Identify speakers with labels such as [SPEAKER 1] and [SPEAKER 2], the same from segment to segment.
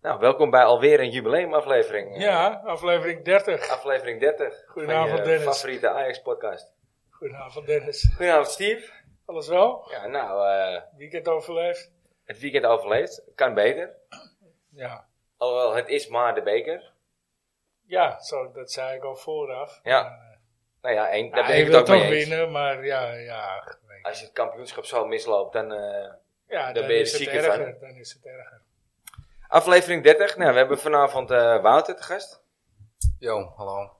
[SPEAKER 1] Nou, welkom bij alweer een jubileumaflevering.
[SPEAKER 2] Ja, aflevering 30.
[SPEAKER 1] Aflevering 30.
[SPEAKER 2] Goedenavond,
[SPEAKER 1] van je
[SPEAKER 2] Dennis.
[SPEAKER 1] favoriete Ajax-podcast.
[SPEAKER 2] Goedenavond Dennis.
[SPEAKER 1] Goedenavond, Steve.
[SPEAKER 2] Alles wel?
[SPEAKER 1] Ja, nou, eh,
[SPEAKER 2] Weekend overleefd?
[SPEAKER 1] het weekend overleefd. Kan beter.
[SPEAKER 2] Ja.
[SPEAKER 1] Alhoewel, het is maar de beker.
[SPEAKER 2] Ja, zo, dat zei ik al vooraf.
[SPEAKER 1] Ja. Nou ja, één, daar
[SPEAKER 2] Ja,
[SPEAKER 1] ben
[SPEAKER 2] je
[SPEAKER 1] ik het
[SPEAKER 2] wil
[SPEAKER 1] ook mee
[SPEAKER 2] toch
[SPEAKER 1] eens.
[SPEAKER 2] winnen, maar ja, ja. weet ik.
[SPEAKER 1] Als je het kampioenschap zo misloopt, dan... eh,
[SPEAKER 2] Ja,
[SPEAKER 1] daar
[SPEAKER 2] dan,
[SPEAKER 1] ben je
[SPEAKER 2] is het
[SPEAKER 1] zieker van.
[SPEAKER 2] erger. Dan is het erger.
[SPEAKER 1] Aflevering 30. Nou, we hebben vanavond eh, Wouter te gast.
[SPEAKER 3] Jo, hallo.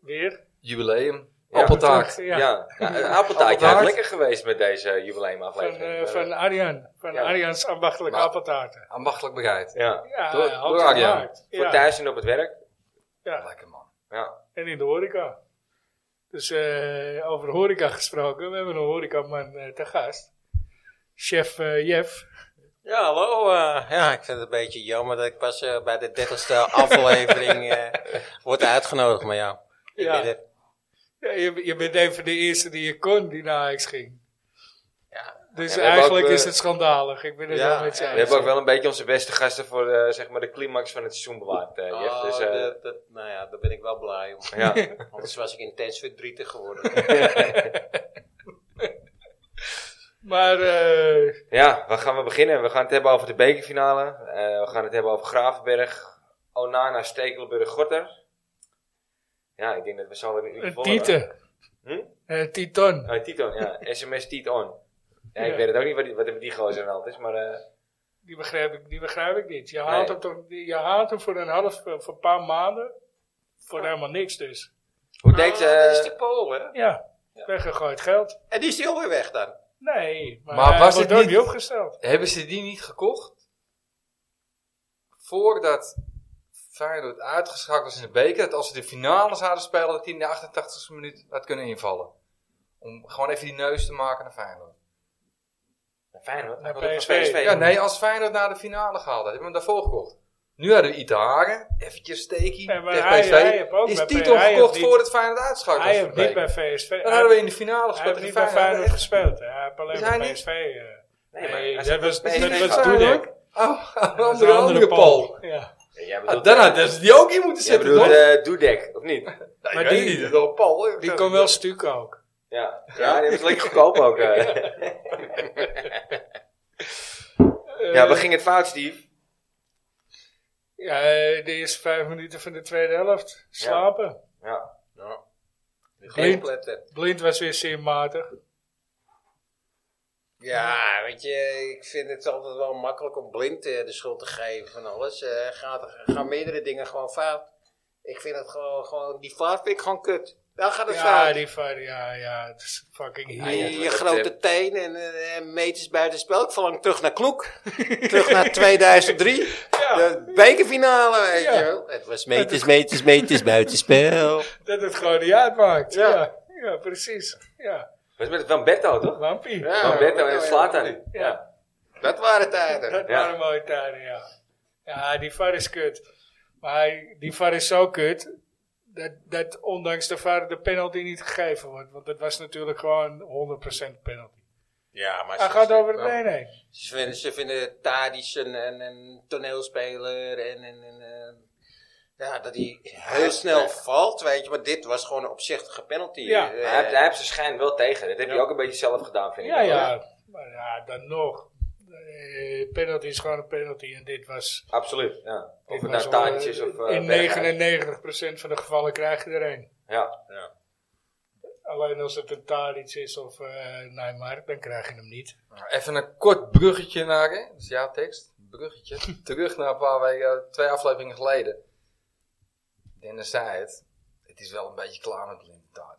[SPEAKER 2] Weer?
[SPEAKER 3] Jubileum.
[SPEAKER 1] Ja.
[SPEAKER 3] Appeltaart.
[SPEAKER 2] Ja.
[SPEAKER 1] ja Nou, een appeltaartje had
[SPEAKER 3] Appeltaart.
[SPEAKER 1] lekker geweest met deze
[SPEAKER 2] Van,
[SPEAKER 1] jubileumaflevering.
[SPEAKER 2] eh
[SPEAKER 1] Maar,
[SPEAKER 2] van Arjan. Van
[SPEAKER 1] Ja.
[SPEAKER 2] Arjans ambachtelijke
[SPEAKER 3] Maar-
[SPEAKER 2] appeltaarten.
[SPEAKER 3] Ambachtelijk bereid.
[SPEAKER 1] ja,
[SPEAKER 2] Ja,
[SPEAKER 3] Door-
[SPEAKER 2] had
[SPEAKER 3] door
[SPEAKER 2] ze
[SPEAKER 3] Arjan.
[SPEAKER 2] gemaakt.
[SPEAKER 1] voor
[SPEAKER 2] Ja.
[SPEAKER 1] thuis en op het werk.
[SPEAKER 2] ja,
[SPEAKER 3] Lekker man.
[SPEAKER 1] Ja,
[SPEAKER 2] en in de horeca. Dus eh, over horeca gesproken. We hebben een horecaman eh te gast. Chef eh, Jeff.
[SPEAKER 4] Ja, hallo. eh, ja, ik vind het een beetje jammer dat ik pas eh, bij de dertigste aflevering eh word uitgenodigd. Maar ja, ik
[SPEAKER 2] Ja.
[SPEAKER 4] weet het.
[SPEAKER 2] Ja, je, je bent een van de eerste die je kon die naar Ajax ging. Ja. Dus
[SPEAKER 1] Ja, we hebben
[SPEAKER 2] eigenlijk
[SPEAKER 1] ook, eh,
[SPEAKER 2] is het schandalig. Ik ben het
[SPEAKER 4] Ja,
[SPEAKER 2] wel met je
[SPEAKER 4] ja,
[SPEAKER 1] we
[SPEAKER 2] eens.
[SPEAKER 1] hebben ook wel een beetje onze beste gasten voor eh, zeg maar de climax van het seizoen bewaard, eh, Jeff.
[SPEAKER 4] Oh,
[SPEAKER 1] dus, eh,
[SPEAKER 4] dat- dat- nou ja, daar ben ik wel blij om.
[SPEAKER 1] ja.
[SPEAKER 4] Anders was ik intens verdrietig geworden.
[SPEAKER 2] Maar eh,
[SPEAKER 1] ja, waar gaan we beginnen? We gaan het hebben over de bekerfinale. Eh, we gaan het hebben over Gravenberg, Onana, Stekelenburg, Gorter. Ja, ik denk dat we zo weer een uur
[SPEAKER 2] een
[SPEAKER 1] vol hebben.
[SPEAKER 2] tieten.
[SPEAKER 1] Hm?
[SPEAKER 2] Een titon.
[SPEAKER 1] Oh, Titon, ja. SMS Titon. Ja, ik
[SPEAKER 2] Ja.
[SPEAKER 1] weet het ook niet wat, die- wat er met die gozer aan de hand is, maar... eh,
[SPEAKER 2] Die begrijp ik, die begrijp ik niet. Je haalt,
[SPEAKER 1] Nee.
[SPEAKER 2] hem toch, je haalt hem voor een half, eh, voor een paar maanden. Voor helemaal niks dus.
[SPEAKER 1] hoe deed...
[SPEAKER 4] Ah, dat is
[SPEAKER 1] eh
[SPEAKER 4] die Pool, hè?
[SPEAKER 2] Ja, weggegooid geld.
[SPEAKER 4] En die is die alweer weg dan.
[SPEAKER 2] Nee, maar,
[SPEAKER 3] Maar
[SPEAKER 2] hij
[SPEAKER 3] was
[SPEAKER 2] wordt
[SPEAKER 3] het
[SPEAKER 2] ook
[SPEAKER 3] niet- Oh,
[SPEAKER 2] niet opgesteld.
[SPEAKER 3] Hebben ze die niet gekocht? Voordat Feyenoord uitgeschakeld was in de beker. Dat als ze de finale zouden spelen, dat hij in de 88e minuut had kunnen invallen. Om gewoon even die neus te maken naar Feyenoord.
[SPEAKER 1] Feyenoord,
[SPEAKER 2] Naar
[SPEAKER 1] hij wilde van
[SPEAKER 2] PSV.
[SPEAKER 1] PSV.
[SPEAKER 3] Ja, nee, als Feyenoord naar de finale gehaald had, hebben we hem daarvoor gekocht. Nu hadden we Itaharen, eventjes steekie,
[SPEAKER 2] Ja, maar
[SPEAKER 3] tegen
[SPEAKER 2] hij-
[SPEAKER 3] PSV.
[SPEAKER 2] hij heeft ook
[SPEAKER 3] is
[SPEAKER 2] bij
[SPEAKER 3] titel
[SPEAKER 2] P- hij
[SPEAKER 3] gekocht
[SPEAKER 2] heeft niet-
[SPEAKER 3] voordat Feyenoord uitschakeld
[SPEAKER 2] Hij
[SPEAKER 3] was in
[SPEAKER 2] heeft
[SPEAKER 3] de
[SPEAKER 2] niet
[SPEAKER 3] beker.
[SPEAKER 2] bij VSV.
[SPEAKER 3] Dan hadden we in de finale
[SPEAKER 2] hij heeft
[SPEAKER 3] gespeeld.
[SPEAKER 2] niet
[SPEAKER 3] in
[SPEAKER 2] bij Feyenoord
[SPEAKER 3] Echt-
[SPEAKER 2] gespeeld. Hij heeft alleen
[SPEAKER 3] Is
[SPEAKER 2] bij
[SPEAKER 3] hij
[SPEAKER 2] PSV.
[SPEAKER 3] niet-
[SPEAKER 2] eh,
[SPEAKER 1] Nee, maar
[SPEAKER 2] Nee,
[SPEAKER 1] hij
[SPEAKER 2] dat
[SPEAKER 1] zat
[SPEAKER 2] was-
[SPEAKER 1] bij
[SPEAKER 2] dat
[SPEAKER 1] PSV.
[SPEAKER 2] was
[SPEAKER 1] Ja,
[SPEAKER 2] toen,
[SPEAKER 3] Feyenoord? Oh,
[SPEAKER 2] dat is
[SPEAKER 3] andere, andere Paul.
[SPEAKER 2] Ja.
[SPEAKER 1] Jij
[SPEAKER 3] Ah,
[SPEAKER 1] bedoelt... eh,
[SPEAKER 3] dan hadden ze die ook in moeten
[SPEAKER 1] Jij
[SPEAKER 3] zetten,
[SPEAKER 1] bedoelt
[SPEAKER 3] toch?
[SPEAKER 1] eh, Dudek, of niet?
[SPEAKER 3] Nee,
[SPEAKER 2] maar
[SPEAKER 3] ik weet
[SPEAKER 2] die-
[SPEAKER 3] niet, dat is wel Paul. hè.
[SPEAKER 2] Die kon wel stukken ook.
[SPEAKER 1] Ja, ja die was lekker goedkoop ook. eh. ja, we gingen het fout, Steve.
[SPEAKER 2] Eh, Ja, eh, de eerste vijf minuten van de tweede helft. Slapen.
[SPEAKER 1] Ja.
[SPEAKER 4] Nou,
[SPEAKER 2] Blind.
[SPEAKER 4] geen pletter.
[SPEAKER 2] Blind was weer zeer matig.
[SPEAKER 4] Ja, weet je, ik vind het altijd wel makkelijk om blind eh, de schuld te geven van alles. Eh gaat, gaan meerdere dingen gewoon fout. Ik vind het gewoon, gewoon die vaart vind ik gewoon kut. Daar gaat het
[SPEAKER 2] Ja,
[SPEAKER 4] fout.
[SPEAKER 2] die var, ja, ja, het is fucking
[SPEAKER 4] Je-
[SPEAKER 2] hier.
[SPEAKER 1] ja,
[SPEAKER 4] je
[SPEAKER 1] dat-
[SPEAKER 4] grote teen en eh, meters buiten spel. Ik verlang terug naar Kloek. terug naar 2003. De bekerfinale, weet
[SPEAKER 2] Ja.
[SPEAKER 4] je wel. Het was meters, meters, meters buiten spel.
[SPEAKER 2] Dat het gewoon niet uitmaakt. Ja,
[SPEAKER 4] Ja.
[SPEAKER 2] ja, precies. Ja,
[SPEAKER 1] Wat is met Van Betto, toch?
[SPEAKER 2] lampie.
[SPEAKER 4] Ja.
[SPEAKER 1] Van Betto en
[SPEAKER 4] Lamberto,
[SPEAKER 1] Slatan.
[SPEAKER 4] ja.
[SPEAKER 1] Ja.
[SPEAKER 4] Dat waren tijden.
[SPEAKER 2] Dat
[SPEAKER 1] Ja.
[SPEAKER 2] waren mooie tijden, ja. Ja, die var is kut. Maar hij- die var is zo kut. Dat, dat ondanks de var de penalty niet gegeven wordt. Want dat was natuurlijk gewoon 100% penalty.
[SPEAKER 4] Ja, maar
[SPEAKER 2] Hij gaat over het been heen.
[SPEAKER 4] Ze vinden, ze vinden Tadic een, een, een toneelspeler en, en, en, eh, ja, dat hij heel snel valt, weet je. Maar dit was gewoon een opzichtige penalty.
[SPEAKER 2] Ja.
[SPEAKER 4] Eh,
[SPEAKER 1] Hij, heeft, hij heeft zijn schijn wel tegen. Dat heb je
[SPEAKER 4] Ja.
[SPEAKER 1] ook een beetje zelf gedaan, vind ik.
[SPEAKER 2] Ja, Oh, ja. Maar ja, dan nog. Eh, penalty is gewoon een penalty. En dit was...
[SPEAKER 1] Absoluut. Ja. Of het
[SPEAKER 2] dit
[SPEAKER 1] nou
[SPEAKER 2] was wel, eh,
[SPEAKER 1] taartjes of... eh,
[SPEAKER 2] in
[SPEAKER 1] Berghuis.
[SPEAKER 2] 99% van de gevallen krijg je er een.
[SPEAKER 1] Ja.
[SPEAKER 2] Alleen als het een Tadic is of eh Neymar, dan krijg je hem niet.
[SPEAKER 3] Nou, Even een kort bruggetje naar, hè? dat is jouw tekst. Bruggetje. Terug naar een paar weken, eh, twee afleveringen geleden. Dennis zei het, het is wel een beetje klaar met Blind Tadic.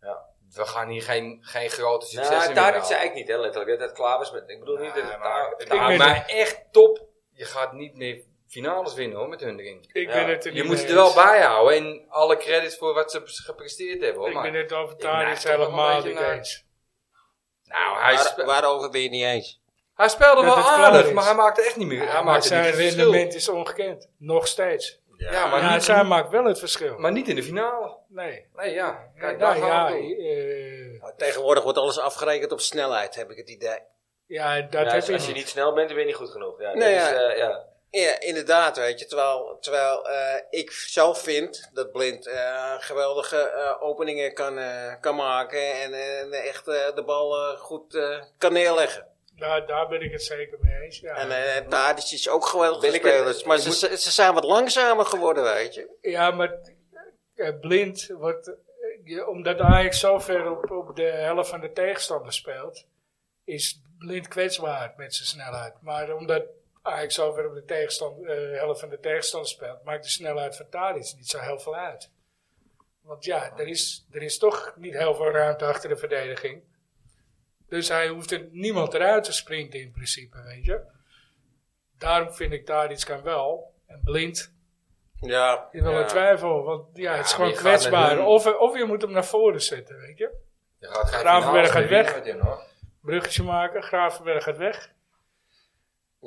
[SPEAKER 1] Ja.
[SPEAKER 3] We gaan hier geen, geen grote successen
[SPEAKER 1] Nou,
[SPEAKER 3] meer halen.
[SPEAKER 1] Tadic zei ik niet, hè, letterlijk. Dat het klaar was met... Ik bedoel niet dat
[SPEAKER 3] Nee,
[SPEAKER 1] het
[SPEAKER 3] maar,
[SPEAKER 1] Tadic-
[SPEAKER 3] nou,
[SPEAKER 2] ben-
[SPEAKER 3] maar echt top. Je gaat niet meer finales winnen hoor, met hun erin.
[SPEAKER 2] Ik
[SPEAKER 1] Ja,
[SPEAKER 2] ben het er
[SPEAKER 3] Je
[SPEAKER 2] niet
[SPEAKER 3] moet
[SPEAKER 2] mee
[SPEAKER 3] het er wel
[SPEAKER 2] eens.
[SPEAKER 3] bij houden en alle credits voor wat ze gepresteerd hebben hoor.
[SPEAKER 2] Ik ben
[SPEAKER 3] Oh, Maar,
[SPEAKER 2] het over
[SPEAKER 3] neig
[SPEAKER 2] Tadic
[SPEAKER 3] toch wel een
[SPEAKER 2] helemaal
[SPEAKER 3] beetje
[SPEAKER 2] niet
[SPEAKER 3] naar-
[SPEAKER 2] eens.
[SPEAKER 3] nou, hij,
[SPEAKER 4] waar,
[SPEAKER 3] spe-
[SPEAKER 4] waarover ben je niet eens?
[SPEAKER 3] hij speelde
[SPEAKER 2] dat
[SPEAKER 3] wel
[SPEAKER 2] het klaar
[SPEAKER 3] aardig,
[SPEAKER 2] is.
[SPEAKER 3] maar hij maakte echt niet meer. hij
[SPEAKER 2] maar
[SPEAKER 3] maakte niet
[SPEAKER 2] zijn
[SPEAKER 3] het verschil.
[SPEAKER 2] rendement is ongekend. Nog steeds.
[SPEAKER 3] Ja, maar,
[SPEAKER 2] Maar ja,
[SPEAKER 3] niet,
[SPEAKER 2] zij maakt wel het verschil.
[SPEAKER 3] maar niet in de finale.
[SPEAKER 2] nee.
[SPEAKER 3] Nee, ja. Kijk, daar
[SPEAKER 2] nou,
[SPEAKER 3] gaan
[SPEAKER 2] ja,
[SPEAKER 3] we door.
[SPEAKER 2] eh,
[SPEAKER 4] Nou, tegenwoordig wordt alles afgerekend op snelheid, heb ik het idee.
[SPEAKER 2] ja, dat
[SPEAKER 1] Ja,
[SPEAKER 2] heb
[SPEAKER 1] als,
[SPEAKER 2] je
[SPEAKER 1] als je
[SPEAKER 2] niet.
[SPEAKER 1] niet snel bent, dan ben je niet goed genoeg. Ja, dat
[SPEAKER 4] Nee,
[SPEAKER 1] is,
[SPEAKER 4] ja.
[SPEAKER 1] eh, ja.
[SPEAKER 4] Ja, inderdaad, weet je. Terwijl, terwijl eh, ik zelf vind dat Blind eh, geweldige eh, openingen kan, eh, kan maken en, en echt eh, de bal eh, goed eh, kan neerleggen.
[SPEAKER 2] Daar, daar ben ik het zeker mee eens. Ja,
[SPEAKER 4] En eh Tadic is ook geweldig
[SPEAKER 1] Ben ik het-
[SPEAKER 4] spelers, maar
[SPEAKER 1] ik
[SPEAKER 4] ze,
[SPEAKER 1] moet-
[SPEAKER 4] ze- ze zijn wat langzamer geworden, weet je.
[SPEAKER 2] ja maar eh, blind wordt. eh, je- omdat Ajax zo ver op, op de helft van de tegenstander speelt, is blind kwetsbaar met zijn snelheid. Maar omdat Ajax zo ver op de tegenstand, eh, helft van de tegenstander speelt, maakt de snelheid van Tadic niet zo heel veel uit. Want ja, er is, er is toch niet heel veel ruimte achter de verdediging. Dus hij hoeft er niemand eruit te sprinten in principe, weet je. Daarom vind ik Tadic kan wel. En blind
[SPEAKER 4] Ja.
[SPEAKER 2] je wel
[SPEAKER 1] Ja.
[SPEAKER 2] een twijfel, want ja, het is
[SPEAKER 3] maar
[SPEAKER 2] gewoon
[SPEAKER 3] je gaat met
[SPEAKER 2] kwetsbaar.
[SPEAKER 3] hun-
[SPEAKER 2] Of, of je moet hem naar voren zetten, weet je.
[SPEAKER 3] Je gaat geen
[SPEAKER 2] Gravenberg
[SPEAKER 3] finales
[SPEAKER 2] gaat
[SPEAKER 3] meer winnen met hem, hoor.
[SPEAKER 2] Bruggetje maken, Gravenberg gaat weg.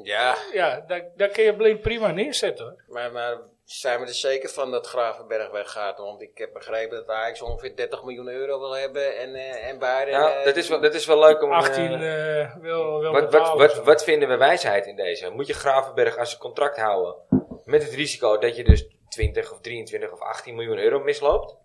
[SPEAKER 4] Ja,
[SPEAKER 2] Ja, daar, daar kun je blind prima neerzetten. hoor.
[SPEAKER 4] maar, maar zijn we er zeker van dat Gravenberg weggaat? Want ik heb begrepen dat Ajax ongeveer 30 miljoen euro wil hebben en, eh en Bayern...
[SPEAKER 1] Nou,
[SPEAKER 4] eh,
[SPEAKER 1] dat is wel, dat is wel leuk om... eh,
[SPEAKER 2] 18 eh, wil, wil
[SPEAKER 1] wat, wat,
[SPEAKER 2] betalen
[SPEAKER 1] wat,
[SPEAKER 2] zo.
[SPEAKER 1] wat vinden we wijsheid in deze? Moet je Gravenberg aan zijn contract houden met het risico dat je dus 20 of 23 of 18 miljoen euro misloopt?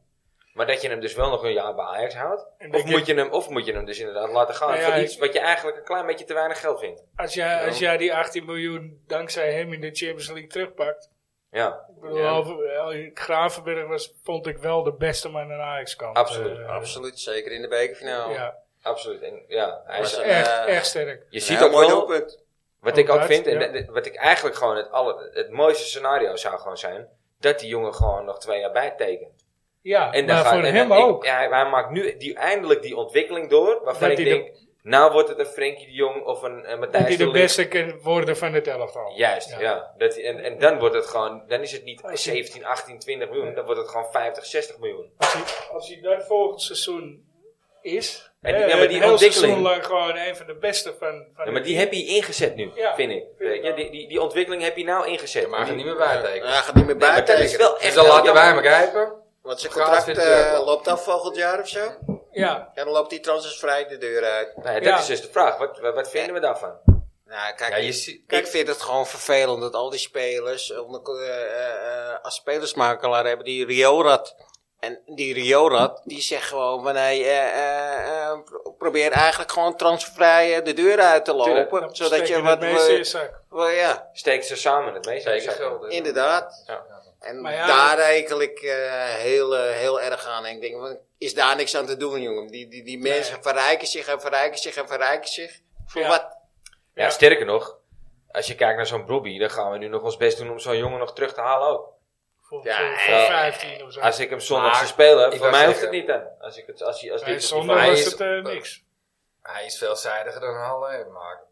[SPEAKER 1] Maar dat je hem dus wel nog een jaar bij Ajax houdt?
[SPEAKER 2] En
[SPEAKER 1] Of
[SPEAKER 2] denk
[SPEAKER 1] moet, je hem, of moet je hem dus inderdaad laten gaan
[SPEAKER 2] Nou ja,
[SPEAKER 1] voor
[SPEAKER 2] ik-
[SPEAKER 1] iets wat je eigenlijk een klein beetje te weinig geld vindt?
[SPEAKER 2] Als jij, als jij die 18 miljoen dankzij hem in de Champions League terugpakt.
[SPEAKER 1] Ja,
[SPEAKER 2] Ik bedoel, over- eh, Gravenberg was, vond ik wel de beste man aan Ajax kant.
[SPEAKER 1] Absoluut,
[SPEAKER 2] eh,
[SPEAKER 4] Absoluut, zeker in de bekerfinale.
[SPEAKER 2] Ja,
[SPEAKER 1] absoluut. En, ja, hij
[SPEAKER 4] Was
[SPEAKER 1] is,
[SPEAKER 4] een,
[SPEAKER 2] echt,
[SPEAKER 4] eh,
[SPEAKER 2] echt sterk.
[SPEAKER 1] je
[SPEAKER 4] een
[SPEAKER 1] ziet
[SPEAKER 4] heel
[SPEAKER 1] ook
[SPEAKER 4] mooi
[SPEAKER 1] wel...
[SPEAKER 4] doelpunt.
[SPEAKER 1] Wat ik ook
[SPEAKER 2] Inderdaad,
[SPEAKER 1] vind, en
[SPEAKER 2] ja.
[SPEAKER 1] dat- dat- wat ik eigenlijk gewoon het, alle, het mooiste scenario zou gewoon zijn, dat die jongen gewoon nog twee jaar bijtekent.
[SPEAKER 2] Ja,
[SPEAKER 1] En dan
[SPEAKER 2] maar
[SPEAKER 1] gaat-
[SPEAKER 2] voor
[SPEAKER 1] en
[SPEAKER 2] hem
[SPEAKER 1] dan- ik-
[SPEAKER 2] ook.
[SPEAKER 1] ja, hij, hij maakt nu die, eindelijk die ontwikkeling door, waarvan
[SPEAKER 2] Dat
[SPEAKER 1] ik
[SPEAKER 2] hij de-
[SPEAKER 1] denk, nou wordt het een Frenkie de Jong of een, eh,
[SPEAKER 2] dat
[SPEAKER 1] Matthijs de
[SPEAKER 2] hij de
[SPEAKER 1] Ligt.
[SPEAKER 2] beste kan worden van het elftal.
[SPEAKER 1] Juist, ja. Dat, hij- en, en dan wordt het gewoon, dan is het niet
[SPEAKER 2] Als je-
[SPEAKER 1] 17, 18, 20 miljoen, dan wordt het gewoon 50, 60 miljoen.
[SPEAKER 2] Als hij, als hij dat volgend seizoen is.
[SPEAKER 1] En
[SPEAKER 2] En
[SPEAKER 1] die- ja, maar
[SPEAKER 2] maar
[SPEAKER 1] die
[SPEAKER 2] die heel
[SPEAKER 1] ontwikkeling-
[SPEAKER 2] seizoen lang gewoon een van de beste van. van
[SPEAKER 1] Ja, maar die heb je ingezet nu,
[SPEAKER 2] Ja.
[SPEAKER 1] vind ik. Weet je, die, die, die ontwikkeling heb je nou ingezet.
[SPEAKER 3] Je mag er niet meer
[SPEAKER 4] Ja,
[SPEAKER 3] bij
[SPEAKER 4] Hij
[SPEAKER 3] tekenen.
[SPEAKER 4] gaat niet meer
[SPEAKER 1] Nee, maar dat is
[SPEAKER 4] bijtekenen.
[SPEAKER 1] wel
[SPEAKER 3] Dus
[SPEAKER 1] echt
[SPEAKER 3] dan
[SPEAKER 1] heel
[SPEAKER 3] laten wij hem
[SPEAKER 1] jammer.
[SPEAKER 3] rijpen.
[SPEAKER 4] Want zijn
[SPEAKER 3] Gaat
[SPEAKER 4] contract
[SPEAKER 3] weer terug,
[SPEAKER 4] eh,
[SPEAKER 3] man.
[SPEAKER 4] loopt af volgend jaar of zo. En
[SPEAKER 2] Ja,
[SPEAKER 4] dan loopt die transfervrij de deur uit.
[SPEAKER 1] Nou ja, dat
[SPEAKER 2] Ja.
[SPEAKER 1] is dus de vraag. Wat, wat, wat vinden we daarvan?
[SPEAKER 4] Nou, kijk,
[SPEAKER 3] Ja, je
[SPEAKER 4] ik-
[SPEAKER 3] ziet-
[SPEAKER 4] ik vind het gewoon vervelend dat al die spelers eh, onder- eh, eh, eh, als spelersmakelaar hebben die Riorat. En die Riorat, die zegt gewoon van hey, eh, eh, eh, pro- probeer eigenlijk gewoon transfervrij eh, de deur uit te lopen.
[SPEAKER 1] Tuurlijk,
[SPEAKER 2] dan
[SPEAKER 4] zodat
[SPEAKER 2] steek
[SPEAKER 4] je
[SPEAKER 2] het
[SPEAKER 4] wat...
[SPEAKER 2] meeste in
[SPEAKER 4] eh,
[SPEAKER 2] je zak.
[SPEAKER 4] wel, ja,
[SPEAKER 1] Steekt ze samen het meeste
[SPEAKER 3] Zeker
[SPEAKER 1] zakken.
[SPEAKER 3] geld. hè.
[SPEAKER 4] inderdaad.
[SPEAKER 3] Ja.
[SPEAKER 4] En
[SPEAKER 2] Maar ja,
[SPEAKER 4] daar rekel ik eh, heel, eh, heel erg aan. En ik denk, van, is daar niks aan te doen, jongen? Die, die, die mensen
[SPEAKER 2] Nee.
[SPEAKER 4] verrijken zich en verrijken zich en verrijken zich. Voor
[SPEAKER 2] Ja.
[SPEAKER 4] wat?
[SPEAKER 1] Ja,
[SPEAKER 2] Ja.
[SPEAKER 1] sterker nog, als je kijkt naar zo'n Bobby, dan gaan we nu nog ons best doen om zo'n jongen nog terug te halen ook.
[SPEAKER 2] Voor,
[SPEAKER 4] Ja,
[SPEAKER 2] voor, voor
[SPEAKER 1] ja.
[SPEAKER 2] 15 of zo.
[SPEAKER 1] Als ik hem zondag
[SPEAKER 3] Maar,
[SPEAKER 1] zou spelen,
[SPEAKER 3] ik
[SPEAKER 1] voor
[SPEAKER 3] wou
[SPEAKER 1] mij hoeft het
[SPEAKER 3] zeggen-
[SPEAKER 1] niet dan. Als ik het, als hij, als
[SPEAKER 2] Nee,
[SPEAKER 1] dit op die
[SPEAKER 2] zonder
[SPEAKER 1] vlak-
[SPEAKER 3] hij
[SPEAKER 2] was
[SPEAKER 3] is-
[SPEAKER 2] het eh, niks.
[SPEAKER 3] Hij is veelzijdiger dan Haller, maar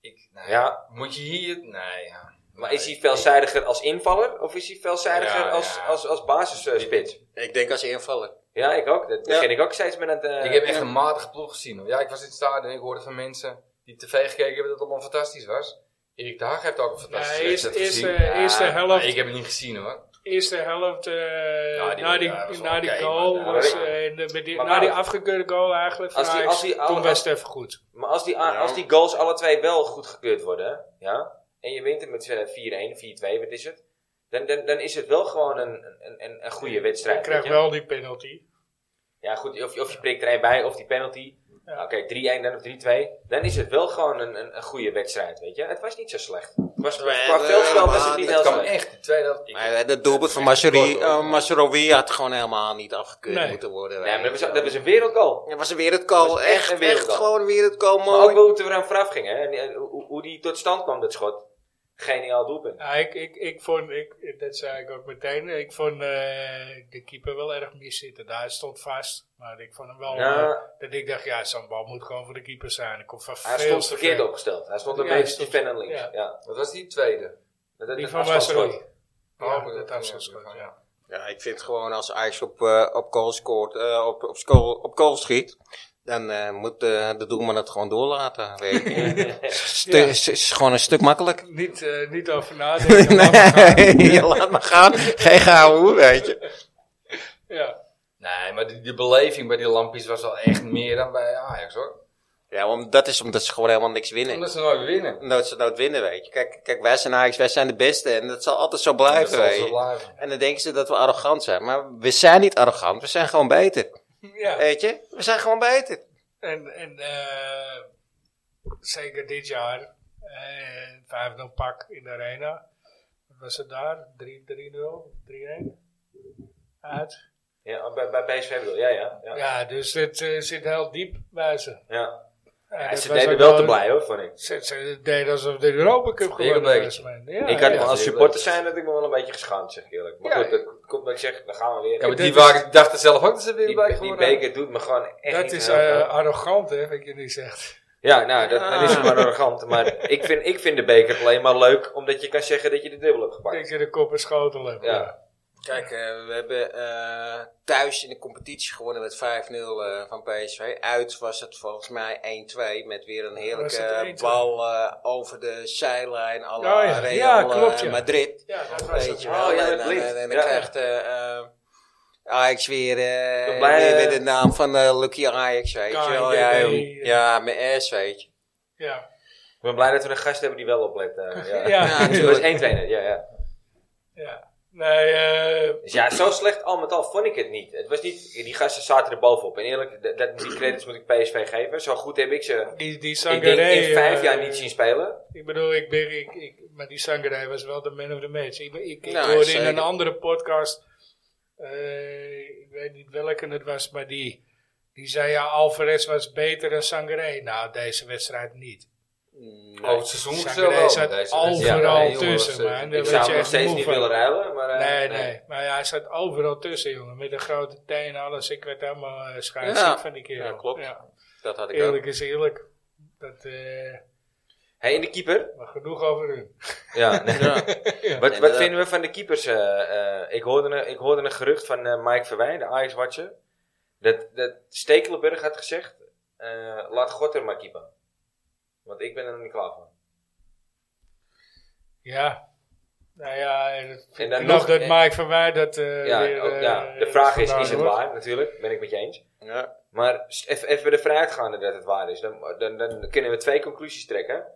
[SPEAKER 3] ik, nee.
[SPEAKER 1] Ja.
[SPEAKER 3] moet je hier, nee, ja.
[SPEAKER 1] Maar is hij veelzijdiger als invaller of is hij veelzijdiger
[SPEAKER 3] Ja,
[SPEAKER 1] als,
[SPEAKER 3] ja.
[SPEAKER 1] als, als basisspits?
[SPEAKER 4] Ik denk als invaller.
[SPEAKER 1] Ja, ik ook. Dat
[SPEAKER 4] Ja.
[SPEAKER 1] begin ik ook steeds met het. eh,
[SPEAKER 3] Ik heb echt een matige ploeg gezien. hoor. Ja, ik was in het stadion en ik hoorde van mensen die tv gekeken hebben dat het allemaal fantastisch was. Erik de Haag heeft ook een fantastische
[SPEAKER 2] Nee, eerst-
[SPEAKER 3] wedstrijd
[SPEAKER 2] eerst,
[SPEAKER 3] gezien.
[SPEAKER 2] eh, eerst de helft.
[SPEAKER 3] Ik heb het niet gezien hoor.
[SPEAKER 2] Eerste helft, eh,
[SPEAKER 3] die-
[SPEAKER 2] na die,
[SPEAKER 3] ja, was
[SPEAKER 2] na die
[SPEAKER 3] oké,
[SPEAKER 2] goal,
[SPEAKER 3] maar daar-
[SPEAKER 2] was, eh, en de- met die-
[SPEAKER 1] Maar
[SPEAKER 2] na die
[SPEAKER 1] Wout-
[SPEAKER 2] afgekeurde goal eigenlijk, van
[SPEAKER 1] Als die-
[SPEAKER 2] Ajax,
[SPEAKER 1] als die-
[SPEAKER 2] toen
[SPEAKER 1] als-
[SPEAKER 2] was het even goed.
[SPEAKER 1] Maar als die, a-
[SPEAKER 4] Ja.
[SPEAKER 1] als die goals alle twee wel goed gekeurd worden, ja, en je wint hem met eh, 4-1, 4-2, wat is het? Dan, dan, dan is het wel gewoon een, een, een, een goede wedstrijd.
[SPEAKER 2] Ik krijg
[SPEAKER 1] weet je?
[SPEAKER 2] wel die penalty.
[SPEAKER 1] Ja, goed, of, of je prikt er een bij, of die penalty.
[SPEAKER 2] Ja.
[SPEAKER 1] Oké, 3-1 dan of 3-2. Dan is het wel gewoon een, een, een goede wedstrijd, weet je. Het was niet zo slecht. Het was,
[SPEAKER 4] Nee,
[SPEAKER 1] qua
[SPEAKER 4] nee,
[SPEAKER 1] veldspel was het
[SPEAKER 4] maar
[SPEAKER 1] niet
[SPEAKER 4] dit
[SPEAKER 1] heel
[SPEAKER 3] Het kwam
[SPEAKER 1] slecht.
[SPEAKER 3] Ah, echt, de tweede helft. ik-
[SPEAKER 4] Maar eh, dat doelpunt van
[SPEAKER 3] tekort, hoor.
[SPEAKER 4] Masserowi had gewoon helemaal niet afgekeurd
[SPEAKER 2] Nee.
[SPEAKER 4] moeten worden.
[SPEAKER 1] Nee, maar dat was,
[SPEAKER 4] weet je.
[SPEAKER 1] dat was een wereldgoal.
[SPEAKER 4] Het was een wereldkool.
[SPEAKER 1] Dat was echt een
[SPEAKER 4] echt, echt,
[SPEAKER 1] wereldgoal.
[SPEAKER 4] gewoon een wereldkool.
[SPEAKER 1] Maar ook
[SPEAKER 4] Mooi.
[SPEAKER 1] wel hoe het er aan vooraf ging, hè. En, eh, hoe, hoe die tot stand kwam, dat schot. Geniaal doelpunt.
[SPEAKER 2] Ja, ik, ik, ik vond, ik, dat zei ik ook meteen, ik vond eh, de keeper wel erg miszitten. Daar stond vast, maar ik vond hem wel...
[SPEAKER 1] Ja.
[SPEAKER 2] eh, dat ik dacht, ja, zo'n bal moet gewoon voor de keeper zijn. Ik kom van
[SPEAKER 1] Nou, Hij
[SPEAKER 2] veel
[SPEAKER 1] stond
[SPEAKER 2] te
[SPEAKER 1] verkeerd
[SPEAKER 2] ver.
[SPEAKER 1] opgesteld. Hij stond een
[SPEAKER 2] Ja, hij
[SPEAKER 1] beetje te
[SPEAKER 2] stond-
[SPEAKER 1] pen en links. Ja.
[SPEAKER 2] ja.
[SPEAKER 3] Wat was die tweede?
[SPEAKER 1] Dat, dat,
[SPEAKER 2] Die
[SPEAKER 1] dat
[SPEAKER 2] van
[SPEAKER 1] afstandsschot.
[SPEAKER 2] Wasseroy.
[SPEAKER 3] Oh,
[SPEAKER 2] Ja, dat
[SPEAKER 3] dat
[SPEAKER 2] afstandsschot,
[SPEAKER 3] ging ook,
[SPEAKER 2] ja.
[SPEAKER 4] Ja, ik vind gewoon als Ajax op, eh, op goal scoort, eh, op, op, goal, op goal schiet, dan eh, moet eh, de doelman het gewoon doorlaten. weet je. Stu-
[SPEAKER 2] Ja.
[SPEAKER 4] is, is gewoon een stuk makkelijker.
[SPEAKER 2] Niet, eh, niet over nadenken. laat maar gaan.
[SPEAKER 4] Nee, je laat maar gaan. Geen gehouden, weet je.
[SPEAKER 2] Ja.
[SPEAKER 3] Nee, maar die, die beleving bij die lampjes was wel echt meer dan bij Ajax hoor.
[SPEAKER 4] Ja, om, dat is omdat ze gewoon helemaal niks winnen.
[SPEAKER 3] Omdat ze nooit winnen.
[SPEAKER 4] Nooit ze nooit winnen, weet je. Kijk, kijk wij zijn Ajax, wij zijn de beste. En dat zal altijd zo blijven,
[SPEAKER 3] Dat zal
[SPEAKER 4] weet
[SPEAKER 3] zo
[SPEAKER 4] je.
[SPEAKER 3] blijven.
[SPEAKER 4] En dan denken ze dat we arrogant zijn. Maar we zijn niet arrogant, we zijn gewoon beter.
[SPEAKER 2] Ja.
[SPEAKER 4] Weet je? We zijn gewoon beter.
[SPEAKER 2] En, en eh, zeker dit jaar, uh, 5-0 pak in de arena. Wat was het daar? 3 3-0, 3-1? Uit.
[SPEAKER 1] Ja, bij, bij PSV bedoel je, ja, ja. Ja, ja.
[SPEAKER 2] Ja, dus het eh, zit heel diep bij ze. Ja, dat
[SPEAKER 1] ze
[SPEAKER 2] was
[SPEAKER 1] deden
[SPEAKER 2] ook
[SPEAKER 1] wel te blij hoor, vond ik.
[SPEAKER 2] Ze, ze deden alsof de Europa Cup
[SPEAKER 3] Weer een
[SPEAKER 2] gewonnen was.
[SPEAKER 3] beetje.
[SPEAKER 2] man. Ja,
[SPEAKER 1] ik had
[SPEAKER 2] ja.
[SPEAKER 1] me als
[SPEAKER 3] zeker.
[SPEAKER 1] supporter zijn dat ik me wel een beetje geschaamd zeg ik eerlijk. Maar
[SPEAKER 2] Ja,
[SPEAKER 1] goed, dat komt dat ik zeg, dan gaan we weer.
[SPEAKER 3] Ja, maar die
[SPEAKER 2] Dit is-
[SPEAKER 3] waren, dachten zelf ook dat ze weer
[SPEAKER 1] die,
[SPEAKER 3] bij
[SPEAKER 1] die,
[SPEAKER 3] geworden
[SPEAKER 2] eh,
[SPEAKER 1] beker doet me gewoon echt
[SPEAKER 2] Dat
[SPEAKER 1] niet
[SPEAKER 2] is
[SPEAKER 1] heel veel.
[SPEAKER 2] eh, arrogant, hè, wat je nu zegt.
[SPEAKER 1] Ja, nou, dat, dat is
[SPEAKER 4] Ah.
[SPEAKER 1] maar arrogant. Maar ik vind, ik vind de beker alleen maar leuk omdat je kan zeggen dat je de dubbel hebt
[SPEAKER 2] Dat
[SPEAKER 1] gepakt.
[SPEAKER 2] je de kop en schotel hebt.
[SPEAKER 1] Ja.
[SPEAKER 4] Kijk, eh, we hebben eh, thuis in de competitie gewonnen met 5-0 eh, van PSV. Uit was het volgens mij 1-2 met weer een heerlijke
[SPEAKER 2] Was het 1-2?
[SPEAKER 4] bal eh, over de zijlijn. Alle
[SPEAKER 2] Oh ja,
[SPEAKER 4] Real
[SPEAKER 2] ja,
[SPEAKER 4] eh,
[SPEAKER 2] klopt, ja.
[SPEAKER 4] Madrid.
[SPEAKER 2] Ja, dat was
[SPEAKER 4] Weet
[SPEAKER 2] het.
[SPEAKER 4] je wel.
[SPEAKER 1] Oh ja,
[SPEAKER 4] en
[SPEAKER 1] met
[SPEAKER 4] dan,
[SPEAKER 1] Blind.
[SPEAKER 4] en dan
[SPEAKER 1] Ja.
[SPEAKER 4] krijgt eh, eh, Ajax weer, eh,
[SPEAKER 1] Ik ben blij,
[SPEAKER 4] weer, weer
[SPEAKER 1] eh,
[SPEAKER 4] de naam van eh, Lucky Ajax, weet je wel. Ja,
[SPEAKER 2] KNVB,
[SPEAKER 4] joh. ja, met S, weet je.
[SPEAKER 2] Ja.
[SPEAKER 1] Ik ben blij dat we een gast hebben die wel oplet. eh, ja.
[SPEAKER 2] Ja.
[SPEAKER 4] Ja,
[SPEAKER 1] Het was
[SPEAKER 4] natuurlijk.
[SPEAKER 1] één trainer, ja, ja.
[SPEAKER 2] ja. Nee, eh,
[SPEAKER 1] Dus ja, zo slecht al met al vond ik het niet. Het was niet, die gasten zaten er bovenop. En eerlijk, dat- dat, die credits moet ik PSV geven. Zo goed heb ik ze,
[SPEAKER 2] die, die
[SPEAKER 1] ik
[SPEAKER 2] Sangaré...
[SPEAKER 1] denk, in vijf
[SPEAKER 2] eh,
[SPEAKER 1] jaar niet zien spelen.
[SPEAKER 2] Ik bedoel, ik ben, ik, ik, maar die Sangaré was wel de man of the match. Ik, ik, ik
[SPEAKER 4] Nou,
[SPEAKER 2] hoorde
[SPEAKER 4] zeker.
[SPEAKER 2] in een andere podcast, eh, ik weet niet welke het was, maar die, die zei ja, Alvarez was beter dan Sangaré. Nou, deze wedstrijd niet.
[SPEAKER 3] Over het seizoen
[SPEAKER 2] Sangaré
[SPEAKER 3] zelf
[SPEAKER 2] zat
[SPEAKER 3] wel. Deze wedstrijd.
[SPEAKER 2] overal
[SPEAKER 1] nee,
[SPEAKER 3] jongen,
[SPEAKER 2] tussen,
[SPEAKER 3] was, eh,
[SPEAKER 2] man. Daar
[SPEAKER 1] Ik
[SPEAKER 2] werd
[SPEAKER 1] zou
[SPEAKER 2] je
[SPEAKER 1] hem nog
[SPEAKER 2] echt
[SPEAKER 1] steeds
[SPEAKER 2] moe
[SPEAKER 1] niet
[SPEAKER 2] van.
[SPEAKER 1] willen ruilen. Maar, eh,
[SPEAKER 2] Nee, nee. Maar ja, hij zat overal tussen, jongen. Met een grote teen en alles. Ik werd helemaal uh,
[SPEAKER 4] Ja.
[SPEAKER 2] van die kerel.
[SPEAKER 4] Ja, klopt.
[SPEAKER 2] Ja.
[SPEAKER 4] Dat had ik ook.
[SPEAKER 2] Eerlijk is eerlijk. Dat, eh,
[SPEAKER 1] Hey, en de keeper?
[SPEAKER 2] maar genoeg over hun.
[SPEAKER 1] Ja, nee.
[SPEAKER 4] Ja.
[SPEAKER 1] Wat, wat
[SPEAKER 4] Inderdaad.
[SPEAKER 1] vinden we van de keepers? eh, eh, ik, hoorde een, ik hoorde een gerucht van eh, Mike Verwijn, de Ajax-watcher. Dat, dat Stekelenburg had gezegd, eh, laat God er maar keepen. Want ik ben er nog niet klaar voor.
[SPEAKER 2] Ja. Nou ja, en het-
[SPEAKER 1] En
[SPEAKER 2] ik
[SPEAKER 1] dan
[SPEAKER 2] geloof
[SPEAKER 1] nog-
[SPEAKER 2] Nou, dat
[SPEAKER 1] en-
[SPEAKER 2] Mike van Wij dat eh,
[SPEAKER 1] Ja,
[SPEAKER 2] weer,
[SPEAKER 1] ook-
[SPEAKER 2] eh,
[SPEAKER 1] ja. De vraag is,
[SPEAKER 2] vandaan
[SPEAKER 1] is het
[SPEAKER 2] wordt.
[SPEAKER 1] waar? Natuurlijk, ben ik met je eens.
[SPEAKER 4] Ja.
[SPEAKER 1] Maar s- even even ervan uitgaande dat het waar is, dan, dan, dan kunnen we twee conclusies trekken.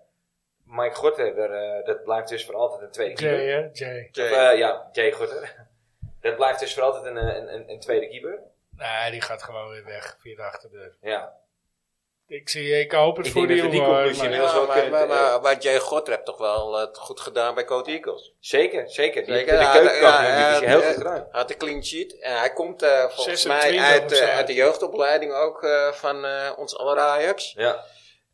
[SPEAKER 1] Mike Gorter, daar, eh, dat blijft dus voor altijd een tweede keeper.
[SPEAKER 2] Jay, hè? Jay.
[SPEAKER 1] Of, eh, ja, Jay Gorter. Dat blijft dus voor altijd een, eh, een, een, een tweede keeper.
[SPEAKER 2] Nee, die gaat gewoon weer weg via de achterdeur.
[SPEAKER 1] Ja.
[SPEAKER 2] Ik, zie, ik hoop het
[SPEAKER 1] Ik
[SPEAKER 2] voor
[SPEAKER 1] denk
[SPEAKER 2] die
[SPEAKER 1] dat we die
[SPEAKER 2] jongen,
[SPEAKER 1] conclusie
[SPEAKER 2] maar-
[SPEAKER 1] wel-
[SPEAKER 4] Ja,
[SPEAKER 1] zou
[SPEAKER 4] maar,
[SPEAKER 1] kunnen,
[SPEAKER 4] maar,
[SPEAKER 1] eh,
[SPEAKER 4] maar, maar Jay Godder heeft toch wel eh, het goed gedaan bij Code Eagles.
[SPEAKER 1] Zeker, zeker. Die
[SPEAKER 4] Zeker,
[SPEAKER 1] heeft
[SPEAKER 4] ja,
[SPEAKER 1] de keukenkampioen
[SPEAKER 4] ja,
[SPEAKER 1] divisie
[SPEAKER 4] ja,
[SPEAKER 1] heel
[SPEAKER 4] ja.
[SPEAKER 1] goed gedaan.
[SPEAKER 4] Hij had een clean sheet. En hij komt eh, volgens
[SPEAKER 2] 26
[SPEAKER 4] mij uit,
[SPEAKER 2] of zo.
[SPEAKER 4] eh, uit de jeugdopleiding ook eh, van eh, ons aller Ajax.
[SPEAKER 1] Ja.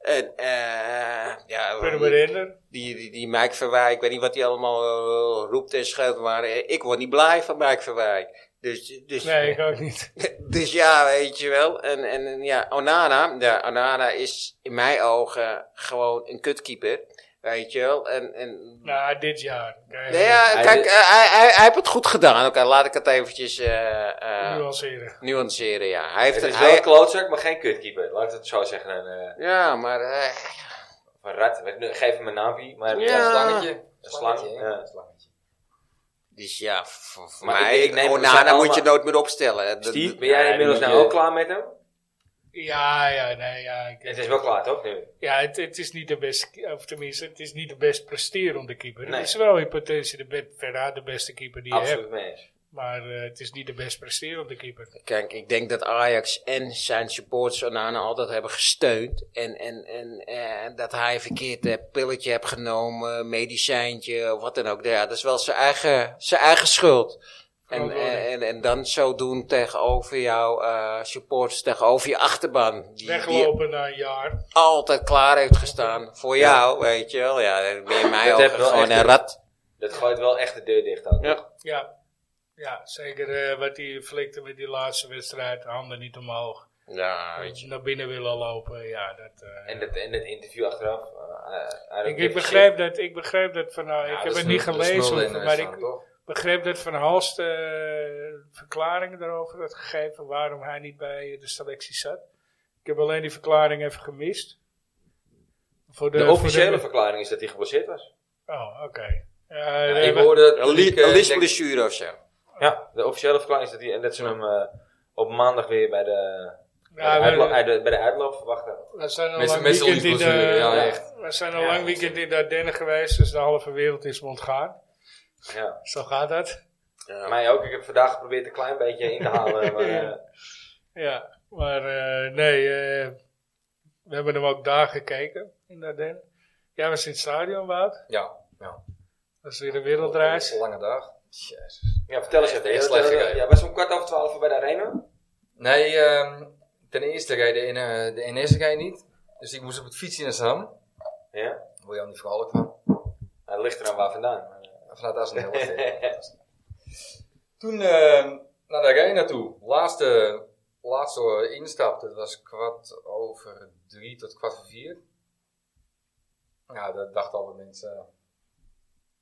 [SPEAKER 4] En eh, ja,
[SPEAKER 2] Kunnen we herinneren?
[SPEAKER 4] die, die, die Mike Verwij, ik weet niet wat hij allemaal eh, roept en schreeuwt, maar eh, ik word niet blij van Mike Verwij. Dus, dus,
[SPEAKER 2] Nee, ik ook niet.
[SPEAKER 4] dus ja, weet je wel. En, en en ja, Onana, ja, Onana is in mijn ogen gewoon een kutkeeper. Weet je wel. En, en
[SPEAKER 2] Nou, dit jaar. Kijk,
[SPEAKER 4] Nee, ja,
[SPEAKER 1] Hij
[SPEAKER 4] kijk,
[SPEAKER 1] de-
[SPEAKER 4] eh, hij, hij, hij heeft het goed gedaan. Oké, laat ik het eventjes eh, eh,
[SPEAKER 2] Nuanceren.
[SPEAKER 4] nuanceren, ja. Hij heeft
[SPEAKER 1] Het is wel
[SPEAKER 4] hij-
[SPEAKER 1] een klootzak, maar geen kutkeeper. Laat ik het zo zeggen. Een, eh
[SPEAKER 4] Ja, maar... eh,
[SPEAKER 1] een rat. Geef hem een naampje. Maar
[SPEAKER 4] Ja.
[SPEAKER 3] Ja,
[SPEAKER 1] een slang.
[SPEAKER 3] slangetje.
[SPEAKER 1] Een slang, ja.
[SPEAKER 3] Een slangetje.
[SPEAKER 4] dus ja, voor, voor
[SPEAKER 1] Maar ik-
[SPEAKER 4] mij...
[SPEAKER 1] ik neem- we zijn
[SPEAKER 4] Onana moet je
[SPEAKER 1] allemaal-
[SPEAKER 4] nooit meer opstellen. Dat-
[SPEAKER 1] Steve, ben
[SPEAKER 4] ja,
[SPEAKER 1] jij
[SPEAKER 4] die
[SPEAKER 1] inmiddels
[SPEAKER 4] moet
[SPEAKER 1] nou
[SPEAKER 4] je-
[SPEAKER 1] ook klaar met hem?
[SPEAKER 2] Ja, ja, nee, ja. ik-
[SPEAKER 1] Het is wel klaar, toch? Nu?
[SPEAKER 2] Ja, het, het is niet de best, of tenminste, het is niet de best presterende keeper.
[SPEAKER 1] Nee.
[SPEAKER 2] Het is wel in potentie de, be- veruit de beste keeper die je hebt.
[SPEAKER 1] Absoluut mee eens.
[SPEAKER 2] Maar eh, het is niet de best presterende keeper.
[SPEAKER 4] Kijk, ik denk dat Ajax en zijn supporters Onana altijd hebben gesteund. En, en, en eh, dat hij een verkeerd eh, pilletje heeft genomen, medicijntje, of wat dan ook. Ja, dat is wel zijn eigen, zijn eigen schuld. En,
[SPEAKER 2] Groot worden.
[SPEAKER 4] en, en, en dan zo doen tegenover jouw eh supporters, tegenover je achterban. Die, die
[SPEAKER 2] Weglopen na een jaar.
[SPEAKER 4] altijd klaar heeft gestaan voor jou, weet je wel. Ja, dan ben je in mijn
[SPEAKER 1] Dat
[SPEAKER 4] ogen
[SPEAKER 1] heeft wel
[SPEAKER 4] gewoon
[SPEAKER 1] echt
[SPEAKER 4] een
[SPEAKER 1] een-
[SPEAKER 4] rat.
[SPEAKER 1] Dat gooit wel echt de deur dicht. Ook.
[SPEAKER 4] Ja.
[SPEAKER 2] Ja, ja zeker eh, wat die flikte met die laatste wedstrijd. Handen niet omhoog.
[SPEAKER 4] Ja, weet je.
[SPEAKER 2] Naar binnen willen lopen. Ja, dat, eh,
[SPEAKER 1] En, dat, en dat interview achteraf. eh, eh,
[SPEAKER 2] ik, ik, begrijp dat, ik begrijp dat van nou, ik heb het niet gelezen,
[SPEAKER 3] eh,
[SPEAKER 2] maar ik begreep dat Van Halst eh, verklaringen daarover had gegeven waarom hij niet bij de selectie zat. Ik heb alleen die verklaring even gemist. Voor
[SPEAKER 1] De officiële
[SPEAKER 2] voor
[SPEAKER 1] verklaring is dat hij geblesseerd was.
[SPEAKER 2] de- Oh, oké. Ja, nee,
[SPEAKER 3] Ik
[SPEAKER 2] maar-
[SPEAKER 3] hoorde dat
[SPEAKER 4] Een li-
[SPEAKER 3] publiek,
[SPEAKER 4] een
[SPEAKER 3] eh, denkt-
[SPEAKER 4] liesblessure of zo.
[SPEAKER 1] Ja, de officiële verklaring is dat hij. En dat ze hem eh, op maandag weer bij de. bij,
[SPEAKER 2] Ja,
[SPEAKER 1] de
[SPEAKER 2] nou, we-
[SPEAKER 1] uitlo- uit de- bij de uitloop verwachten.
[SPEAKER 2] We zijn al
[SPEAKER 3] Met-
[SPEAKER 2] lang
[SPEAKER 3] met z'n
[SPEAKER 2] weekend in
[SPEAKER 3] liefblessure,
[SPEAKER 2] de,
[SPEAKER 3] ja,
[SPEAKER 2] ja,
[SPEAKER 3] echt.
[SPEAKER 2] we zijn al
[SPEAKER 1] Ja,
[SPEAKER 2] lang
[SPEAKER 1] dat is-
[SPEAKER 2] weekend in de Ardennen geweest, dus de halve wereld is me ontgaan.
[SPEAKER 1] Ja.
[SPEAKER 2] Zo gaat dat.
[SPEAKER 4] Ja.
[SPEAKER 1] Mij ook. Ik heb vandaag geprobeerd een klein beetje in te halen. Maar, eh,
[SPEAKER 2] Ja, maar eh, nee, eh, we hebben hem ook daar gekeken in de Ardennen. Jij was in het stadion, Wout.
[SPEAKER 3] Ja. ja. eh,
[SPEAKER 2] Dat is weer een wereldreis.
[SPEAKER 3] Lange dag. Jezus.
[SPEAKER 1] ja, vertel eens even.
[SPEAKER 3] Echt
[SPEAKER 1] Ja,
[SPEAKER 3] slecht
[SPEAKER 1] dat-
[SPEAKER 3] gekeken.
[SPEAKER 1] ja, was om kwart over twaalf bij de arena?
[SPEAKER 3] Nee, ehm, ten eerste reden in, eh, de NS rijden niet. Dus ik moest op het fietsje naar Sam.
[SPEAKER 1] Ja.
[SPEAKER 3] Daar word je al niet vrolijk van.
[SPEAKER 1] Nou, dat ligt er aan waar vandaan. maar, eh,
[SPEAKER 3] Vanuit Assendelft. hè. Toen ehm, naar de arena toe. Laatste, laatste eh, instap, dat was kwart over drie tot kwart voor vier. Ja, dat dachten alle mensen eh,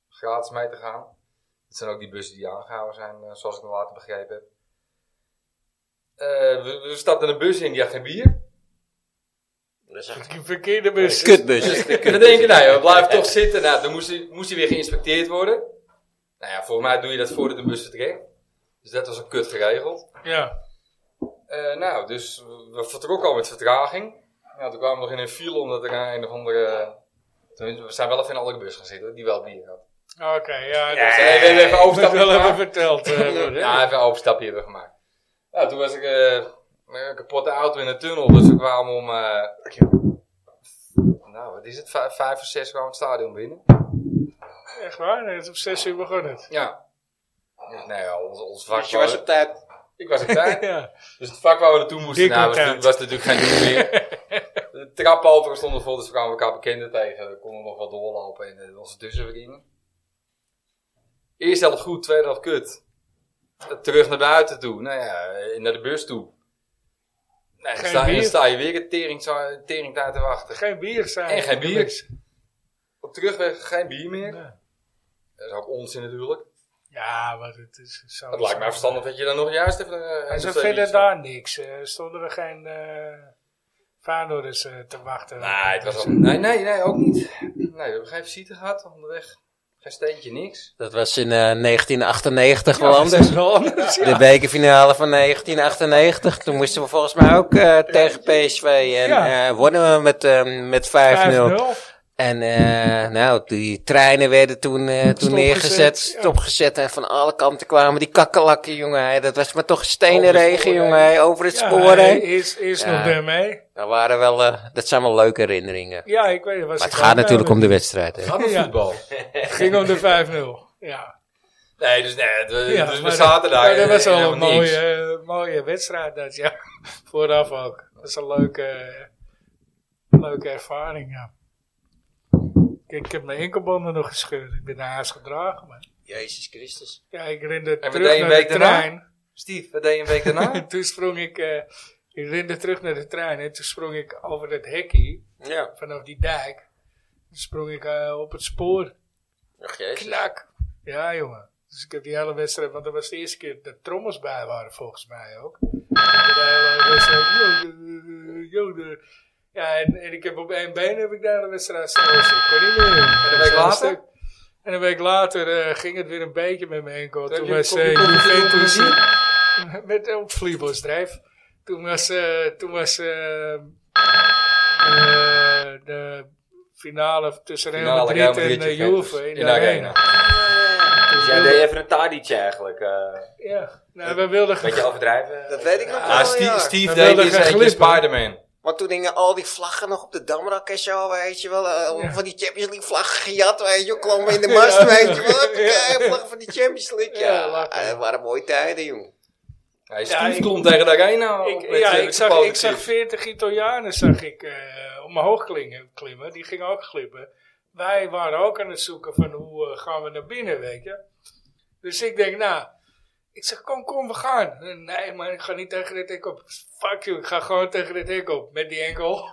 [SPEAKER 3] gratis mee te gaan. Het zijn ook die bussen die aangehouden zijn, eh, zoals ik nog later begrepen heb. Eh, we, we stapten een bus in, die had geen bier.
[SPEAKER 4] Dat is echt
[SPEAKER 2] Verkeerde
[SPEAKER 4] een
[SPEAKER 2] bus.
[SPEAKER 4] kutbus.
[SPEAKER 3] Dus we denken, nou ja, we blijven toch zitten. Nou, dan moest hij, moest hij weer geïnspecteerd worden. Nou ja, volgens mij doe je dat voordat de bus vertrekt. Dus dat was een kut geregeld.
[SPEAKER 2] Ja,
[SPEAKER 3] Eh, nou, dus we vertrokken al met vertraging. Ja, toen kwamen we nog in een file omdat er een of andere... Tenminste, we zijn wel even in een andere bus gaan zitten die wel bier had.
[SPEAKER 2] oké. ja, dat
[SPEAKER 3] Dus, eh, we hebben even
[SPEAKER 2] dat
[SPEAKER 3] overstapje
[SPEAKER 2] wel even
[SPEAKER 3] gemaakt.
[SPEAKER 2] verteld. eh, Ruud, hè?
[SPEAKER 3] Ja, even een overstapje hebben we gemaakt. Nou, toen was ik eh, met een kapotte auto in een tunnel. Dus we kwamen om... eh, nou, wat is het? Vijf, vijf of zes kwamen we het stadion binnen.
[SPEAKER 2] Echt waar, het is om zes uur begonnen. het.
[SPEAKER 3] Ja. Dus, nou ja, ons, ons vak...
[SPEAKER 4] Dus je was
[SPEAKER 3] waar-
[SPEAKER 4] op tijd.
[SPEAKER 3] Ik was op tijd.
[SPEAKER 2] Ja.
[SPEAKER 3] Dus het vak waar we naartoe moesten,
[SPEAKER 2] Dik
[SPEAKER 3] nou, was,
[SPEAKER 2] content.
[SPEAKER 3] natuurlijk- was natuurlijk geen doel meer. De trap over stonden vol, dus we kwamen elkaar bekenden tegen. We konden nog wel doorlopen en eh, onze tussenverdiening. Eerst helft goed, tweede helft kut. Terug naar buiten toe, nou ja, eh, naar de bus toe. Nee, dan
[SPEAKER 2] Geen
[SPEAKER 3] sta, dan
[SPEAKER 2] bier.
[SPEAKER 3] sta je weer een tering, tering te wachten.
[SPEAKER 2] Geen bier zijn.
[SPEAKER 3] En geen bier.
[SPEAKER 2] Niks.
[SPEAKER 3] Op terugweg geen bier meer.
[SPEAKER 2] Nee.
[SPEAKER 3] Dat is ook onzin natuurlijk.
[SPEAKER 2] Ja, maar het is zo.
[SPEAKER 3] Het lijkt mij verstandig dat je dan nog juist even... eh,
[SPEAKER 2] En
[SPEAKER 3] een
[SPEAKER 2] zo verder
[SPEAKER 3] twee biertjes had.
[SPEAKER 2] daar niks. eh, stonden er geen eh vaandorders eh, te wachten.
[SPEAKER 3] Nee, Nou, het was ook, nee, nee, nee, ook niet. Nee, we hebben geen visite gehad onderweg. Geen steentje, niks.
[SPEAKER 4] Dat was in eh, 1998 wel
[SPEAKER 2] dat is
[SPEAKER 4] anders.
[SPEAKER 2] wel anders.
[SPEAKER 4] De bekerfinale van 1998. Toen moesten we volgens mij ook eh, tegen PSV. En
[SPEAKER 2] Ja.
[SPEAKER 4] eh, wonnen we met, eh, met 5-0.
[SPEAKER 2] 5-0.
[SPEAKER 4] En eh, nou, die treinen werden toen, eh, toen
[SPEAKER 2] Stopgezet,
[SPEAKER 4] neergezet,
[SPEAKER 2] ja.
[SPEAKER 4] stopgezet. En van alle kanten kwamen die kakkelakken, jongen. hè. Dat was maar toch stenen
[SPEAKER 3] Over het
[SPEAKER 4] regen,
[SPEAKER 3] spoor,
[SPEAKER 4] jongen.
[SPEAKER 3] hè.
[SPEAKER 4] hè. Over het
[SPEAKER 2] Ja,
[SPEAKER 4] spoor, hè.
[SPEAKER 2] is is
[SPEAKER 4] Ja.
[SPEAKER 2] nog daarmee.
[SPEAKER 4] Dat, waren wel, eh, dat zijn wel leuke herinneringen.
[SPEAKER 2] Ja, ik weet het. Was
[SPEAKER 4] Maar het
[SPEAKER 2] ik
[SPEAKER 4] gaat
[SPEAKER 2] ook
[SPEAKER 4] natuurlijk om
[SPEAKER 2] bij.
[SPEAKER 4] de wedstrijd, hè.
[SPEAKER 3] Gaat om
[SPEAKER 2] Ja.
[SPEAKER 3] voetbal.
[SPEAKER 2] Het ging om de 5-0. Ja.
[SPEAKER 3] Nee, dus, nee, de,
[SPEAKER 2] ja,
[SPEAKER 3] dus we
[SPEAKER 2] maar
[SPEAKER 3] zaten daar.
[SPEAKER 2] maar Dat
[SPEAKER 3] en-
[SPEAKER 2] was
[SPEAKER 3] en
[SPEAKER 2] wel een
[SPEAKER 3] helemaal niks.
[SPEAKER 2] mooie, eh, mooie wedstrijd, dat ja. Vooraf ook. Dat is een leuke, eh, leuke ervaring, ja. Kijk, ik heb mijn enkelbanden nog gescheurd. Ik ben naar huis gedragen, maar.
[SPEAKER 4] Jezus Christus.
[SPEAKER 2] Ja, ik rende
[SPEAKER 3] En wat
[SPEAKER 2] terug
[SPEAKER 3] deed
[SPEAKER 2] naar
[SPEAKER 3] je een
[SPEAKER 2] de
[SPEAKER 3] week daarna?
[SPEAKER 2] trein.
[SPEAKER 3] Steve, wat deed je een week daarna?
[SPEAKER 2] En toen sprong ik, eh, ik rende terug naar de trein en toen sprong ik over het hekje,
[SPEAKER 4] Ja,
[SPEAKER 2] vanaf die dijk, toen sprong ik eh, op het spoor.
[SPEAKER 4] ach jezus.
[SPEAKER 2] Klak! Ja, jongen. Dus ik heb die hele wedstrijd, want dat was de eerste keer dat trommels bij waren, volgens mij ook. Ik heb de hele wedstrijd, yo, eh, yo, eh. Ja, en, en ik heb op één been heb ik daar de wedstrijd staan. Dus ik kon niet meer. En
[SPEAKER 3] een week later?
[SPEAKER 2] En een week later eh, ging het weer een beetje met mijn enkel.
[SPEAKER 3] Toen
[SPEAKER 2] Toen
[SPEAKER 3] heb je
[SPEAKER 2] was
[SPEAKER 3] een
[SPEAKER 2] eh,
[SPEAKER 3] kopje koffie
[SPEAKER 2] Juventus...
[SPEAKER 3] gedronken,
[SPEAKER 2] Met eh, op Vliebelsdrijf. Toen was, eh, toen was eh, eh, de finale tussen Real
[SPEAKER 3] Finale,
[SPEAKER 2] Madrid
[SPEAKER 3] Real
[SPEAKER 2] en
[SPEAKER 3] Madrid,
[SPEAKER 2] eh,
[SPEAKER 3] Juventus.
[SPEAKER 2] Juve in,
[SPEAKER 3] In
[SPEAKER 2] de
[SPEAKER 3] de
[SPEAKER 2] arena.
[SPEAKER 1] Dus jij deed even een tadietje eigenlijk. eh
[SPEAKER 2] Ja, nou, we wilden
[SPEAKER 1] beetje
[SPEAKER 2] graag.
[SPEAKER 1] overdrijven.
[SPEAKER 4] Dat weet ik nog
[SPEAKER 3] Ah,
[SPEAKER 4] wel,
[SPEAKER 3] Steve,
[SPEAKER 4] ja.
[SPEAKER 3] Steve
[SPEAKER 2] Dat wilde
[SPEAKER 3] deed eens
[SPEAKER 2] gaan
[SPEAKER 3] eentje
[SPEAKER 2] glippen.
[SPEAKER 3] Spider-Man.
[SPEAKER 4] Want toen hingen al die vlaggen nog op de Damrak en zo, weet je wel. eh,
[SPEAKER 2] Ja.
[SPEAKER 4] Van die Champions League vlaggen gejat, weet je wel. Kwamen we in de mast,
[SPEAKER 2] Ja.
[SPEAKER 4] weet je wel.
[SPEAKER 2] Ja.
[SPEAKER 4] Ja. Vlaggen van die Champions League, ja.
[SPEAKER 2] Ja, lachen.
[SPEAKER 4] Ah, dat waren mooie tijden, jongen.
[SPEAKER 3] Hij
[SPEAKER 2] Ja,
[SPEAKER 3] Steve
[SPEAKER 2] ik-
[SPEAKER 3] klom tegen de arena. op
[SPEAKER 2] Ik,
[SPEAKER 3] met
[SPEAKER 2] ja,
[SPEAKER 3] Nou, zijn-
[SPEAKER 2] ik
[SPEAKER 3] zijn
[SPEAKER 2] zag, ik
[SPEAKER 3] poten.
[SPEAKER 2] zag 40 Italianen zag ik, eh, omhoog klingen- klimmen. Die gingen ook glippen. Wij waren ook aan het zoeken van hoe eh, gaan we naar binnen, weet je. Dus ik denk, nou, ik zeg, kom, kom, we gaan. En nee, maar ik ga niet tegen dit hek op. Fuck you, ik ga gewoon tegen dit hek op. Met die enkel.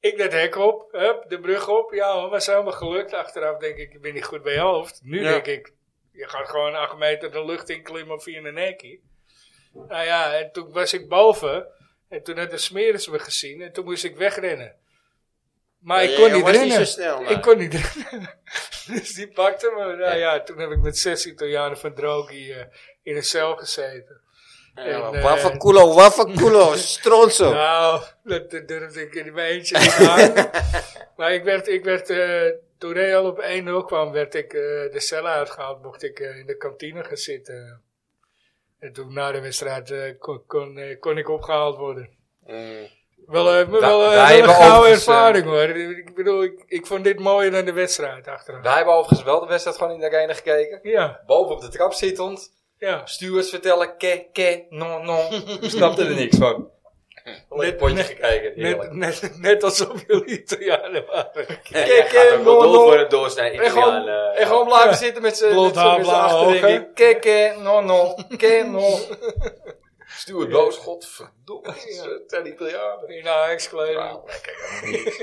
[SPEAKER 2] Ik dat hek op, hup, de brug op. Ja, hoor, was helemaal gelukt. Achteraf denk ik, ik ben niet goed bij je hoofd. Nu
[SPEAKER 4] Ja.
[SPEAKER 2] denk ik, je gaat gewoon 8 meter de lucht in klimmen via een hekje. Nou ja, en toen was ik boven. En toen had de smeris me gezien. En toen moest ik wegrennen. Maar ik kon
[SPEAKER 4] Je
[SPEAKER 2] niet
[SPEAKER 4] was
[SPEAKER 2] rennen.
[SPEAKER 4] niet zo snel, maar.
[SPEAKER 2] Ik kon niet. dus die pakte me. Nou ja, toen heb ik met zes Italianen van Drogi eh, in een cel gezeten. En, eh,
[SPEAKER 4] Waffaculo, waffaculo, stronzo.
[SPEAKER 2] Nou, dat, dat durfde ik in mijn eentje niet aan. maar ik werd, ik werd eh, toen Real op 1-0 kwam, werd ik eh, de cel uitgehaald. Mocht ik eh, in de kantine gaan zitten. En toen na de wedstrijd eh, kon, kon, eh, kon ik opgehaald worden. Wel, eh, maar
[SPEAKER 3] Wij-
[SPEAKER 2] wel, eh,
[SPEAKER 3] wij
[SPEAKER 2] wel een
[SPEAKER 3] hebben
[SPEAKER 2] gouden
[SPEAKER 3] overigens, eh,
[SPEAKER 2] ervaring hoor. Ik bedoel, ik, ik vond dit mooier dan de wedstrijd achteraf.
[SPEAKER 3] Wij hebben overigens wel de wedstrijd gewoon in de arena gekeken.
[SPEAKER 2] Ja,
[SPEAKER 3] Boven op de trap zittend.
[SPEAKER 2] ja.
[SPEAKER 3] Stuurs vertellen, ke, ke, non, non. Ik snapte er niks van. Lekker potje
[SPEAKER 2] net-
[SPEAKER 3] gekeken.
[SPEAKER 2] Net,
[SPEAKER 3] heerlijk.
[SPEAKER 2] net, net alsof jullie Italianen waren.
[SPEAKER 1] Hij
[SPEAKER 3] Ke,
[SPEAKER 1] gaat
[SPEAKER 3] ke,
[SPEAKER 1] ook wel
[SPEAKER 3] non,
[SPEAKER 1] dood
[SPEAKER 3] non.
[SPEAKER 1] worden doorsnijden.
[SPEAKER 3] En gewoon, en gewoon blijven zitten met z'n
[SPEAKER 2] Blond
[SPEAKER 3] met z'n-
[SPEAKER 2] haar,
[SPEAKER 3] met z'n eh,
[SPEAKER 2] blauwe
[SPEAKER 3] achterdenken.
[SPEAKER 2] ogen.
[SPEAKER 3] Ke, ke, non, non. Ke, non. Stuart boos, godverdomme. Ze zijn Italianen.
[SPEAKER 2] In Ajax-kleding.
[SPEAKER 3] Wauw.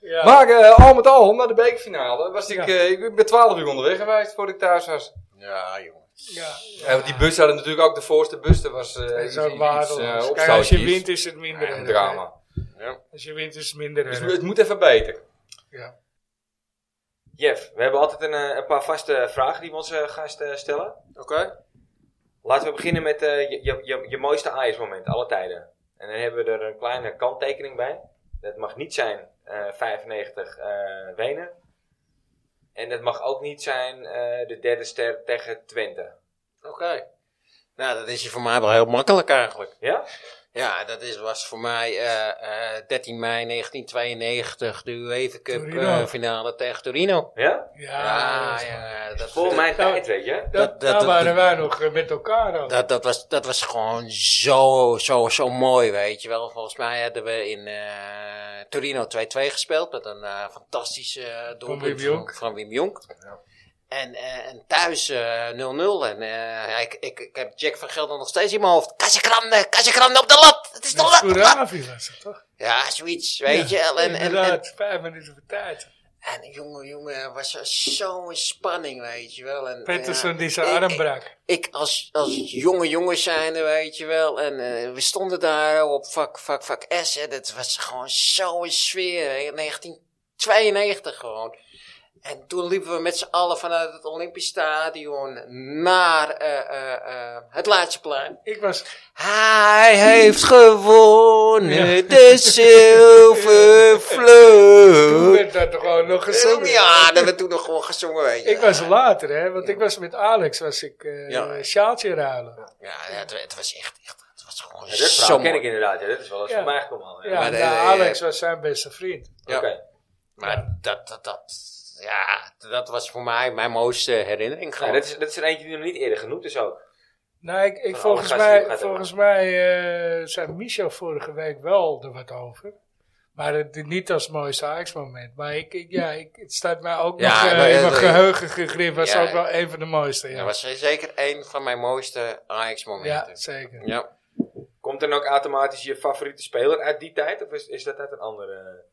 [SPEAKER 2] Ja.
[SPEAKER 3] Maar eh, al met al, na de bekerfinale, was ik,
[SPEAKER 2] Ja.
[SPEAKER 3] eh, ik ben 12 uur onderweg geweest voordat ik thuis was.
[SPEAKER 4] Ja, jongen.
[SPEAKER 2] ja,
[SPEAKER 3] Ja, want die bus hadden natuurlijk ook de voorste bus. Dat was eh
[SPEAKER 2] Dat
[SPEAKER 3] iets-
[SPEAKER 2] is ook
[SPEAKER 3] iets,
[SPEAKER 2] waardeloos.
[SPEAKER 3] eh,
[SPEAKER 2] Kijk, als je
[SPEAKER 3] opstootjes.
[SPEAKER 2] wint is het minder
[SPEAKER 3] Ja, een
[SPEAKER 2] erg, hè.
[SPEAKER 3] drama.
[SPEAKER 2] Als je wint is het minder
[SPEAKER 3] Dus
[SPEAKER 2] erg.
[SPEAKER 3] het moet even beter.
[SPEAKER 2] Ja.
[SPEAKER 1] Jeff, we hebben altijd een, eh, een paar vaste vragen die we onze gasten stellen.
[SPEAKER 4] Oké.
[SPEAKER 1] Laten we beginnen met eh, je, je, je, je mooiste Ajax-moment, alle tijden. En dan hebben we er een kleine kanttekening bij. Dat mag niet zijn eh, 95 eh, Wenen. En dat mag ook niet zijn eh, de derde ster tegen Twente.
[SPEAKER 4] Oké. Nou, dat is hier voor mij wel heel makkelijk eigenlijk.
[SPEAKER 1] Ja?
[SPEAKER 4] Ja, dat is, was voor mij eh, eh, 13 mei 1992 de UEFA Cup
[SPEAKER 2] Torino.
[SPEAKER 4] eh, finale tegen Torino.
[SPEAKER 1] Ja?
[SPEAKER 2] Ja, dat is-
[SPEAKER 4] Ah, ja, dat,
[SPEAKER 1] Voor
[SPEAKER 4] dat-
[SPEAKER 1] mijn tijd, weet je.
[SPEAKER 2] Dat,
[SPEAKER 4] dat- dat-
[SPEAKER 2] daar
[SPEAKER 4] dat-
[SPEAKER 2] waren wij nog eh, met elkaar dan.
[SPEAKER 4] Dat, dat, was, dat was gewoon zo, zo, zo mooi, weet je wel. Volgens mij hadden we in eh, Torino 2-2 gespeeld met een eh, fantastische eh doelpunt
[SPEAKER 2] Wim Jonk.
[SPEAKER 4] van, van Wim Jonk. En, eh, en thuis eh, 0-0. en eh, ik, ik, ik heb Jack van Gelder nog steeds in mijn hoofd. Kassekrande, Kassekrande op de lat! Het is de
[SPEAKER 2] Met
[SPEAKER 4] lat! de lat!
[SPEAKER 2] Scoeravi was het toch?
[SPEAKER 4] Ja, zoiets, weet je.
[SPEAKER 2] Ja,
[SPEAKER 4] wel. En, en, en,
[SPEAKER 2] inderdaad, vijf minuten voor tijd.
[SPEAKER 4] en jongen, jongen, was er zo'n spanning, weet je wel. En,
[SPEAKER 2] Pettersson
[SPEAKER 4] ja,
[SPEAKER 2] die zijn
[SPEAKER 4] ik-
[SPEAKER 2] arm brak.
[SPEAKER 4] ik als, als jonge jongens zijnde, weet je wel. En eh, we stonden daar op vak, vak, vak S. Hè. Dat was gewoon zo'n sfeer. Hè. 1992 gewoon. En toen liepen we met z'n allen vanuit het Olympisch Stadion naar eh, eh, eh, het laatste plein.
[SPEAKER 2] Ik was...
[SPEAKER 4] Hij heeft gewonnen
[SPEAKER 2] Ja.
[SPEAKER 4] de zilveren
[SPEAKER 2] Toen
[SPEAKER 4] vleugel.
[SPEAKER 2] werd dat gewoon nog gezongen.
[SPEAKER 4] Ja, dat werd toen nog gewoon gezongen, weet je.
[SPEAKER 2] Ik was later, hè. Want ik was met Alex, was ik eh
[SPEAKER 4] Ja.
[SPEAKER 2] sjaaltje ruilen.
[SPEAKER 4] Ja, het, het was echt, echt, het was gewoon
[SPEAKER 1] Ja, dat
[SPEAKER 4] zo
[SPEAKER 1] verhaal
[SPEAKER 4] mooi.
[SPEAKER 1] ken ik inderdaad. Ja, dat is wel eens
[SPEAKER 2] Ja.
[SPEAKER 1] van mij gekomen al.
[SPEAKER 2] Ja,
[SPEAKER 1] Ja.
[SPEAKER 4] Maar eh, de-
[SPEAKER 2] nou,
[SPEAKER 4] de-
[SPEAKER 2] Alex was zijn beste vriend.
[SPEAKER 4] Ja.
[SPEAKER 1] Oké.
[SPEAKER 4] Maar dat, dat, dat, ja, dat was voor mij mijn mooiste herinnering.
[SPEAKER 1] Nou,
[SPEAKER 4] Gewoon.
[SPEAKER 1] dat, is, dat is er eentje die nog niet eerder genoemd is ook.
[SPEAKER 2] Nou, ik, ik
[SPEAKER 1] Van
[SPEAKER 2] volgens
[SPEAKER 1] alle gasten die we
[SPEAKER 2] mij,
[SPEAKER 1] gehad
[SPEAKER 2] volgens mij eh, zei Michel vorige week wel er wat over. Maar het, niet als mooiste Ajax-moment. Maar ik, ik- ja, ik, het staat mij ook
[SPEAKER 4] Ja,
[SPEAKER 2] nog eh,
[SPEAKER 4] maar,
[SPEAKER 2] in
[SPEAKER 4] eh,
[SPEAKER 2] mijn
[SPEAKER 4] dat-
[SPEAKER 2] geheugen gegrift. Was
[SPEAKER 4] Ja.
[SPEAKER 2] ook wel een van de mooiste.
[SPEAKER 4] Dat
[SPEAKER 2] Ja,
[SPEAKER 4] was zeker een van mijn mooiste
[SPEAKER 2] ja
[SPEAKER 4] Ajax-momenten.
[SPEAKER 2] zeker.
[SPEAKER 4] Ja.
[SPEAKER 1] Komt dan ook automatisch je favoriete speler uit die tijd? Of is, is dat uit een andere...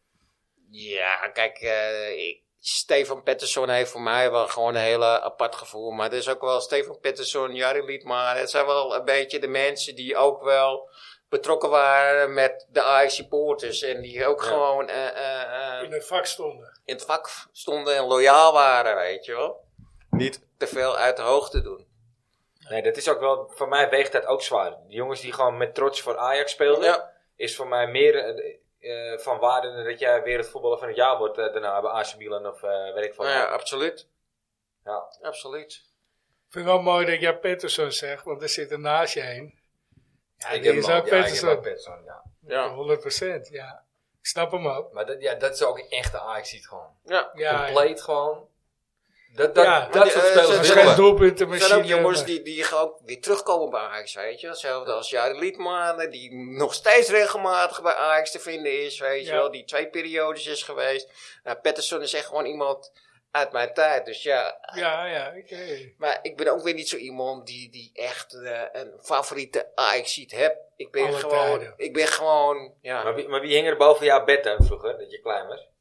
[SPEAKER 4] Ja, kijk, eh, ik, Stefan Pettersson heeft voor mij wel gewoon een hele apart gevoel. Maar het is ook wel Stefan Pettersson, Jari Liedmaar. Het zijn wel een beetje de mensen die ook wel betrokken waren met de Ajax-supporters. En die ook
[SPEAKER 1] Ja.
[SPEAKER 4] gewoon eh, eh, eh,
[SPEAKER 2] In het vak stonden.
[SPEAKER 4] in het vak stonden en loyaal waren, weet je wel. Niet te veel uit de hoogte doen.
[SPEAKER 1] Nee, dat is ook wel... Voor mij weegt dat ook zwaar. De jongens die gewoon met trots voor Ajax speelden... is voor mij meer eh, eh, van waarde dan dat jij weer het voetballer van het jaar wordt eh, daarna bij AC Milan of eh weet ik van.
[SPEAKER 4] Nou ja, absoluut.
[SPEAKER 1] Ja.
[SPEAKER 4] Absoluut.
[SPEAKER 2] Ik vind het wel mooi dat jij Pettersson zegt, want er zit er naast je heen. Ja,
[SPEAKER 3] Ik
[SPEAKER 2] die
[SPEAKER 3] heb
[SPEAKER 2] is
[SPEAKER 3] hem
[SPEAKER 2] ook
[SPEAKER 3] al- ja, ik heb
[SPEAKER 2] Pettersson.
[SPEAKER 3] ook Pettersson, ja.
[SPEAKER 4] Ja.
[SPEAKER 2] 100%, ja. Ik snap hem ook.
[SPEAKER 3] Maar dat, ja, dat is ook een echte Ajax ziet gewoon.
[SPEAKER 4] ja.
[SPEAKER 2] Ja, ja.
[SPEAKER 3] Compleet gewoon. Dat, dat,
[SPEAKER 2] Ja,
[SPEAKER 3] dat
[SPEAKER 4] maar
[SPEAKER 3] soort
[SPEAKER 4] die, eh,
[SPEAKER 2] Het
[SPEAKER 3] spelers
[SPEAKER 2] is
[SPEAKER 4] Willen.
[SPEAKER 2] geen
[SPEAKER 3] willen we.
[SPEAKER 4] Er
[SPEAKER 2] doelpuntenmachine.
[SPEAKER 4] zijn ook jongens
[SPEAKER 2] maar-
[SPEAKER 4] die, die gewoon weer terugkomen bij Ajax, weet je. Hetzelfde als Jari Liedman, die nog steeds regelmatig bij Ajax te vinden is, weet je
[SPEAKER 2] Ja.
[SPEAKER 4] wel. Die twee periodes is geweest. Nou, Patterson is echt gewoon iemand uit mijn tijd, dus ja.
[SPEAKER 2] Ja, ja, oké.
[SPEAKER 4] Maar ik ben ook weer niet zo iemand die, die echt eh, een favoriete Ajax-ziet hebt. Ik ben
[SPEAKER 2] Alle
[SPEAKER 4] gewoon,
[SPEAKER 2] tijden.
[SPEAKER 4] ik ben gewoon, ja.
[SPEAKER 1] Maar wie, maar wie hing er boven jouw bed dan vroeger, dat je klein was?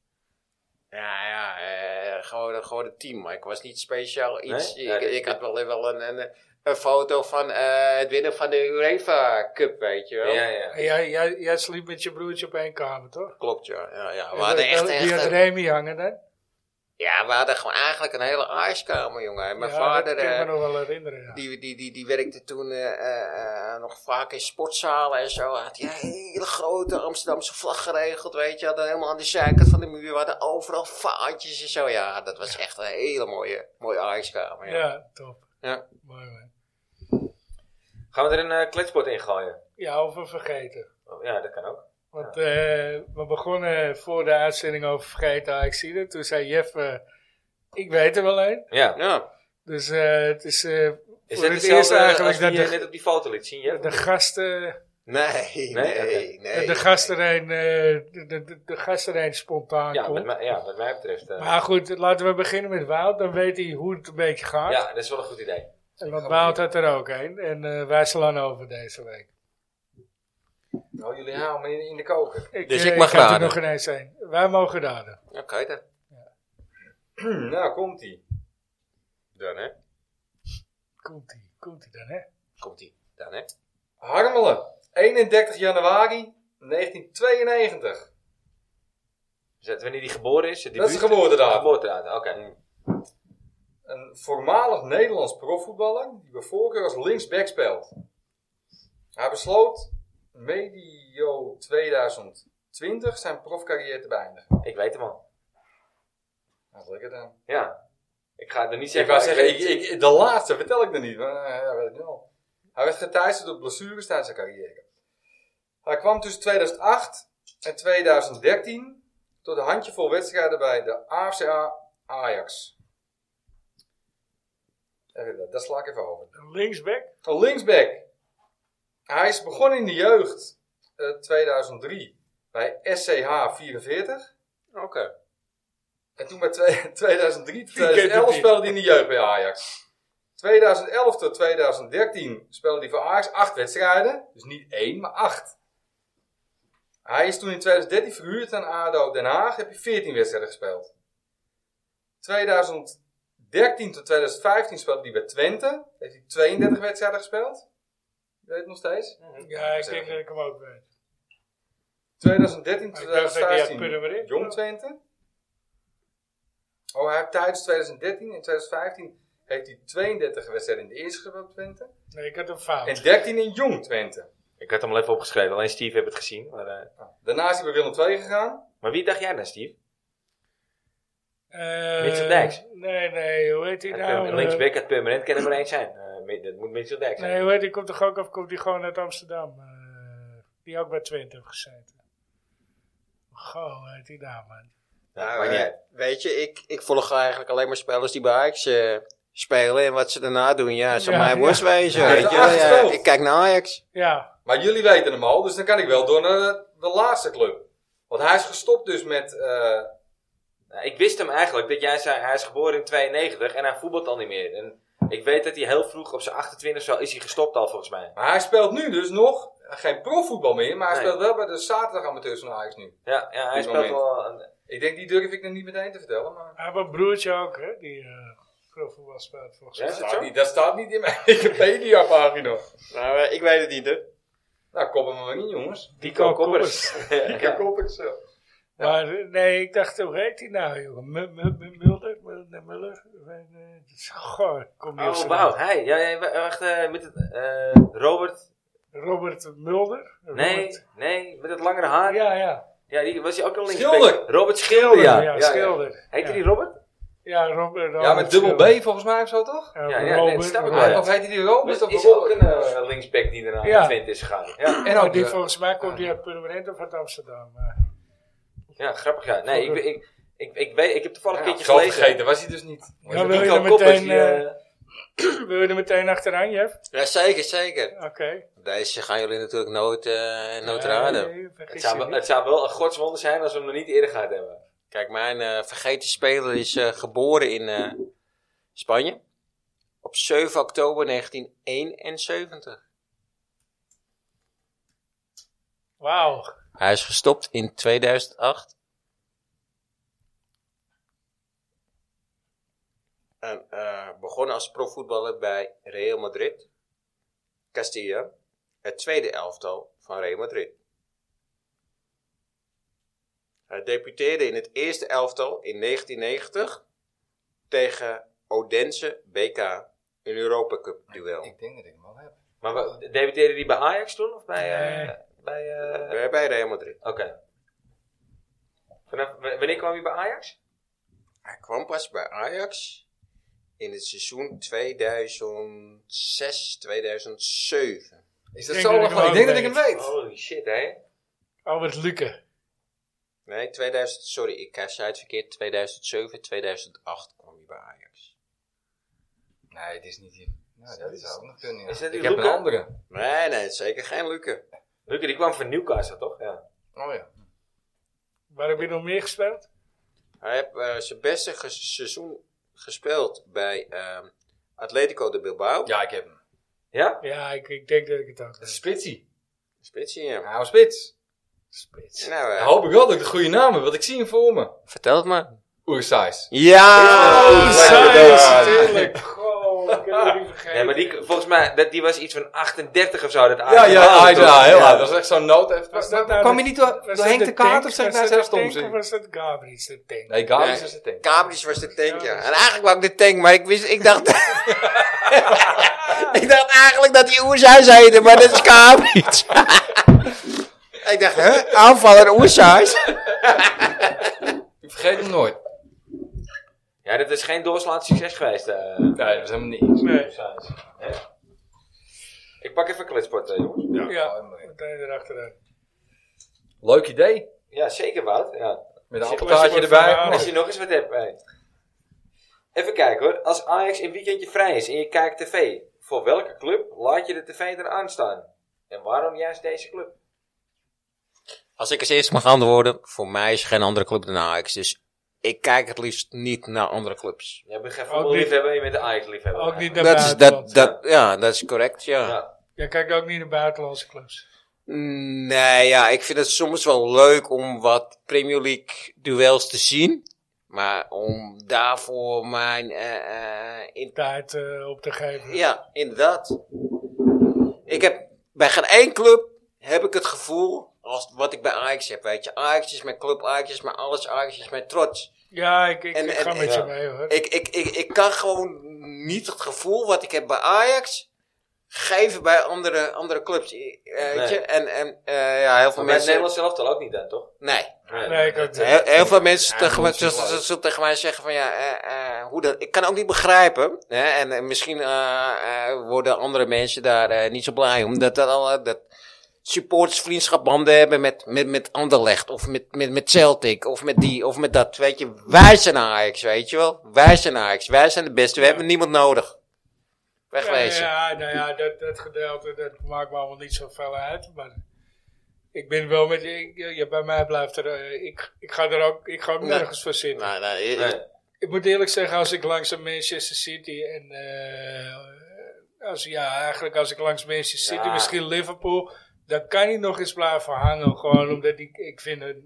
[SPEAKER 4] Ja, ja, eh, gewoon, gewoon het team. Maar ik was niet speciaal iets.
[SPEAKER 1] Nee? Ja,
[SPEAKER 4] ik,
[SPEAKER 1] dit-
[SPEAKER 4] ik had wel, wel een, een, een foto van eh, het winnen van de UEFA Cup, weet je
[SPEAKER 1] Ja,
[SPEAKER 4] wel.
[SPEAKER 1] ja.
[SPEAKER 2] En Jij, jij, jij sliep met je broertje op één kamer, toch?
[SPEAKER 4] Klopt, ja. ja, ja. We
[SPEAKER 2] Ja, dat-
[SPEAKER 4] hadden echt,
[SPEAKER 2] dat-
[SPEAKER 4] echt
[SPEAKER 2] Die had
[SPEAKER 4] een-
[SPEAKER 2] Remy hangen dan?
[SPEAKER 4] Ja, we hadden gewoon eigenlijk een hele ijskamer, jongen. En Mijn
[SPEAKER 2] Ja,
[SPEAKER 4] vader,
[SPEAKER 2] Dat kan ik me
[SPEAKER 4] eh,
[SPEAKER 2] nog wel herinneren. Ja.
[SPEAKER 4] die, die, die, die werkte toen eh, eh, eh, nog vaak in sportzalen en zo. Had hij een hele grote Amsterdamse vlag geregeld, weet je. Hadden helemaal aan de zijkant van de muur, we hadden overal vaantjes en zo. Ja, dat was echt een hele mooie, mooie ijskamer, ja.
[SPEAKER 2] Ja, top.
[SPEAKER 4] Ja.
[SPEAKER 2] Mooi man.
[SPEAKER 1] Gaan we er een eh kletspot in gooien?
[SPEAKER 2] Ja, over vergeten.
[SPEAKER 1] Oh, ja, dat kan ook.
[SPEAKER 2] Want eh, we begonnen voor de uitzending over vergeten Ajaxiden. Toen zei Jeff, eh, ik weet er wel een.
[SPEAKER 1] Ja.
[SPEAKER 4] Ja,
[SPEAKER 2] Dus eh, het is eh,
[SPEAKER 1] Is
[SPEAKER 2] voor
[SPEAKER 1] dit
[SPEAKER 2] het
[SPEAKER 1] hetzelfde
[SPEAKER 2] eerst eigenlijk
[SPEAKER 1] als
[SPEAKER 2] dat
[SPEAKER 1] die je
[SPEAKER 2] de,
[SPEAKER 1] net op die foto liet zien? Ja?
[SPEAKER 2] de gasten,
[SPEAKER 4] nee, Eh, nee,
[SPEAKER 1] Nee?
[SPEAKER 4] nee.
[SPEAKER 2] de gasten een, eh, de, de, de gasten een spontaan
[SPEAKER 1] ja,
[SPEAKER 2] komt.
[SPEAKER 1] wat mij, ja, wat mij betreft. eh,
[SPEAKER 2] Maar goed, laten we beginnen met Wout. Dan weet hij hoe het een beetje gaat.
[SPEAKER 1] ja, dat is wel een goed idee.
[SPEAKER 2] En Want Wout had er ook een. En eh, wij slaan over deze week.
[SPEAKER 3] Nou, jullie houden me in, in de koker.
[SPEAKER 4] Dus
[SPEAKER 2] eh,
[SPEAKER 4] ik mag
[SPEAKER 2] had er
[SPEAKER 4] raden.
[SPEAKER 2] nog ineens een. Wij mogen raden.
[SPEAKER 4] Oké okay, dan.
[SPEAKER 3] nou, komt-ie.
[SPEAKER 1] Dan, hè?
[SPEAKER 2] Komt-ie. Komt-ie dan, hè?
[SPEAKER 4] Komt-ie. Dan, hè.
[SPEAKER 3] Harmelen, 31 januari 1992.
[SPEAKER 1] Is dat wanneer die geboren is?
[SPEAKER 3] Dat is de geboortedatum.
[SPEAKER 1] Geboortedatum, oké. mm,
[SPEAKER 3] Een voormalig Nederlands profvoetballer die bij voorkeur als linksback speelt. Hij besloot medio 2020 zijn profcarrière te beëindigen. Nou,
[SPEAKER 1] Ik weet hem al.
[SPEAKER 3] Dat is lekker dan.
[SPEAKER 1] Ja. Ik ga er niet
[SPEAKER 3] Ik
[SPEAKER 1] zeggen.
[SPEAKER 3] wou
[SPEAKER 1] maar
[SPEAKER 3] zeggen, ik,
[SPEAKER 1] weet-
[SPEAKER 3] ik, de laatste vertel ik er niet, maar eh, dat weet ik nu al. Hij werd geteisterd door blessures tijdens zijn carrière. Hij kwam tussen 2008 en 2013 tot een handjevol wedstrijden bij de AFCA Ajax. Even dat- Dat sla ik even over.
[SPEAKER 2] Een Linksback.
[SPEAKER 3] Een Linksback. Hij is begonnen in de jeugd eh, 2003 bij SCH 44.
[SPEAKER 4] Oké.
[SPEAKER 3] En toen bij twee- 2003 tot
[SPEAKER 2] Wie kent het
[SPEAKER 3] 2011
[SPEAKER 2] niet?
[SPEAKER 3] speelde hij in de jeugd bij Ajax. 2011 tot 2013 speelde hij voor Ajax acht wedstrijden. Dus niet één, maar acht. Hij is toen in 2013 verhuurd aan ADO Den Haag. Heb hij 14 wedstrijden gespeeld. 2013 tot 2015 speelde hij bij Twente. Heeft hij 32 wedstrijden gespeeld. Ik weet het nog steeds.
[SPEAKER 2] Ja, ik
[SPEAKER 3] zeg
[SPEAKER 2] denk dat ik hem ook weet.
[SPEAKER 3] 2013 tot
[SPEAKER 2] Maar ik dacht dat hij had
[SPEAKER 3] 2015.
[SPEAKER 2] Purmerend.
[SPEAKER 3] Jong Twente. Oh, hij heeft tijdens 2013 en 2015 heeft hij 32 wedstrijden in de eerste gespeeld bij Twente.
[SPEAKER 2] Nee, ik had hem fout.
[SPEAKER 3] En 13 in Jong Twente.
[SPEAKER 1] Ik had hem al even opgeschreven, alleen Steve heeft het gezien. Maar, eh,
[SPEAKER 3] Daarna is hij bij Willem II gegaan.
[SPEAKER 1] maar wie dacht jij dan, Steve?
[SPEAKER 2] Eh,
[SPEAKER 1] Mitchell Dijks.
[SPEAKER 2] Nee, nee, hoe heet hij
[SPEAKER 1] Het
[SPEAKER 2] nou?
[SPEAKER 1] permanent-
[SPEAKER 2] Eh,
[SPEAKER 1] linksback het permanent kan er maar één zijn. Eh, mi- dat moet Mitchell Dijk zijn.
[SPEAKER 2] Nee, hoe heet hij? Komt toch ook af? Komt hij gewoon uit Amsterdam? eh, die ook bij Twente heeft gezeten. Goh, hoe heet hij nou, man?
[SPEAKER 1] Ja,
[SPEAKER 4] Nou,
[SPEAKER 1] maakt niet
[SPEAKER 4] eh,
[SPEAKER 1] uit.
[SPEAKER 4] weet je, ik, ik volg eigenlijk alleen maar spelers die bij Ajax eh, spelen. En wat ze daarna doen, ja, zou
[SPEAKER 2] Ja,
[SPEAKER 4] mij
[SPEAKER 2] ja.
[SPEAKER 4] worst wezen.
[SPEAKER 3] Ja,
[SPEAKER 4] weet
[SPEAKER 3] dat
[SPEAKER 4] je,
[SPEAKER 3] is
[SPEAKER 4] wel, ja,
[SPEAKER 3] achterstand.
[SPEAKER 4] ik kijk naar Ajax.
[SPEAKER 2] Ja,
[SPEAKER 3] Maar jullie weten hem al, dus dan kan ik wel door naar de, de laatste club. Want hij is gestopt dus met... eh,
[SPEAKER 1] Nou, ik wist hem eigenlijk dat jij zei, hij is geboren in 92 en hij voetbalt al niet meer. En ik weet dat hij heel vroeg op zijn 28 zo is hij gestopt al volgens mij.
[SPEAKER 3] maar hij speelt nu dus nog geen profvoetbal meer, maar hij
[SPEAKER 1] Nee.
[SPEAKER 3] speelt wel bij de zaterdagamateurs van Ajax nu.
[SPEAKER 1] Ja, ja hij
[SPEAKER 3] Dit
[SPEAKER 1] speelt
[SPEAKER 3] moment.
[SPEAKER 1] wel. een-
[SPEAKER 3] Ik denk, die durf ik nog niet meteen te vertellen, maar...
[SPEAKER 2] hij heeft een broertje ook, hè? Die eh profvoetbal speelt volgens
[SPEAKER 1] Ja,
[SPEAKER 2] mij.
[SPEAKER 1] is dat
[SPEAKER 3] staat
[SPEAKER 1] zo?
[SPEAKER 3] niet- dat staat niet in mijn Wikipedia-pagina.
[SPEAKER 4] Nou, ik weet het niet, hè.
[SPEAKER 3] Nou, kop hem maar in, jongens.
[SPEAKER 1] Dico
[SPEAKER 2] Dico
[SPEAKER 1] Koppers.
[SPEAKER 3] Ik heb kop het zo.
[SPEAKER 2] Maar eh, nee, ik dacht, hoe heet hij nou, jongen? M- M- M- Mulder? Mulder? Muller? Eh, dus, Goh, kom je op
[SPEAKER 1] Oh,
[SPEAKER 2] zijn
[SPEAKER 1] wauw.
[SPEAKER 2] naam.
[SPEAKER 1] Hij. Ja, ja, wa- wacht. eh, met het, eh, Robert.
[SPEAKER 2] Robert Mulder?
[SPEAKER 1] Nee,
[SPEAKER 2] Robert-
[SPEAKER 1] nee. Met het langere haar. Ja,
[SPEAKER 2] Ja, ja.
[SPEAKER 1] die was hij ook al links.
[SPEAKER 3] Schilder.
[SPEAKER 1] Robert Schilder. Ja, ja, ja.
[SPEAKER 2] Schilder.
[SPEAKER 1] Heette
[SPEAKER 2] ja.
[SPEAKER 1] die Robert?
[SPEAKER 2] Ja, Rob- eh, Robert
[SPEAKER 3] Ja, met dubbel
[SPEAKER 2] Schilder.
[SPEAKER 3] B volgens mij of zo toch?
[SPEAKER 2] Ja,
[SPEAKER 1] Ja, ja,
[SPEAKER 2] Robert-
[SPEAKER 1] dat snap ik wel,
[SPEAKER 2] Robert.
[SPEAKER 1] ja.
[SPEAKER 3] Of heet hij die Robert
[SPEAKER 1] Dat
[SPEAKER 3] of
[SPEAKER 1] is ook
[SPEAKER 3] Robert?
[SPEAKER 1] een eh, linksback die eraan
[SPEAKER 2] Ja.
[SPEAKER 1] naar Twente is gegaan. Ja,
[SPEAKER 3] En
[SPEAKER 2] Nou,
[SPEAKER 3] ook
[SPEAKER 2] die,
[SPEAKER 3] die van...
[SPEAKER 2] volgens mij komt die uit Purmerend of uit Amsterdam. maar-
[SPEAKER 1] ja grappig ja. Nee, ik, ik, ik, ik, weet, ik heb toevallig een keertje
[SPEAKER 3] zo
[SPEAKER 1] gelezen.
[SPEAKER 3] vergeten was hij dus niet.
[SPEAKER 2] Ja, wil je
[SPEAKER 1] Nico
[SPEAKER 2] er
[SPEAKER 1] Koppers,
[SPEAKER 2] meteen,
[SPEAKER 1] die, eh,
[SPEAKER 2] wil je er meteen achteraan, Jeff?
[SPEAKER 4] Ja, zeker, zeker.
[SPEAKER 2] Oké.
[SPEAKER 4] Deze gaan jullie natuurlijk nooit, eh nooit
[SPEAKER 2] Ja,
[SPEAKER 4] raden.
[SPEAKER 2] nee, vergis
[SPEAKER 1] Het
[SPEAKER 2] je
[SPEAKER 1] zou, wel-
[SPEAKER 2] niet.
[SPEAKER 1] het zou wel een godswonder zijn als we hem nog niet eerder gehad hebben.
[SPEAKER 4] Kijk, mijn eh, vergeten speler is eh, geboren in eh, Spanje. Op 7 oktober 1971.
[SPEAKER 2] Wauw.
[SPEAKER 4] Hij is gestopt in 2008. En eh, begon als profvoetballer bij Real Madrid. Castilla. Het tweede elftal van Real Madrid. Hij debuteerde in het eerste elftal in 1990 tegen Odense BK. Een Europa Cup duel.
[SPEAKER 3] Ik denk dat ik hem al heb.
[SPEAKER 1] Maar wa- debuteerde die bij Ajax toen? Of bij... eh,
[SPEAKER 2] Nee.
[SPEAKER 1] bij eh,
[SPEAKER 4] Bij bij Real Madrid.
[SPEAKER 1] Oké. Vanaf- w- Wanneer kwam je bij Ajax?
[SPEAKER 4] Hij kwam pas bij Ajax in het seizoen 2006, 2007.
[SPEAKER 3] Is
[SPEAKER 2] dat
[SPEAKER 3] dat
[SPEAKER 2] Ik denk zo
[SPEAKER 3] zo
[SPEAKER 2] dat ik lang hem
[SPEAKER 3] lang?
[SPEAKER 2] ook
[SPEAKER 3] Ik denk dat ik hem
[SPEAKER 2] weet. Oh.
[SPEAKER 3] weet.
[SPEAKER 1] Holy shit, hè?
[SPEAKER 2] Albert Luke.
[SPEAKER 4] Nee, 2000, sorry, ik zei het verkeerd. 2007, 2008 kwam hij bij Ajax.
[SPEAKER 3] Nee, het is niet hier. Nou, dat zou ook nog kunnen. ja.
[SPEAKER 1] Is dat die
[SPEAKER 3] Ik heb een
[SPEAKER 1] Luca?
[SPEAKER 3] andere.
[SPEAKER 4] Nee, nee, zeker geen Luke.
[SPEAKER 1] Luke, die kwam van Newcastle, toch? Ja.
[SPEAKER 3] Oh ja.
[SPEAKER 2] Waar heb je nog meer gespeeld?
[SPEAKER 4] Hij heeft eh, zijn beste ge- seizoen gespeeld bij ehm, Atletico de Bilbao.
[SPEAKER 3] Ja, ik heb hem.
[SPEAKER 1] Ja?
[SPEAKER 2] Ja, ik, ik denk dat ik het ook
[SPEAKER 3] Dat is
[SPEAKER 2] weet.
[SPEAKER 3] Spitsie.
[SPEAKER 4] Spitsie, ja.
[SPEAKER 3] Nou, Spits.
[SPEAKER 2] Spits.
[SPEAKER 4] Nou, eh,
[SPEAKER 3] Dan hoop ik wel dat ik de goede naam heb, want ik zie hem voor me.
[SPEAKER 4] vertel het maar.
[SPEAKER 3] Oersais.
[SPEAKER 4] Ja!
[SPEAKER 2] Oh,
[SPEAKER 4] Lekker
[SPEAKER 2] Sijs,
[SPEAKER 4] gedaan.
[SPEAKER 2] natuurlijk. Goh, ik heb het niet vergeten.
[SPEAKER 1] Nee, maar die, volgens mij, dat, die was iets van 38 of zo. Dat
[SPEAKER 3] Ja, ja, ja,
[SPEAKER 1] Ajax-
[SPEAKER 3] ja, heel
[SPEAKER 4] Ja.
[SPEAKER 3] hard. Dat is echt zo'n nood.
[SPEAKER 2] Was
[SPEAKER 3] even.
[SPEAKER 2] dat nou
[SPEAKER 3] Kwam
[SPEAKER 2] de-
[SPEAKER 3] je niet door,
[SPEAKER 2] Was
[SPEAKER 3] door
[SPEAKER 2] dat
[SPEAKER 3] Henk de Kaart of zeg ik
[SPEAKER 2] Was dat
[SPEAKER 3] nou zelf
[SPEAKER 2] de
[SPEAKER 3] soms?
[SPEAKER 2] tank of was dat Gabriels de tank?
[SPEAKER 3] Nee, Gabriel
[SPEAKER 4] Nee.
[SPEAKER 3] is het ding.
[SPEAKER 4] Gabriels was de tank, ja. En eigenlijk wou ik de tank, maar ik, wist, ik dacht... ik dacht eigenlijk dat die Oerzaai zeide, maar dat is Gabriels. ik dacht, hè? Aanvaller Oerzaai?
[SPEAKER 3] Ik vergeet hem nooit.
[SPEAKER 1] Ja, dat is geen doorslaand succes geweest. eh.
[SPEAKER 3] Nee, dat is helemaal niks.
[SPEAKER 2] Nee.
[SPEAKER 1] Ik pak even een kletspot, eh, jongens.
[SPEAKER 2] Ja, meteen erachteraan.
[SPEAKER 3] Leuk idee.
[SPEAKER 1] Ja, zeker Wout. Ja.
[SPEAKER 3] Met een
[SPEAKER 1] Zeg,
[SPEAKER 3] appeltaartje
[SPEAKER 2] was je wat
[SPEAKER 3] erbij.
[SPEAKER 2] van
[SPEAKER 1] Als je nog eens wat hebt. eh. Even kijken hoor. Als Ajax een weekendje vrij is en je kijkt tv, voor welke club laat je de tv dan aanstaan? En waarom juist deze club?
[SPEAKER 4] Als ik als eerste mag antwoorden, voor mij is er geen andere club dan Ajax. Dus ik kijk het liefst niet naar andere clubs.
[SPEAKER 1] Jij bent geen
[SPEAKER 2] Ook niet-
[SPEAKER 1] voetballiefhebber en je bent een Ajax-liefhebber.
[SPEAKER 2] Ook niet naar
[SPEAKER 4] Dat is, dat,
[SPEAKER 2] buitenland.
[SPEAKER 4] dat, ja, dat is correct, ja.
[SPEAKER 1] Ja.
[SPEAKER 2] Jij kijkt ook niet naar buitenlandse clubs.
[SPEAKER 4] Mm, Nee, ja, ik vind het soms wel leuk om wat Premier League duels te zien. Maar om daarvoor mijn... eh, eh, in-
[SPEAKER 2] Tijd eh, op te geven.
[SPEAKER 4] ja, inderdaad. Ik heb bij geen één club heb ik het gevoel als wat ik bij Ajax heb, weet je. Ajax is mijn club, Ajax is mijn alles, Ajax is mijn trots.
[SPEAKER 2] Ja, ik, ik,
[SPEAKER 4] En-
[SPEAKER 2] ik
[SPEAKER 4] en-
[SPEAKER 2] ga met
[SPEAKER 1] ja.
[SPEAKER 2] je mee hoor.
[SPEAKER 4] Ik, ik, ik, ik kan gewoon niet het gevoel wat ik heb bij Ajax geven bij andere, andere clubs. eh, Weet je?
[SPEAKER 1] Nee.
[SPEAKER 4] En, en eh, ja,
[SPEAKER 1] Maar
[SPEAKER 4] heel veel
[SPEAKER 1] bij het
[SPEAKER 4] mensen...
[SPEAKER 1] Nederlands zelf ook niet dan, toch?
[SPEAKER 4] Nee.
[SPEAKER 2] Nee, ik ook niet.
[SPEAKER 4] Heel, heel veel mensen
[SPEAKER 3] Ja,
[SPEAKER 4] tegen, mij,
[SPEAKER 3] dat is wel
[SPEAKER 4] zullen- zullen tegen mij zeggen van ja, eh, eh, hoe dat, ik kan ook niet begrijpen. Hè, en eh, misschien eh, eh, worden andere mensen daar eh, niet zo blij om. Dat, dat, alle- dat supporters vriendschapbanden hebben met, met, met Anderlecht of met, met, met Celtic of met die of met dat. Weet je, wij zijn Ajax, weet je wel. Wij zijn Ajax, wij zijn de beste, we
[SPEAKER 2] Ja.
[SPEAKER 4] hebben niemand nodig. Wegwezen.
[SPEAKER 2] Ja, ja, nou ja, dat, dat gedeelte dat maakt me allemaal niet zoveel uit. Maar ik ben wel met je. ik- ja, bij mij blijft er. eh, ik, ik ga er ook, ik ga ook
[SPEAKER 4] Nee.
[SPEAKER 2] nergens voor zitten.
[SPEAKER 4] Nou, nou, eh,
[SPEAKER 1] Nee.
[SPEAKER 2] Ik moet eerlijk zeggen, als ik langs een Manchester City en. eh, als, ja, eigenlijk als ik langs Manchester City,
[SPEAKER 1] Ja.
[SPEAKER 2] misschien Liverpool. Dan kan hij nog eens blijven hangen. Gewoon omdat ik, ik vind het.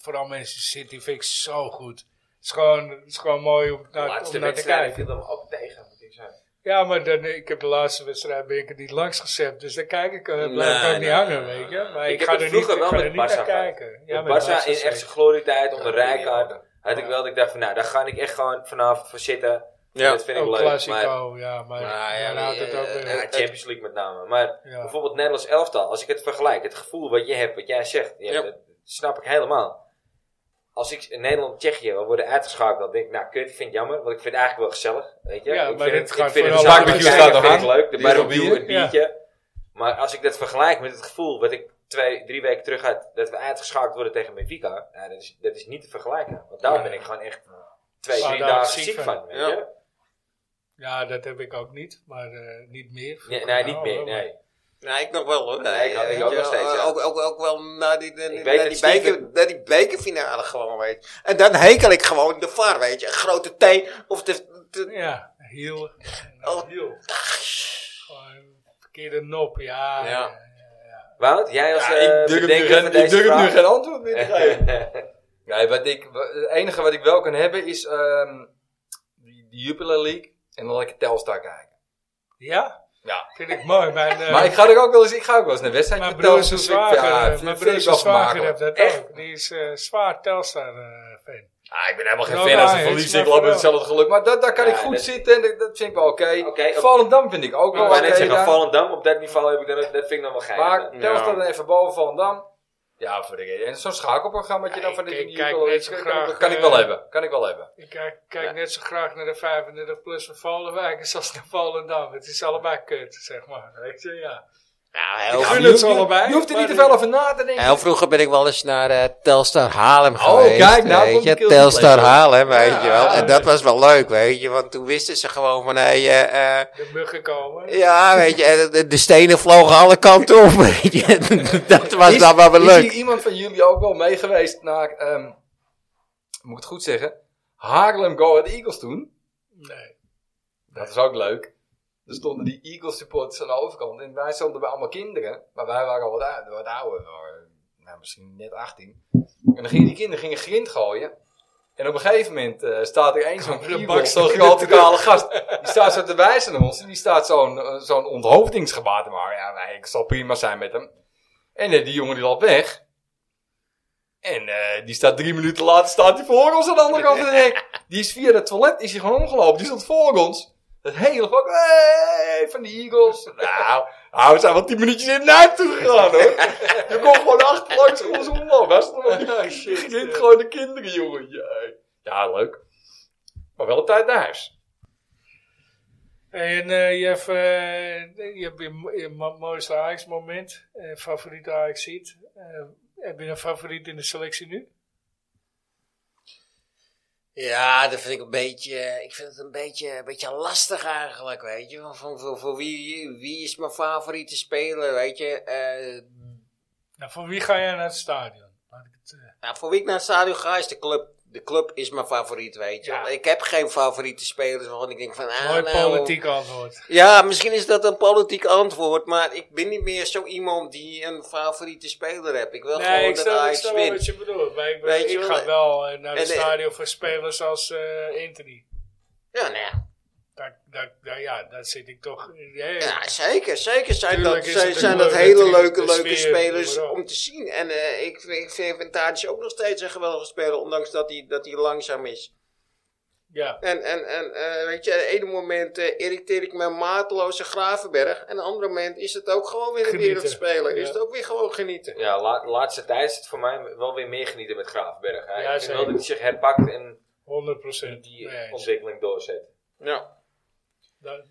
[SPEAKER 2] Vooral Manchester City vind ik zo goed. Het is gewoon, het is gewoon mooi om
[SPEAKER 1] De
[SPEAKER 2] naar,
[SPEAKER 1] laatste
[SPEAKER 2] om naar te
[SPEAKER 1] wedstrijd
[SPEAKER 2] kijken.
[SPEAKER 1] viel hem ook tegen, moet ik zeggen.
[SPEAKER 2] Ja, maar dan, ik heb de laatste wedstrijd ben ik er niet langs gezet. Dus daar kijk ik, eh, blijf ik
[SPEAKER 4] Nee,
[SPEAKER 2] ook niet
[SPEAKER 4] nee,
[SPEAKER 2] hangen,
[SPEAKER 4] nee,
[SPEAKER 2] weet je. Maar
[SPEAKER 1] Ik
[SPEAKER 2] ik,
[SPEAKER 1] heb
[SPEAKER 2] ga
[SPEAKER 1] het
[SPEAKER 2] er niet,
[SPEAKER 1] vroeger
[SPEAKER 2] ik
[SPEAKER 1] wel
[SPEAKER 2] ga
[SPEAKER 1] met
[SPEAKER 2] er niet naar
[SPEAKER 1] Barca gehad.
[SPEAKER 2] kijken.
[SPEAKER 1] Ja,
[SPEAKER 2] met
[SPEAKER 1] Barca in echt
[SPEAKER 2] zeker.
[SPEAKER 1] zijn glorietijd onder
[SPEAKER 3] Ja,
[SPEAKER 1] Rijkaard
[SPEAKER 3] ja.
[SPEAKER 1] had ik wel dat ik dacht van nou, daar ga ik echt gewoon vanavond voor zitten.
[SPEAKER 4] Ja.
[SPEAKER 1] Dat vind ik
[SPEAKER 2] Ook
[SPEAKER 1] leuk. Maar,
[SPEAKER 2] Oh,
[SPEAKER 1] Nou
[SPEAKER 2] Classico, ja, maar
[SPEAKER 4] Maar ja,
[SPEAKER 2] dan houdt het ook
[SPEAKER 4] eh,
[SPEAKER 2] weer
[SPEAKER 1] ja,
[SPEAKER 4] eh,
[SPEAKER 2] op.
[SPEAKER 1] Champions League met name. Maar
[SPEAKER 2] Ja.
[SPEAKER 1] bijvoorbeeld Nederlands elftal, als ik het vergelijk, het gevoel wat je hebt, wat jij zegt, ja,
[SPEAKER 4] Ja.
[SPEAKER 1] dat snap ik helemaal. Als ik in Nederland-Tsjechië wil worden uitgeschakeld, dan denk ik, nou kut, ik vind het jammer, want ik vind het eigenlijk wel gezellig. Weet je?
[SPEAKER 2] Ja,
[SPEAKER 1] ik
[SPEAKER 2] maar
[SPEAKER 1] vind
[SPEAKER 2] dit gaat vooral-
[SPEAKER 1] samen
[SPEAKER 3] Barbecue
[SPEAKER 1] kijken
[SPEAKER 3] staat nog
[SPEAKER 1] vind ik
[SPEAKER 3] aan.
[SPEAKER 1] leuk, de
[SPEAKER 3] Die is op
[SPEAKER 1] barbecue,
[SPEAKER 3] bier.
[SPEAKER 1] het biertje. Maar als ik dat vergelijk met het gevoel wat ik twee, drie weken terug had, dat we uitgeschakeld worden tegen Benfica, ja, dat, is, dat is niet te vergelijken. Want daar
[SPEAKER 2] Nee.
[SPEAKER 1] ben ik gewoon echt twee,
[SPEAKER 2] Zwaar
[SPEAKER 1] drie
[SPEAKER 2] daar
[SPEAKER 1] dagen
[SPEAKER 2] ziek
[SPEAKER 1] ziek
[SPEAKER 2] van.
[SPEAKER 1] van. Weet
[SPEAKER 4] Ja.
[SPEAKER 1] je?
[SPEAKER 2] Ja, dat heb ik ook niet, maar eh, niet meer.
[SPEAKER 1] Nee, nee, niet
[SPEAKER 2] Nou,
[SPEAKER 1] meer.
[SPEAKER 2] wel, maar-
[SPEAKER 1] Nee.
[SPEAKER 4] Nou, ik nog wel hoor.
[SPEAKER 1] Nee, ik- ik
[SPEAKER 4] weet
[SPEAKER 1] ook
[SPEAKER 4] je,
[SPEAKER 1] nog steeds, ja.
[SPEAKER 4] Ook, ook, ook wel naar die, naar die,
[SPEAKER 1] Ik weet dat
[SPEAKER 4] naar die,
[SPEAKER 1] Steven-
[SPEAKER 4] beker, naar die bekerfinale gewoon, weet je. En dan hekel ik gewoon de VAR, weet je. Een grote T of de... de-
[SPEAKER 2] Ja, heel. eh,
[SPEAKER 4] Oh.
[SPEAKER 2] heel. Gewoon verkeerde nop, ja.
[SPEAKER 4] Ja.
[SPEAKER 2] eh,
[SPEAKER 1] Wout, jij als
[SPEAKER 3] Ja,
[SPEAKER 1] eh,
[SPEAKER 3] ik durf nu,
[SPEAKER 1] bedenker
[SPEAKER 3] geen,
[SPEAKER 1] van
[SPEAKER 3] ik
[SPEAKER 1] deze
[SPEAKER 3] durf nu
[SPEAKER 1] vraag.
[SPEAKER 3] geen antwoord meer te geven. Nee, wat ik, wa- het enige wat ik wel kan hebben is ehm die, die Jupiler League. En dan lekker Telstar kijken.
[SPEAKER 2] Ja?
[SPEAKER 3] Ja.
[SPEAKER 2] Vind ik mooi. Mijn, eh,
[SPEAKER 3] Maar ik ga er ook wel eens, ik ga ook wel eens naar wedstrijd.
[SPEAKER 2] Mijn broer is een
[SPEAKER 3] ja,
[SPEAKER 2] zwager. eh,
[SPEAKER 3] vind-
[SPEAKER 2] mijn
[SPEAKER 3] vind
[SPEAKER 2] broer
[SPEAKER 3] ik
[SPEAKER 2] is
[SPEAKER 3] wel
[SPEAKER 2] een zwager,
[SPEAKER 3] vermakelijk.
[SPEAKER 2] heeft dat
[SPEAKER 1] Echt?
[SPEAKER 2] ook. Die is eh, zwaar Telstar-fan.
[SPEAKER 3] Ah, ik ben helemaal geen
[SPEAKER 2] Nou,
[SPEAKER 3] fan als ze
[SPEAKER 2] Ajax,
[SPEAKER 3] verliezen.
[SPEAKER 2] maar
[SPEAKER 3] Ik loop met
[SPEAKER 2] vooral.
[SPEAKER 3] hetzelfde geluk. Maar dat, daar kan
[SPEAKER 1] Ja,
[SPEAKER 3] ik goed
[SPEAKER 1] dat-
[SPEAKER 3] zitten en dat, dat vind ik wel oké.
[SPEAKER 1] Oké, op-
[SPEAKER 3] Volendam vind ik ook wel
[SPEAKER 1] Ik
[SPEAKER 3] oké.
[SPEAKER 1] wou net zeggen,
[SPEAKER 3] daar.
[SPEAKER 1] Volendam, op dat niveau heb ik dan, dat vind ik dan wel geinig.
[SPEAKER 3] maar
[SPEAKER 1] dan.
[SPEAKER 3] Telstra dan even boven Volendam. Ja, voor de reden. En zo'n schakelprogrammaatje
[SPEAKER 2] Ja,
[SPEAKER 3] dan van
[SPEAKER 2] ik-
[SPEAKER 3] de
[SPEAKER 2] ik
[SPEAKER 3] die
[SPEAKER 2] kijk
[SPEAKER 3] Nicola-
[SPEAKER 2] net zo
[SPEAKER 3] kan-
[SPEAKER 2] graag,
[SPEAKER 3] kan, kan ik
[SPEAKER 2] eh,
[SPEAKER 3] wel hebben. Kan ik wel hebben.
[SPEAKER 2] Ik kijk, kijk
[SPEAKER 1] Ja.
[SPEAKER 2] net zo graag naar de 35 plus van Volendijk als naar Volendam. Het is allebei kut, zeg maar. Weet je, ja.
[SPEAKER 4] Nou,
[SPEAKER 2] Ik
[SPEAKER 4] heel,
[SPEAKER 2] gun
[SPEAKER 4] vroeg-
[SPEAKER 2] het ze allebei.
[SPEAKER 3] Je hoeft er niet te
[SPEAKER 2] maar-
[SPEAKER 3] veel over na te denken.
[SPEAKER 4] heel vroeger ben ik wel eens naar eh, Telstar Haarlem
[SPEAKER 3] Oh,
[SPEAKER 4] geweest.
[SPEAKER 3] kijk, nou
[SPEAKER 4] weet
[SPEAKER 3] komt
[SPEAKER 4] je,
[SPEAKER 3] de Kills
[SPEAKER 4] Telstar
[SPEAKER 3] Complex op.
[SPEAKER 4] Haarlem, weet je wel.
[SPEAKER 2] ja,
[SPEAKER 4] En dat was wel leuk, weet je. Want toen wisten ze gewoon van, hé, eh, eh,
[SPEAKER 2] De muggen komen.
[SPEAKER 4] ja, weet je, en de, de stenen vlogen alle kanten op, weet je. Dat was
[SPEAKER 3] Is-
[SPEAKER 4] dan Ah, wel weer
[SPEAKER 3] is
[SPEAKER 4] leuk.
[SPEAKER 3] hier iemand van jullie ook wel mee geweest naar, ehm, moet ik het goed zeggen, Haarlem Go Ahead Eagles toen?
[SPEAKER 2] Nee.
[SPEAKER 3] Dat is ook leuk. Er stonden die Eagles supporters aan de overkant en wij stonden bij allemaal kinderen, maar wij waren al wat, ou- wat ouder, we waren, nou, misschien net 18. En dan gingen die kinderen gingen grind gooien. En op een gegeven moment eh, staat er één zo'n
[SPEAKER 2] Komt er een
[SPEAKER 3] kriebel,
[SPEAKER 2] bak
[SPEAKER 3] zo'n
[SPEAKER 2] in de
[SPEAKER 3] grote
[SPEAKER 2] trap.
[SPEAKER 3] kale gast. Die staat zo te wijzen naar ons en die staat zo'n eh, zo'n onthoofdingsgebaar te maken. Ja, wij- ik zal prima zijn met hem. En eh, die jongen die loopt weg. En eh, die staat drie minuten later staat hij voor ons aan de andere kant van de hek. Die is via het toilet is hij gewoon omgelopen. Die stond voor ons. Dat hele vak, hey, van de Eagles. Nou, nou, we zijn wel tien minuutjes in naar toe gegaan hoor. Je kon gewoon achterlangs om ons omlopen. Hij stond nog
[SPEAKER 2] Ja,
[SPEAKER 3] Je
[SPEAKER 2] Oh, shit,
[SPEAKER 3] ging
[SPEAKER 2] ja.
[SPEAKER 3] gewoon de kinderen, jongen. Ja, Ja, leuk. Maar wel op tijd naar huis.
[SPEAKER 2] En eh, je hebt, eh, je, hebt je, mo- je mo- mooiste Ajax moment, eh, favoriete Ajax ziet. heb je een favoriet in de selectie nu?
[SPEAKER 4] Ja, dat vind ik een beetje, ik vind het een beetje, een beetje lastig eigenlijk, weet je. Van, van, voor- voor wie, wie is mijn favoriete speler, weet je. Eh,
[SPEAKER 2] Nou, voor wie ga jij naar het stadion? Laat ik het, eh,
[SPEAKER 4] nou, voor wie ik naar het stadion ga, is de club. De club is mijn favoriet, weet je.
[SPEAKER 2] Ja.
[SPEAKER 4] Ik heb geen favoriete spelers waarvan ik denk van... Ah,
[SPEAKER 2] mooi
[SPEAKER 4] nou,
[SPEAKER 2] politiek antwoord.
[SPEAKER 4] Ja, misschien is dat een politiek antwoord, maar ik ben niet meer zo iemand die een favoriete speler heeft. Ik wil gewoon
[SPEAKER 2] Nee, ik
[SPEAKER 4] dat
[SPEAKER 2] snap, ik
[SPEAKER 4] Ajax
[SPEAKER 2] snap wel
[SPEAKER 4] wint.
[SPEAKER 2] wat je bedoelt. Maar ik,
[SPEAKER 4] Weet je
[SPEAKER 2] ik
[SPEAKER 4] wel,
[SPEAKER 2] ga wel eh, naar het
[SPEAKER 4] en, eh,
[SPEAKER 2] stadion voor spelers als eh Anthony.
[SPEAKER 4] Ja, nou ja.
[SPEAKER 2] Daar, daar, daar- ja, daar zit ik toch... eh,
[SPEAKER 4] Ja, zeker, zeker. Zijn
[SPEAKER 2] Tuurlijk
[SPEAKER 4] dat,
[SPEAKER 2] is
[SPEAKER 4] zijn,
[SPEAKER 2] het
[SPEAKER 4] zijn
[SPEAKER 2] een
[SPEAKER 4] dat
[SPEAKER 2] leuke
[SPEAKER 4] hele
[SPEAKER 2] team,
[SPEAKER 4] leuke,
[SPEAKER 2] de
[SPEAKER 4] leuke
[SPEAKER 2] sfeer,
[SPEAKER 4] spelers
[SPEAKER 2] noem maar op.
[SPEAKER 4] om te zien. En eh, ik, vind- ik vind Ventatis ook nog steeds een geweldige speler, ondanks dat hij, dat hij langzaam is.
[SPEAKER 2] ja.
[SPEAKER 4] En, en, en eh, weet je, het ene moment eh, irriteer ik me mateloze Gravenberg. En het andere moment is het ook gewoon weer een
[SPEAKER 2] Genieten.
[SPEAKER 4] wereldspeler. Is
[SPEAKER 2] Ja.
[SPEAKER 4] het ook weer gewoon genieten.
[SPEAKER 1] Ja, la- laatste tijd is het voor mij wel weer meer genieten met Graafberg. Hè.
[SPEAKER 2] Ja,
[SPEAKER 1] ik vind wel
[SPEAKER 2] zeker.
[SPEAKER 1] dat hij zich herpakt en
[SPEAKER 2] 100 procent.
[SPEAKER 1] die
[SPEAKER 4] eh,
[SPEAKER 1] ontwikkeling doorzet.
[SPEAKER 4] Ja.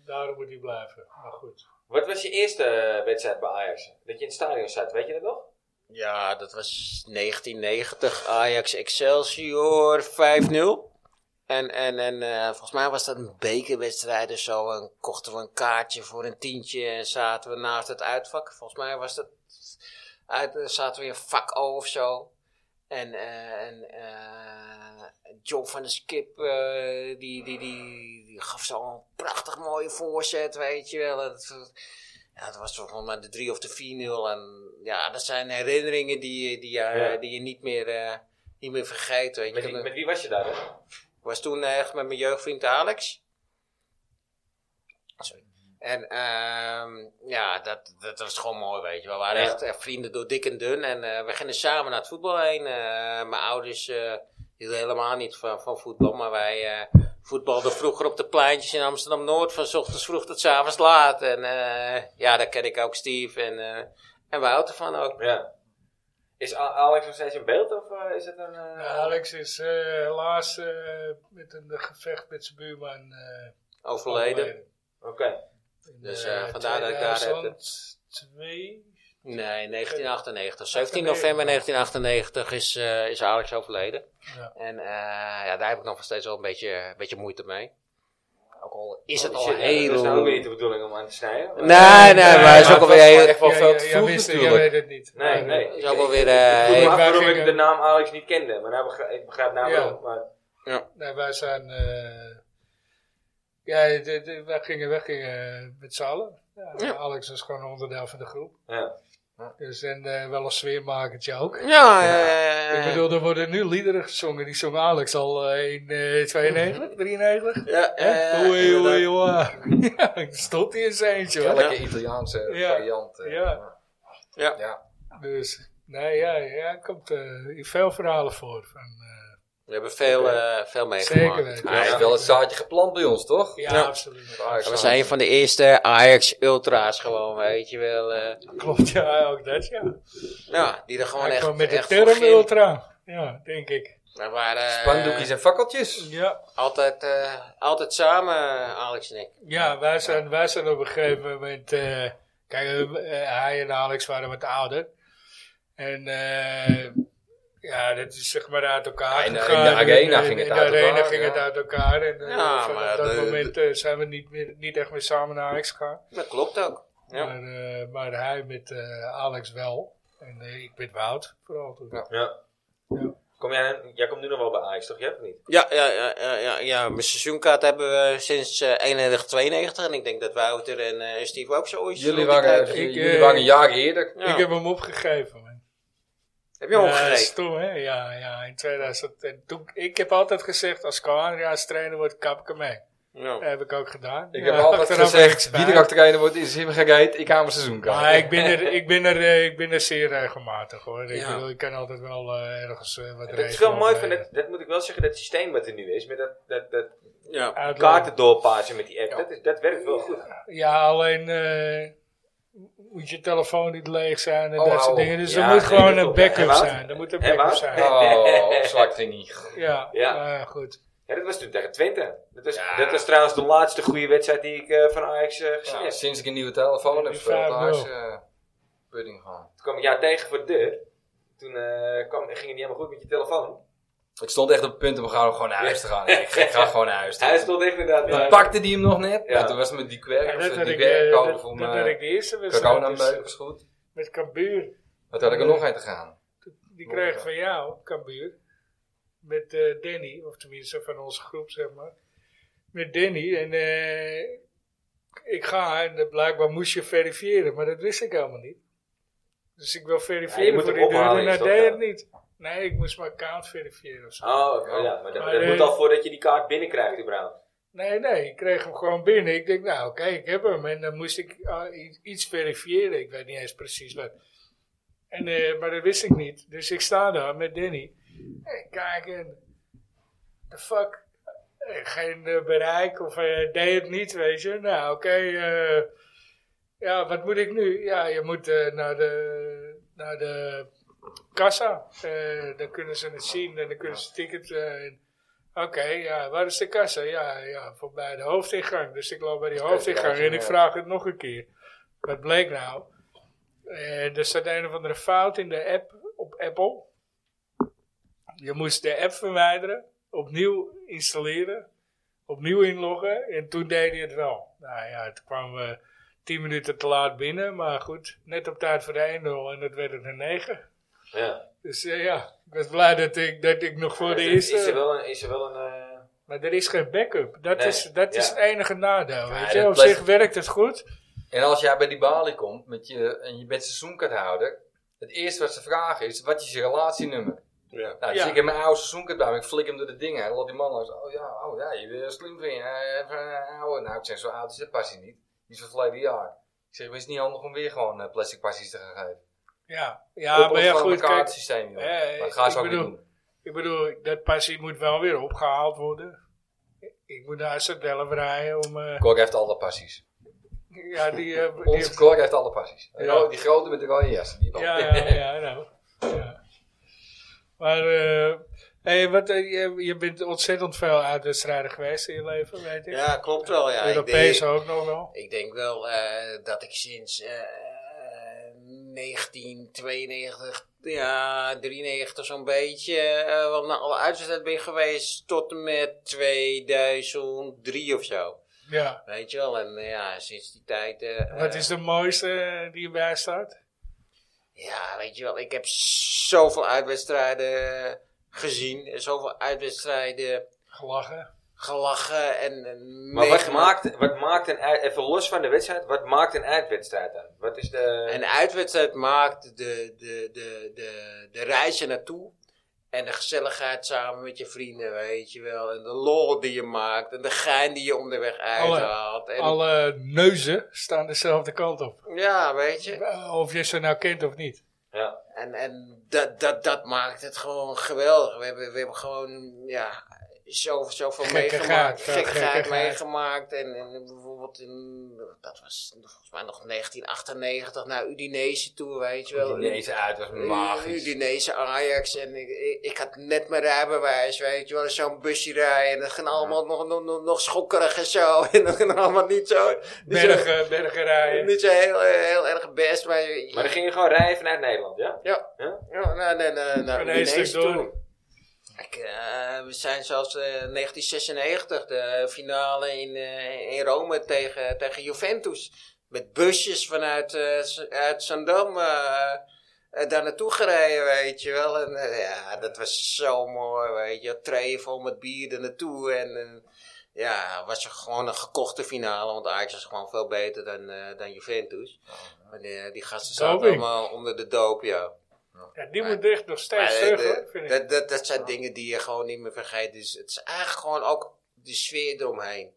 [SPEAKER 2] daarom moet hij blijven. Maar goed.
[SPEAKER 1] Wat was je eerste eh, wedstrijd bij Ajax? Dat je in het stadion zat, weet je dat nog?
[SPEAKER 4] ja, dat was 1990 Ajax Excelsior 5-0. En, en, en eh, volgens mij was dat een bekerwedstrijd of zo. En kochten we een kaartje voor een tientje en zaten we naast het uitvak. Volgens mij was dat, uit, eh, zaten we in vak O of zo. En, eh, en eh, John van der Skip, eh, die, die, die, die gaf zo'n prachtig mooie voorzet, weet je wel. Het, ja, dat was volgens mij de 3 of de 4-0. En ja, dat zijn herinneringen die, je- die, je-
[SPEAKER 1] Ja.
[SPEAKER 4] die je niet meer, eh, niet meer vergeet, weet je.
[SPEAKER 1] Met, wie- met wie was je daar? Hè?
[SPEAKER 4] Ik was toen eh, echt met mijn jeugdvriend Alex. Sorry. En ehm, ja, dat, dat was gewoon mooi, weet je. We waren
[SPEAKER 1] Ja.
[SPEAKER 4] echt eh, vrienden door dik en dun. En eh, we gingen samen naar het voetbal heen. Eh, mijn ouders eh, hielden helemaal niet van, van voetbal. Maar wij eh voetbalden vroeger op de pleintjes in Amsterdam-Noord. Van 's ochtends vroeg tot 's avonds laat. En eh, ja, daar ken ik ook Steve en, eh en Wouter van ook.
[SPEAKER 1] Ja. Is A- Alex nog steeds in beeld of eh, is het een... eh,
[SPEAKER 2] Alex is eh, helaas eh, met een gevecht met zijn buurman eh,
[SPEAKER 4] Overleden.
[SPEAKER 1] Oké.
[SPEAKER 2] In,
[SPEAKER 4] Dus,
[SPEAKER 2] eh,
[SPEAKER 4] eh, vandaar dat ik daar heb-
[SPEAKER 2] 2002?
[SPEAKER 4] Nee, 1998. 17 november 1998 is, eh, is Alex overleden.
[SPEAKER 2] Ja.
[SPEAKER 4] En eh, ja, daar heb ik nog steeds wel een beetje, een beetje moeite mee. Ook al is het
[SPEAKER 1] Oh,
[SPEAKER 4] al
[SPEAKER 1] shit, ja,
[SPEAKER 4] heel...
[SPEAKER 1] Dat is nou ook weer niet de bedoeling om aan te snijden. maar-
[SPEAKER 4] Nee, nee, maar het is
[SPEAKER 3] maar het
[SPEAKER 4] ook alweer
[SPEAKER 3] was
[SPEAKER 4] heel...
[SPEAKER 3] echt wel
[SPEAKER 2] Ja,
[SPEAKER 3] veel
[SPEAKER 2] ja,
[SPEAKER 3] te
[SPEAKER 2] ja,
[SPEAKER 3] vroeg
[SPEAKER 2] wist-
[SPEAKER 3] natuurlijk.
[SPEAKER 2] Je weet het niet.
[SPEAKER 1] Nee, nee.
[SPEAKER 4] Het
[SPEAKER 1] Ik
[SPEAKER 4] is ook wel
[SPEAKER 1] vroeg
[SPEAKER 4] weer...
[SPEAKER 1] me
[SPEAKER 4] eh,
[SPEAKER 1] af
[SPEAKER 2] wij
[SPEAKER 1] waarom ik
[SPEAKER 2] gingen-
[SPEAKER 1] de naam Alex niet kende, maar nou begrijp, ik begrijp nou
[SPEAKER 2] Ja.
[SPEAKER 1] waarom. Maar
[SPEAKER 2] Nee, nou, wij zijn... eh, ja, de, de- wij gingen, wij gingen met z'n allen. Ja,
[SPEAKER 4] Ja.
[SPEAKER 2] Alex was gewoon onderdeel van de groep.
[SPEAKER 1] ja.
[SPEAKER 2] Dus, en eh, wel een sfeermakertje ook.
[SPEAKER 4] ja, eh, ja, ja,
[SPEAKER 2] Ik
[SPEAKER 4] ja, ja.
[SPEAKER 2] bedoel, er worden nu liederen gezongen. Die zong Alex al eh, in eh 92, 93.
[SPEAKER 4] Ja, eh,
[SPEAKER 2] Oei, oei,
[SPEAKER 4] inderdaad.
[SPEAKER 2] oei. Ja, ik stond hier eens eentje hoor.
[SPEAKER 3] Elke Italiaanse
[SPEAKER 2] Ja.
[SPEAKER 3] variant. eh,
[SPEAKER 2] Ja.
[SPEAKER 4] Ja.
[SPEAKER 3] ja.
[SPEAKER 2] Dus, nee, ja, ja, er komt eh, hier veel verhalen voor. Van, eh,
[SPEAKER 4] We hebben veel, eh, veel meegemaakt.
[SPEAKER 2] Zeker weten.
[SPEAKER 3] Hij heeft wel het zaadje geplant bij ons, toch?
[SPEAKER 2] Ja,
[SPEAKER 4] Ja.
[SPEAKER 2] absoluut.
[SPEAKER 3] Ajax-
[SPEAKER 4] We zijn een van de eerste Ajax Ultra's gewoon, weet je wel. eh.
[SPEAKER 2] Klopt, ja, ook dat, ja.
[SPEAKER 4] ja, die er gewoon
[SPEAKER 2] Hij
[SPEAKER 4] echt,
[SPEAKER 2] kwam met de
[SPEAKER 4] echt
[SPEAKER 2] term
[SPEAKER 4] voor gingen.
[SPEAKER 2] ultra. Ja, denk ik.
[SPEAKER 4] We waren eh,
[SPEAKER 3] Spandoekjes en fakkeltjes.
[SPEAKER 2] Ja,
[SPEAKER 4] altijd, eh, altijd samen, Alex en ik.
[SPEAKER 2] ja wij, zijn, wij zijn op een gegeven moment... eh, kijk, eh, eh, hij en Alex waren wat ouder. En eh, ja, dat is zeg maar uit elkaar
[SPEAKER 3] In de- in de
[SPEAKER 2] gegaan.
[SPEAKER 3] arena ging het
[SPEAKER 2] in
[SPEAKER 3] uit
[SPEAKER 2] de arena
[SPEAKER 3] elkaar,
[SPEAKER 2] ging het
[SPEAKER 3] ja.
[SPEAKER 2] uit elkaar. En eh,
[SPEAKER 4] Ja,
[SPEAKER 2] vanaf
[SPEAKER 4] maar
[SPEAKER 2] dat
[SPEAKER 4] de-
[SPEAKER 2] moment eh, zijn we niet, meer, niet echt meer samen naar Ajax gegaan.
[SPEAKER 4] Dat klopt ook. Ja.
[SPEAKER 2] Maar, eh, maar hij met eh, Alex wel. En eh, ik met Wout vooral toen.
[SPEAKER 3] Ja.
[SPEAKER 1] Ja.
[SPEAKER 2] Ja.
[SPEAKER 1] Kom jij, jij komt nu nog wel bij Ajax, toch? Jij of niet?
[SPEAKER 4] Ja, ja, ja, ja, ja, ja. Mijn seizoenkaart hebben we sinds eh 91, 92. En ik denk dat Wouter en eh, Steve ook zo ooit
[SPEAKER 3] Jullie
[SPEAKER 4] rond die tijd-
[SPEAKER 3] waren,
[SPEAKER 2] Ik,
[SPEAKER 3] jullie
[SPEAKER 2] eh,
[SPEAKER 3] waren een jaar eerder.
[SPEAKER 4] Ja.
[SPEAKER 2] Ik heb hem opgegeven. Man.
[SPEAKER 4] Heb je hem
[SPEAKER 2] Ja,
[SPEAKER 4] opgegeven?
[SPEAKER 2] stom hè? Ja, ja, in 2000. En toen, ik heb altijd gezegd, als Kalaria's trainer wordt, kap ik hem mee.
[SPEAKER 4] Ja.
[SPEAKER 2] Dat heb ik ook gedaan.
[SPEAKER 3] Ik
[SPEAKER 2] Ja,
[SPEAKER 3] heb altijd
[SPEAKER 2] achteraf heb
[SPEAKER 3] gezegd,
[SPEAKER 2] ik
[SPEAKER 3] wie
[SPEAKER 2] spijt.
[SPEAKER 3] er ook trainer wordt, is hem gereid. Ik haal mijn seizoen
[SPEAKER 2] Maar ik ben, er, ik, ben er, eh, ik ben er zeer regelmatig hoor. Ik,
[SPEAKER 4] Ja.
[SPEAKER 2] bedoel, ik kan altijd wel eh, ergens eh, wat
[SPEAKER 1] Dat is wel
[SPEAKER 2] regelen,
[SPEAKER 1] mooi
[SPEAKER 2] eh,
[SPEAKER 1] van, dat, dat moet ik wel zeggen, dat systeem wat er nu is, met dat, dat, dat
[SPEAKER 4] Ja.
[SPEAKER 2] eh, uitleggen.
[SPEAKER 1] kaarten doorpassen met die app, dat, is, dat werkt wel goed.
[SPEAKER 2] Ja, alleen eh, moet je telefoon niet leeg zijn en
[SPEAKER 3] Oh,
[SPEAKER 2] dat soort
[SPEAKER 3] oh.
[SPEAKER 2] dingen. Dus
[SPEAKER 1] Ja,
[SPEAKER 2] er moet
[SPEAKER 1] nee,
[SPEAKER 2] gewoon
[SPEAKER 1] dat
[SPEAKER 2] een
[SPEAKER 1] klopt. En
[SPEAKER 2] backup
[SPEAKER 1] Wout?
[SPEAKER 2] zijn. Er moet een
[SPEAKER 1] En
[SPEAKER 2] backup
[SPEAKER 1] Wout?
[SPEAKER 2] zijn.
[SPEAKER 3] Oh, zwart ging niet.
[SPEAKER 2] Ja,
[SPEAKER 1] Ja.
[SPEAKER 2] maar goed.
[SPEAKER 1] Ja, dat was toen tegen Twente. Dat was,
[SPEAKER 3] Ja.
[SPEAKER 1] dat was trouwens de laatste goede wedstrijd die ik eh, van Ajax eh, gezien
[SPEAKER 3] Ja,
[SPEAKER 1] heb.
[SPEAKER 3] sinds ik een nieuwe telefoon heb
[SPEAKER 2] Die
[SPEAKER 3] gespeeld, daar is
[SPEAKER 2] 5-0.
[SPEAKER 3] eh, pudding gaan.
[SPEAKER 1] Toen kwam ik jou tegen voor de deur. Toen eh, kwam, ging het niet helemaal goed met je telefoon.
[SPEAKER 3] Ik stond echt op het punt om gewoon, gewoon naar huis te gaan. Ik ga- ik ga gewoon naar huis. toe.
[SPEAKER 1] Hij stond echt inderdaad...
[SPEAKER 3] Toen
[SPEAKER 1] maar-
[SPEAKER 3] pakte die hem nog net.
[SPEAKER 1] Ja.
[SPEAKER 3] Ja. toen was het met die
[SPEAKER 2] Ja,
[SPEAKER 3] kwerk.
[SPEAKER 2] dat
[SPEAKER 3] of
[SPEAKER 2] had
[SPEAKER 3] die
[SPEAKER 2] ik, eh,
[SPEAKER 3] kwerk
[SPEAKER 2] dat,
[SPEAKER 3] komen voor
[SPEAKER 2] dat
[SPEAKER 3] mijn
[SPEAKER 2] had ik de eerste wedstrijd.
[SPEAKER 3] corona
[SPEAKER 2] dus, eh,
[SPEAKER 3] is goed.
[SPEAKER 2] Met Cambuur.
[SPEAKER 3] Wat had ik er nog heen te gaan?
[SPEAKER 2] Die kreeg van jou, Cambuur. Met eh, Danny, of tenminste van onze groep, zeg maar. Met Danny. En eh, ik ga, en eh, blijkbaar moest je verifiëren, maar dat wist ik helemaal niet. Dus ik wil verifiëren
[SPEAKER 1] Ja, je moet
[SPEAKER 2] voor
[SPEAKER 1] hem
[SPEAKER 2] die deur,
[SPEAKER 1] ophalen,
[SPEAKER 2] en hij
[SPEAKER 1] is dat,
[SPEAKER 2] deed
[SPEAKER 1] ja.
[SPEAKER 2] het niet. Nee, ik moest mijn account verifiëren of zo.
[SPEAKER 1] Oh, oké, ja, maar dat,
[SPEAKER 2] Maar,
[SPEAKER 1] dat
[SPEAKER 2] eh,
[SPEAKER 1] moet al voordat je die kaart binnenkrijgt, überhaupt.
[SPEAKER 2] Nee, nee, ik kreeg hem gewoon binnen. Ik denk, nou oké, ik heb hem. En dan moest ik ah, i- iets verifiëren. Ik weet niet eens precies wat. En, eh, maar dat wist ik niet. Dus ik sta daar met Danny. En ik kijk, en de fuck. Eh, Geen eh, bereik of eh, deed het niet, weet je. Nou oké, eh, ja, wat moet ik nu? Ja, je moet eh, naar de... Naar de Kassa, Eh, dan kunnen ze het zien en dan kunnen ze ticket. eh, en- Oké, ja, waar is de kassa? Ja, ja, voorbij de hoofdingang. Dus ik loop bij die hoofdingang en ik vraag het nog een keer. Wat bleek nou? Eh, er staat een of andere fout in de app op Apple. Je moest de app verwijderen, opnieuw installeren, opnieuw inloggen en toen deed hij het wel. Nou ja, het kwam eh 10 minuten te laat binnen, maar goed, net op tijd voor de 1-0 en dat werd het een 9.
[SPEAKER 1] Ja.
[SPEAKER 2] Dus eh, ja, ik was blij dat ik, dat ik nog voor de eerste...
[SPEAKER 1] Is er wel een... Is er wel een eh,
[SPEAKER 2] Maar er is geen backup. Dat,
[SPEAKER 1] Nee,
[SPEAKER 2] is, dat is
[SPEAKER 1] ja.
[SPEAKER 2] het enige nadeel.
[SPEAKER 3] Ja,
[SPEAKER 2] Weet
[SPEAKER 3] dat
[SPEAKER 2] je? Op
[SPEAKER 3] blijft-
[SPEAKER 2] zich werkt het goed.
[SPEAKER 3] En als jij bij die balie komt met je, en je bent seizoenkaarthouder, het eerste wat ze vragen is, wat is je relatienummer?
[SPEAKER 4] Ja.
[SPEAKER 3] Nou,
[SPEAKER 2] Ja.
[SPEAKER 3] dus ik heb mijn oude seizoenkaart bij me, ik flik hem door de dingen en laat die man langs. Oh ja, oh ja, je bent slim van je. eh, van, eh, oude. Nou, ik zeg, zo oud is dat passie niet. Die is van verleden jaar. Ik zeg, maar is het niet handig om weer gewoon eh, plastic passies te gaan geven?
[SPEAKER 2] Ja, ja maar ja,
[SPEAKER 3] gewoon
[SPEAKER 2] goed,
[SPEAKER 3] een
[SPEAKER 2] kijk,
[SPEAKER 3] kaartsysteem, joh.
[SPEAKER 2] Eh,
[SPEAKER 3] maar dat gaan ze
[SPEAKER 2] ik
[SPEAKER 3] ook niet
[SPEAKER 2] bedoel-
[SPEAKER 3] doen.
[SPEAKER 2] ik bedoel, dat passie moet wel weer opgehaald worden. Ik moet naar Sardelf rijden om... eh,
[SPEAKER 3] Cor heeft alle passies.
[SPEAKER 2] ja, die... eh, die
[SPEAKER 3] Onze Cor heeft alle passies.
[SPEAKER 2] Ja.
[SPEAKER 3] Ro- Die grote met de rode jas. Die wel.
[SPEAKER 2] ja,
[SPEAKER 4] Oh.
[SPEAKER 2] ja, ja, nou. Ja. Maar, eh, hey, wat, eh, je, je bent ontzettend veel uitwedstrijden geweest in je leven, weet ik.
[SPEAKER 4] ja, klopt wel. Ja. Ik,
[SPEAKER 2] Europees
[SPEAKER 4] denk,
[SPEAKER 2] ook nog wel.
[SPEAKER 4] ik denk wel eh, dat ik sinds eh, 1992, ja, 93 zo'n beetje, eh wel naar alle uitzendingen ben geweest tot en met 2003 of zo.
[SPEAKER 2] Ja.
[SPEAKER 4] Weet je wel, en eh, ja, sinds die tijd... eh,
[SPEAKER 2] Wat
[SPEAKER 4] eh,
[SPEAKER 2] is de mooiste eh, die erbij staat?
[SPEAKER 4] Ja, weet je wel, ik heb zoveel uitwedstrijden gezien. en Zoveel uitwedstrijden
[SPEAKER 2] Gelachen.
[SPEAKER 4] gelachen en... en
[SPEAKER 1] Maar wat
[SPEAKER 4] meegemaakt.
[SPEAKER 1] maakt, wat maakt een uit- even los van de wedstrijd, wat maakt een uitwedstrijd dan? Wat is de...
[SPEAKER 4] Een uitwedstrijd maakt de, de, de, de, de reis naartoe. En de gezelligheid samen met je vrienden, weet je wel. En de lol die je maakt. En de gein die je onderweg uithaalt. En,
[SPEAKER 2] Alle neuzen staan dezelfde kant op. Eh,
[SPEAKER 4] Ja, weet je.
[SPEAKER 2] Of je ze nou kent of niet.
[SPEAKER 1] ja.
[SPEAKER 4] En, en dat, dat, dat maakt het gewoon geweldig. We hebben, we hebben gewoon ja, zoveel, zoveel
[SPEAKER 2] Gekkigheid,
[SPEAKER 4] meegemaakt.
[SPEAKER 2] veel
[SPEAKER 4] Gekkigheid
[SPEAKER 2] gekkigheid.
[SPEAKER 4] meegemaakt. En, en bijvoorbeeld in, dat was volgens mij nog 1998 naar Udinese toe, weet je wel.
[SPEAKER 3] Deze uit was magisch.
[SPEAKER 4] Udinese Ajax. En ik, ik, ik had net mijn rijbewijs, weet je wel. Zo'n busje rijden. En dat ging allemaal nog, nog, nog, nog schokkerig en zo. En dat ging allemaal niet zo... Niet zo,
[SPEAKER 2] Bergen, bergen rijden.
[SPEAKER 4] niet zo heel, heel erg best, maar...
[SPEAKER 1] Maar dan ging je gewoon rijden vanuit Nederland, ja?
[SPEAKER 4] Ja,
[SPEAKER 1] Ja?
[SPEAKER 4] ja? nou, nee, nee, nou,
[SPEAKER 2] Van één
[SPEAKER 4] ineens
[SPEAKER 2] stuk door.
[SPEAKER 4] toen. Ik, eh, we zijn zelfs eh 1996, de finale in, eh, in Rome tegen, tegen Juventus. Met busjes vanuit eh, Z- uit Zandam eh, eh, daar naartoe gereden, weet je wel. En, eh, ja, dat was zo mooi, weet je. Treien vol met bier er naartoe. En, eh, ja, was er gewoon een gekochte finale. Want Ajax was gewoon veel beter dan, eh, dan Juventus. Maar die, die gasten zaten
[SPEAKER 2] Doping.
[SPEAKER 4] allemaal onder de doop, ja.
[SPEAKER 2] Ja, die moet echt nog steeds
[SPEAKER 4] Maar,
[SPEAKER 2] terug,
[SPEAKER 4] eh,
[SPEAKER 2] hoor, vind ik.
[SPEAKER 4] dat, dat, dat zijn dingen die je gewoon niet meer vergeet. Dus het is eigenlijk gewoon ook de sfeer eromheen.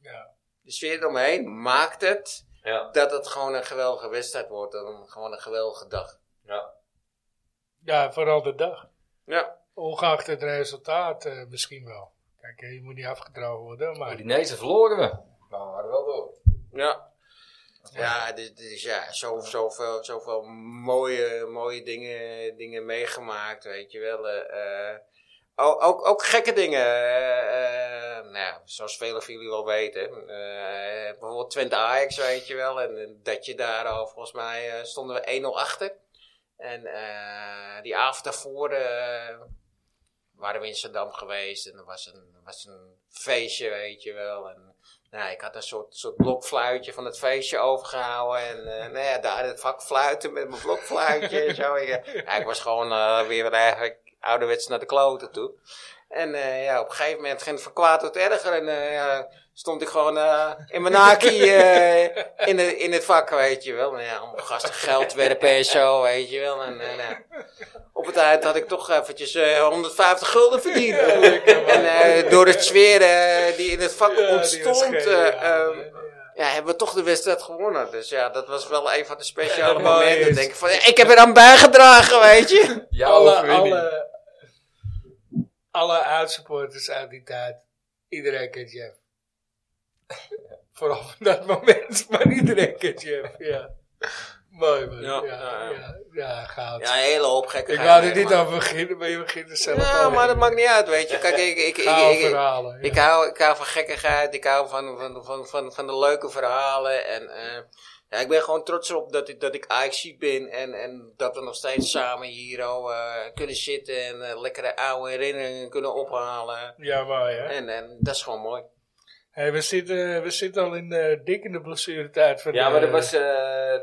[SPEAKER 2] Ja.
[SPEAKER 4] De sfeer eromheen maakt het
[SPEAKER 1] Ja.
[SPEAKER 4] dat het gewoon een geweldige wedstrijd wordt. En een- gewoon een geweldige dag.
[SPEAKER 1] ja.
[SPEAKER 2] ja, vooral de dag.
[SPEAKER 4] Ja.
[SPEAKER 2] Ongeacht het resultaat eh, misschien wel. Kijk, eh, je moet niet afgedroogd worden, maar...
[SPEAKER 3] Udinese Oh, verloren we. Maar we waren wel door.
[SPEAKER 4] Ja. Ja, dus, dus ja, zo, zoveel, zoveel mooie, mooie dingen, dingen meegemaakt, weet je wel. eh, eh. ook, ook, ook gekke dingen. eh, eh, nou, ja, zoals velen van jullie wel weten. eh, bijvoorbeeld Twente Ajax, weet je wel. En, en dat je daar al, volgens mij, eh, stonden we 1-0 achter. En eh, die avond daarvoor eh, waren we in Amsterdam geweest. En er was een, was een feestje, weet je wel. En nou, ik had een soort, soort blokfluitje van het feestje overgehouden. En eh, nou ja, daar in het vak fluiten met mijn blokfluitje en zo. Ik, eh, ja, ik was gewoon eh, weer eigenlijk ouderwets naar de kloten toe. En eh, ja, op een gegeven moment ging het van kwaad tot erger. En eh, ja, stond ik gewoon eh, in mijn naki eh, in, de, in het vak, weet je wel. Nou ja, om gasten geld werpen en zo, weet je wel. En, eh, nou, op het eind had ik toch eventjes eh, 150 gulden verdiend. en eh, door het sfeer eh, die in het vak
[SPEAKER 2] Ja, die was
[SPEAKER 4] ontstond,
[SPEAKER 2] geniaal.
[SPEAKER 4] eh, ehm, ja, hebben we toch de wedstrijd gewonnen. Dus ja, dat was wel een van de speciale
[SPEAKER 2] Ja, mooi
[SPEAKER 4] momenten.
[SPEAKER 2] is.
[SPEAKER 4] Denk ik, van, ja, ik heb er aan bijgedragen, weet je.
[SPEAKER 3] Jouw
[SPEAKER 2] alle,
[SPEAKER 3] overwinning.
[SPEAKER 2] alle, alle uitsupporters uit die tijd. Iedereen kent Jeff. Vooral van dat moment. Maar iedereen kent Jeff, ja. Mooi man. Ja,
[SPEAKER 4] Ja,
[SPEAKER 2] ja,
[SPEAKER 4] ja, ja.
[SPEAKER 2] ja, goud.
[SPEAKER 4] Ja, een hele hoop gekke
[SPEAKER 2] ik wou er niet aan beginnen, maar je begint er zelf
[SPEAKER 4] Ja,
[SPEAKER 2] al
[SPEAKER 4] maar dat
[SPEAKER 2] in.
[SPEAKER 4] maakt niet uit, weet je. Kijk, ik, ik, ik,
[SPEAKER 2] Gouden
[SPEAKER 4] ik- ik,
[SPEAKER 2] verhalen. ja.
[SPEAKER 4] Ik hou, ik hou van gekkigheid, ik hou van, van, van, van, van de leuke verhalen. En eh, ja, ik ben gewoon trots op dat ik, dat ik AXC ben en, en dat we nog steeds samen hier oh, eh, kunnen zitten en eh, lekkere oude herinneringen kunnen ophalen.
[SPEAKER 2] ja, mooi hè.
[SPEAKER 4] En, en dat is gewoon mooi.
[SPEAKER 2] Hey, we, zitten, we zitten al in de dik in de blessuretijd. Van
[SPEAKER 1] Ja,
[SPEAKER 2] de-
[SPEAKER 1] maar er was, eh,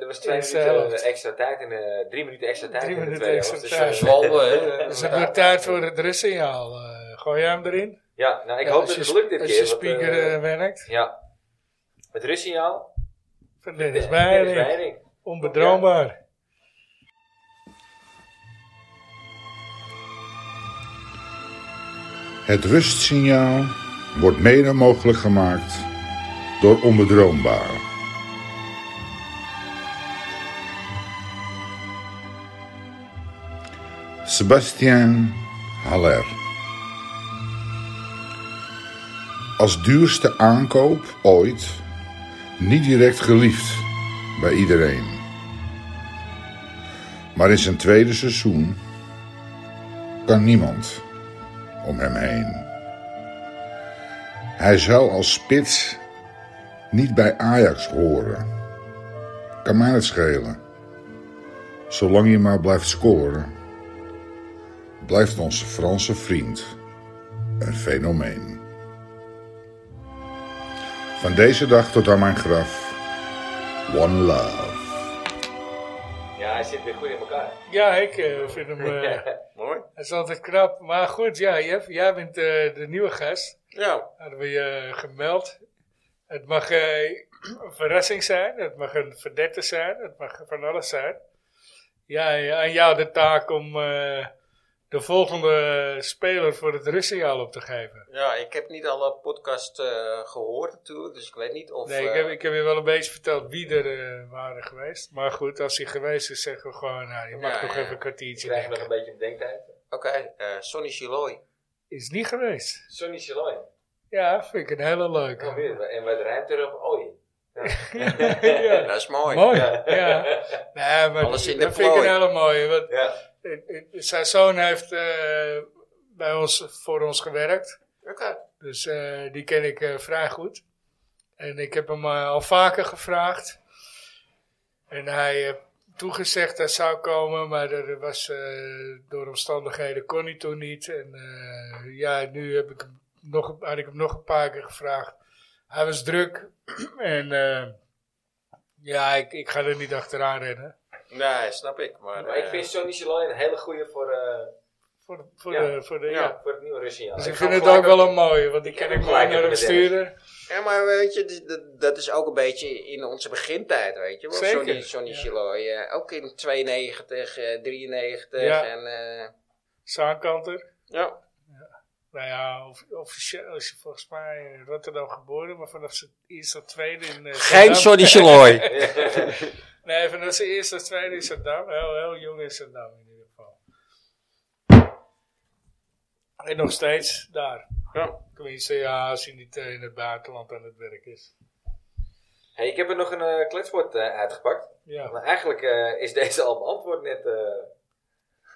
[SPEAKER 1] er was twee
[SPEAKER 2] Eerste
[SPEAKER 1] minuten
[SPEAKER 2] helft.
[SPEAKER 1] extra tijd en eh, drie minuten extra tijd.
[SPEAKER 2] Drie
[SPEAKER 1] in de
[SPEAKER 2] minuten
[SPEAKER 1] tweede
[SPEAKER 2] extra
[SPEAKER 1] helft.
[SPEAKER 2] tijd.
[SPEAKER 1] eh,
[SPEAKER 3] Zwalbe, hè.
[SPEAKER 2] Dus het wordt tijd voor het rustsignaal. eh gooi jij hem erin?
[SPEAKER 1] Ja, nou, ik
[SPEAKER 2] Ja,
[SPEAKER 1] hoop dat
[SPEAKER 2] als je
[SPEAKER 1] het
[SPEAKER 2] sp-
[SPEAKER 1] lukt dit
[SPEAKER 2] Als
[SPEAKER 1] keer.
[SPEAKER 2] je
[SPEAKER 1] want,
[SPEAKER 2] speaker
[SPEAKER 1] eh,
[SPEAKER 2] eh, werkt.
[SPEAKER 1] ja. Het rustsignaal.
[SPEAKER 2] Van Dennis
[SPEAKER 1] Dennis
[SPEAKER 2] Beiring.
[SPEAKER 1] Beiring.
[SPEAKER 2] Onbedroombaar.
[SPEAKER 5] Het rustsignaal wordt mede mogelijk gemaakt door onbedroombaar. Sebastien Haller. Als duurste aankoop ooit niet direct geliefd bij iedereen. Maar in zijn tweede seizoen kan niemand om hem heen. Hij zou als spits niet bij Ajax horen. Kan mij het schelen. Zolang je maar blijft scoren, blijft onze Franse vriend een fenomeen. Van deze dag tot aan mijn graf, one love.
[SPEAKER 1] Ja, hij zit weer goed in elkaar.
[SPEAKER 2] Ja, ik eh, vind hem. eh,
[SPEAKER 4] Mooi.
[SPEAKER 2] hij is altijd knap. Maar goed, ja, Jeff, jij bent eh, de nieuwe gast.
[SPEAKER 4] Ja.
[SPEAKER 2] Hadden we je eh, gemeld. Het mag eh, een verrassing zijn, het mag een verdette zijn, het mag van alles zijn. Ja, ja, aan jou de taak om eh, de volgende speler voor het rustsignaal op te geven.
[SPEAKER 4] Ja, ik heb niet alle podcast eh, gehoord natuurlijk, dus ik weet niet of...
[SPEAKER 2] Nee, ik
[SPEAKER 4] eh,
[SPEAKER 2] heb, ik heb je wel een beetje verteld wie er eh, waren geweest. Maar goed, als hij geweest is, zeggen we gewoon, nou, je mag
[SPEAKER 4] Ja,
[SPEAKER 2] nog
[SPEAKER 4] ja.
[SPEAKER 2] even een
[SPEAKER 1] Ik
[SPEAKER 2] kwartiertje
[SPEAKER 1] krijg nog
[SPEAKER 2] denken.
[SPEAKER 1] een beetje bedenktijd.
[SPEAKER 4] Oké, eh, Sonny Chiloy.
[SPEAKER 2] Is niet geweest.
[SPEAKER 1] Sonny Shalai.
[SPEAKER 2] Ja, vind ik een hele leuke.
[SPEAKER 1] Kom weer. En wat rijmt erop? Oei.
[SPEAKER 2] ja.
[SPEAKER 4] Dat is mooi.
[SPEAKER 2] Mooi, ja. Nee, maar
[SPEAKER 4] Alles in de
[SPEAKER 2] dat vind ik
[SPEAKER 4] plooi.
[SPEAKER 2] een hele mooie. Want
[SPEAKER 1] Ja.
[SPEAKER 2] eh, eh, zijn zoon heeft eh, bij ons, voor ons gewerkt.
[SPEAKER 4] Oké.
[SPEAKER 2] Dus eh, die ken ik eh, vrij goed. En ik heb hem eh, al vaker gevraagd. En hij heeft toegezegd dat zou komen, maar er was, eh, door omstandigheden kon hij toen niet. En eh, ja, nu heb ik hem nog, had ik hem nog een paar keer gevraagd. Hij was druk en eh, ja, ik, ik ga er niet achteraan rennen.
[SPEAKER 4] Nee, snap ik. Maar, eh,
[SPEAKER 2] Eh.
[SPEAKER 1] Maar ik vind Sonny Shalai een hele goede voor, eh,
[SPEAKER 2] Voor, de- voor,
[SPEAKER 1] Ja.
[SPEAKER 2] de, voor de, ja.
[SPEAKER 1] ja, voor het nieuwe Russiaal.
[SPEAKER 2] Dus ik
[SPEAKER 1] ga
[SPEAKER 2] vind het
[SPEAKER 1] gelijk
[SPEAKER 2] ook wel een mooie, want die
[SPEAKER 1] Ik heb
[SPEAKER 2] kan ik
[SPEAKER 1] hem
[SPEAKER 2] gewoon
[SPEAKER 1] gelijk
[SPEAKER 2] naar hem
[SPEAKER 1] even met Dennis.
[SPEAKER 2] sturen.
[SPEAKER 4] Ja, maar weet je, d- d- dat is ook een beetje in onze begintijd, weet je wel.
[SPEAKER 2] Zeker,
[SPEAKER 4] Sonny, Sonny
[SPEAKER 2] ja.
[SPEAKER 4] Chiloy, eh, ook in 92, eh, 93
[SPEAKER 2] Ja.
[SPEAKER 4] en... eh,
[SPEAKER 2] Zaankanter.
[SPEAKER 4] ja.
[SPEAKER 2] Nou ja, of- officieel is hij volgens mij in Rotterdam geboren, maar vanaf zijn eerste of tweede in eh, Zandam-
[SPEAKER 4] Chiloy.
[SPEAKER 2] Nee, vanaf zijn eerste of tweede in Saddam. Heel, heel jong in Saddam in ieder geval. En nog steeds daar.
[SPEAKER 4] Ja.
[SPEAKER 2] Tenminste, ja, als hij niet eh, in het buitenland aan het werk is.
[SPEAKER 1] Hey, ik heb er nog een eh, kletswoord eh, uitgepakt.
[SPEAKER 2] Ja,
[SPEAKER 1] Maar eigenlijk eh, is deze al beantwoord net eh,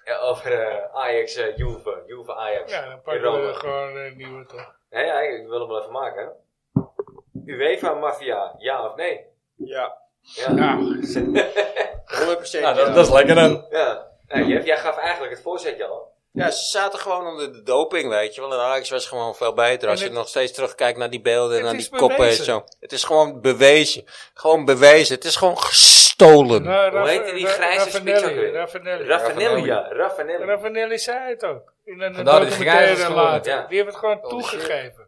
[SPEAKER 1] ja, over eh, Ajax, eh, Juve, Juve Ajax.
[SPEAKER 2] ja dan
[SPEAKER 1] In
[SPEAKER 2] pakken
[SPEAKER 1] Rome.
[SPEAKER 2] we gewoon een nieuwe toch.
[SPEAKER 1] Ja, ja, ik wil hem wel even maken. UEFA Mafia, ja of nee?
[SPEAKER 4] Ja.
[SPEAKER 1] Ja. ja.
[SPEAKER 2] Ja,
[SPEAKER 4] 100% ja.
[SPEAKER 3] Nou, dat, dat is lekker dan.
[SPEAKER 1] Nou, Jeff, jij gaf eigenlijk het voorzetje al.
[SPEAKER 4] Ja, ze zaten gewoon onder de doping, weet je wel. En Ajax was gewoon veel beter. Als
[SPEAKER 2] En
[SPEAKER 4] je
[SPEAKER 2] het-
[SPEAKER 4] nog steeds terugkijkt naar die beelden en
[SPEAKER 2] Het
[SPEAKER 4] naar
[SPEAKER 2] is
[SPEAKER 4] die koppen en
[SPEAKER 2] bewezen.
[SPEAKER 4] zo. Het is gewoon bewezen. Gewoon bewezen. Het is gewoon gestolen.
[SPEAKER 2] Nou,
[SPEAKER 1] Hoe heette die grijze spits ook weer?
[SPEAKER 2] Ravanelli.
[SPEAKER 1] Raffanelli, ja. Raffanelli.
[SPEAKER 2] Ravanelli zei het ook. In een
[SPEAKER 3] Vandaar die grijze
[SPEAKER 2] documentaire
[SPEAKER 3] schoenen,
[SPEAKER 2] later.
[SPEAKER 1] ja.
[SPEAKER 2] Die hebben het gewoon
[SPEAKER 3] Oh, shit.
[SPEAKER 2] toegegeven.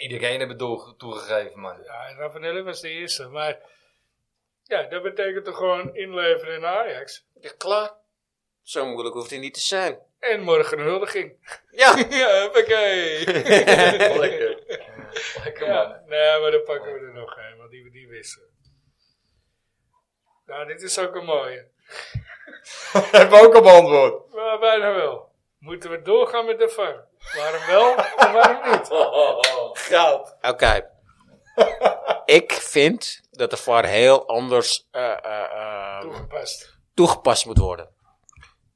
[SPEAKER 3] Iedereen heeft het door- toegegeven, man.
[SPEAKER 2] Ja, Ravanelli was de eerste. Maar ja, dat betekent toch gewoon inleveren in Ajax.
[SPEAKER 4] Ja, klaar. Zo moeilijk hoeft hij niet te zijn.
[SPEAKER 2] En morgen een huldiging.
[SPEAKER 4] Ja.
[SPEAKER 2] ja, hoppakee.
[SPEAKER 3] lekker. Lekker, man.
[SPEAKER 2] ja, nee, maar dan pakken we er nog een, want die, die wisten. Nou, dit is ook een mooie.
[SPEAKER 3] Hebben we ook al beantwoord.
[SPEAKER 2] Maar bijna wel. Moeten we doorgaan met de VAR? Waarom wel en waarom niet?
[SPEAKER 3] Goud.
[SPEAKER 4] Oké. Ik vind dat de VAR heel anders eh, eh, eh,
[SPEAKER 2] Toegepast.
[SPEAKER 4] toegepast moet worden.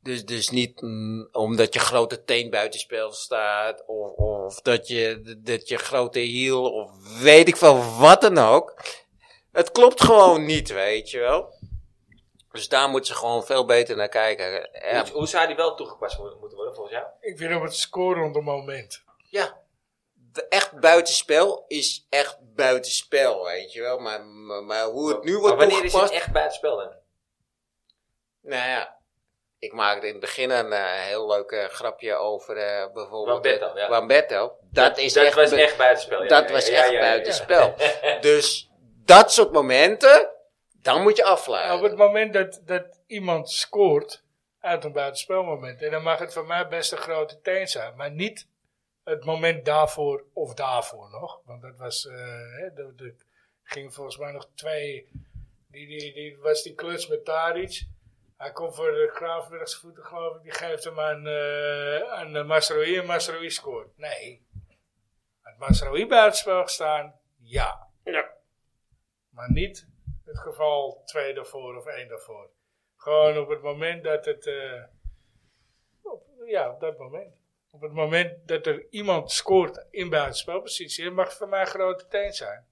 [SPEAKER 4] Dus, dus niet mm, omdat je grote teen buitenspel staat, of, of dat, je, dat je grote hiel, of weet ik veel wat dan ook. Het klopt gewoon niet, weet je wel. Dus daar moeten ze gewoon veel beter naar kijken. Ja,
[SPEAKER 1] Hoe- Hoe zou die wel toegepast mo- moeten worden volgens jou?
[SPEAKER 2] Ik vind op het scorende moment.
[SPEAKER 4] ja. Echt buitenspel is echt buitenspel, weet je wel. Maar, maar, maar hoe het nu wordt
[SPEAKER 1] Maar wanneer is
[SPEAKER 4] toegepast...
[SPEAKER 1] het echt bij het spel dan?
[SPEAKER 4] Nou ja, ik maakte in het begin een eh, heel leuk eh, grapje over eh, bijvoorbeeld...
[SPEAKER 1] Wambetto,
[SPEAKER 4] eh,
[SPEAKER 1] ja.
[SPEAKER 4] Wambetto. Dat, is
[SPEAKER 1] Dat
[SPEAKER 4] echt
[SPEAKER 1] was
[SPEAKER 4] bu-
[SPEAKER 1] echt bij het spel. ja.
[SPEAKER 4] dat
[SPEAKER 1] Ja,
[SPEAKER 4] was
[SPEAKER 1] ja,
[SPEAKER 4] echt
[SPEAKER 1] ja, ja, ja.
[SPEAKER 4] buitenspel. Dus dat soort momenten, dan moet je
[SPEAKER 2] Op
[SPEAKER 1] Nou,
[SPEAKER 4] afleiden.
[SPEAKER 2] het moment dat, dat iemand scoort uit een buitenspelmoment. En dan mag het voor mij best een grote teen zijn. Maar niet het moment daarvoor of daarvoor nog. Want dat was, eh hè, dat, dat ging volgens mij nog twee. Die, die, die was die kluts met Taric. Hij komt voor de Graafbergse voeten, geloof ik. Die geeft hem aan, eh aan eh, Masraoui en Masraoui scoort. Nee. Had Masraoui buitenspel gestaan? Ja.
[SPEAKER 4] Ja.
[SPEAKER 2] Maar niet het geval twee daarvoor of één daarvoor. Gewoon op het moment dat het. eh, op- ja, op dat moment. Op het moment dat er iemand scoort in buitenspelpositie, mag het voor mij een grote teen zijn.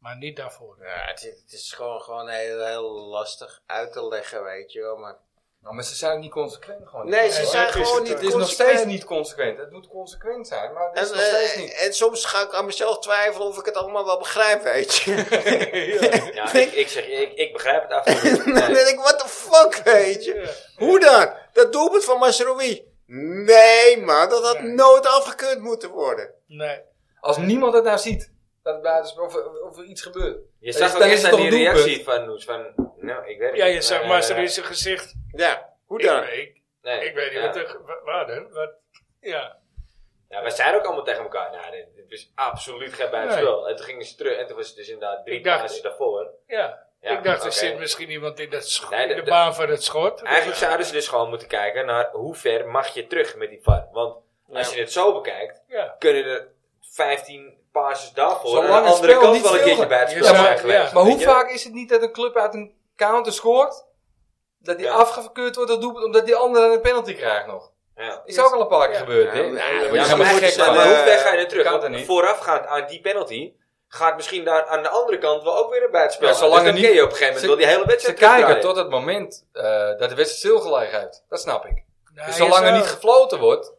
[SPEAKER 2] Maar niet daarvoor.
[SPEAKER 4] Ja, het, is- het is gewoon, gewoon heel, heel lastig uit te leggen, weet je wel. Maar...
[SPEAKER 3] Nou, maar ze zijn niet consequent gewoon.
[SPEAKER 4] Nee, ze
[SPEAKER 2] Ja,
[SPEAKER 4] zijn
[SPEAKER 2] het is
[SPEAKER 4] gewoon
[SPEAKER 2] het,
[SPEAKER 4] niet
[SPEAKER 3] Het is nog
[SPEAKER 4] consequent.
[SPEAKER 3] steeds niet consequent. Het moet consequent zijn, maar het
[SPEAKER 4] En,
[SPEAKER 3] is nog steeds
[SPEAKER 4] eh,
[SPEAKER 3] niet.
[SPEAKER 4] en soms ga ik aan mezelf twijfelen of ik het allemaal wel begrijp, weet je.
[SPEAKER 1] Ja, ik, ik zeg, je, ik, ik begrijp het af en toe.
[SPEAKER 4] Dan denk ik, what the fuck, weet je. Hoe dan? Dat doelpunt van Masrowi. Nee, man, dat had
[SPEAKER 2] Nee.
[SPEAKER 4] nooit afgekeurd moeten worden.
[SPEAKER 2] Nee.
[SPEAKER 3] Als niemand het nou ziet, dat het buitenspel of, of er iets gebeurt.
[SPEAKER 1] Je
[SPEAKER 3] Dan
[SPEAKER 1] zag
[SPEAKER 3] is-
[SPEAKER 1] ook
[SPEAKER 3] dan is
[SPEAKER 1] echt
[SPEAKER 3] het
[SPEAKER 1] aan
[SPEAKER 3] toch
[SPEAKER 1] die
[SPEAKER 3] een doelpunt.
[SPEAKER 1] reactie van Noes. Van, nou, ik weet het
[SPEAKER 2] Ja, je
[SPEAKER 1] niet,
[SPEAKER 2] zag
[SPEAKER 1] eh,
[SPEAKER 2] maar in zijn gezicht.
[SPEAKER 4] Ja, hoe
[SPEAKER 2] Ik,
[SPEAKER 4] dan?
[SPEAKER 2] ik,
[SPEAKER 1] Nee,
[SPEAKER 2] Ik weet niet
[SPEAKER 1] ja.
[SPEAKER 2] wat er... wa- Waar dan? Wat, ja.
[SPEAKER 1] Ja, wij zeiden ook allemaal tegen elkaar, nou, dit, dit is absoluut geen buitenspel. En toen gingen ze terug en toen was het dus inderdaad drie
[SPEAKER 2] Ik dacht-
[SPEAKER 1] passes daarvoor.
[SPEAKER 2] ja.
[SPEAKER 1] Ja,
[SPEAKER 2] ik dacht,
[SPEAKER 1] oké.
[SPEAKER 2] er zit misschien iemand in, dat scho-
[SPEAKER 1] Nee,
[SPEAKER 2] in
[SPEAKER 1] de-
[SPEAKER 2] de,
[SPEAKER 1] de-
[SPEAKER 2] baan van het schot.
[SPEAKER 1] Eigenlijk zouden ze dus gewoon moeten kijken naar hoe ver mag je terug met die VAR. Want als je het zo bekijkt,
[SPEAKER 2] Ja.
[SPEAKER 1] kunnen er 15 passes daarvoor
[SPEAKER 3] Zolang
[SPEAKER 1] aan de
[SPEAKER 3] het
[SPEAKER 1] andere
[SPEAKER 3] spel
[SPEAKER 1] kant
[SPEAKER 3] niet
[SPEAKER 1] wel een
[SPEAKER 3] stil
[SPEAKER 1] keertje
[SPEAKER 3] gaat.
[SPEAKER 1] bij het spel
[SPEAKER 2] Ja, maar-
[SPEAKER 1] zijn geweest.
[SPEAKER 2] ja.
[SPEAKER 3] Maar hoe
[SPEAKER 1] weet je?
[SPEAKER 3] vaak is het niet dat een club uit een counter scoort, dat die
[SPEAKER 1] Ja.
[SPEAKER 3] afgekeurd wordt door doelpunt, omdat die andere een penalty krijgt nog?
[SPEAKER 1] Ja.
[SPEAKER 3] Is ook al een paar keer gebeurd, hè?
[SPEAKER 4] Ja, maar-
[SPEAKER 3] Ja,
[SPEAKER 4] ja,
[SPEAKER 1] Ja,
[SPEAKER 3] maar
[SPEAKER 1] maar,
[SPEAKER 4] moet
[SPEAKER 1] hoe
[SPEAKER 4] je
[SPEAKER 3] gek
[SPEAKER 4] zijn,
[SPEAKER 3] van.
[SPEAKER 4] eh,
[SPEAKER 1] hoe ver ga je er terug?
[SPEAKER 3] kan er
[SPEAKER 1] Want
[SPEAKER 3] niet.
[SPEAKER 1] Voorafgaand aan die penalty gaat misschien daar aan de andere kant wel ook weer een buitenspel.
[SPEAKER 3] Ja,
[SPEAKER 1] zijn.
[SPEAKER 3] zolang
[SPEAKER 1] dus
[SPEAKER 3] er
[SPEAKER 1] dan
[SPEAKER 3] niet-
[SPEAKER 1] ken je op een gegeven moment
[SPEAKER 3] ze-
[SPEAKER 1] wel die hele
[SPEAKER 3] Ze
[SPEAKER 1] wedstrijd
[SPEAKER 3] kijken
[SPEAKER 1] terugdraaien.
[SPEAKER 3] tot het moment eh, dat de wedstrijd stilgelegen heeft. Dat snap ik.
[SPEAKER 2] Nou,
[SPEAKER 3] Dus
[SPEAKER 2] je
[SPEAKER 3] zolang er
[SPEAKER 2] zou-
[SPEAKER 3] niet gefloten wordt,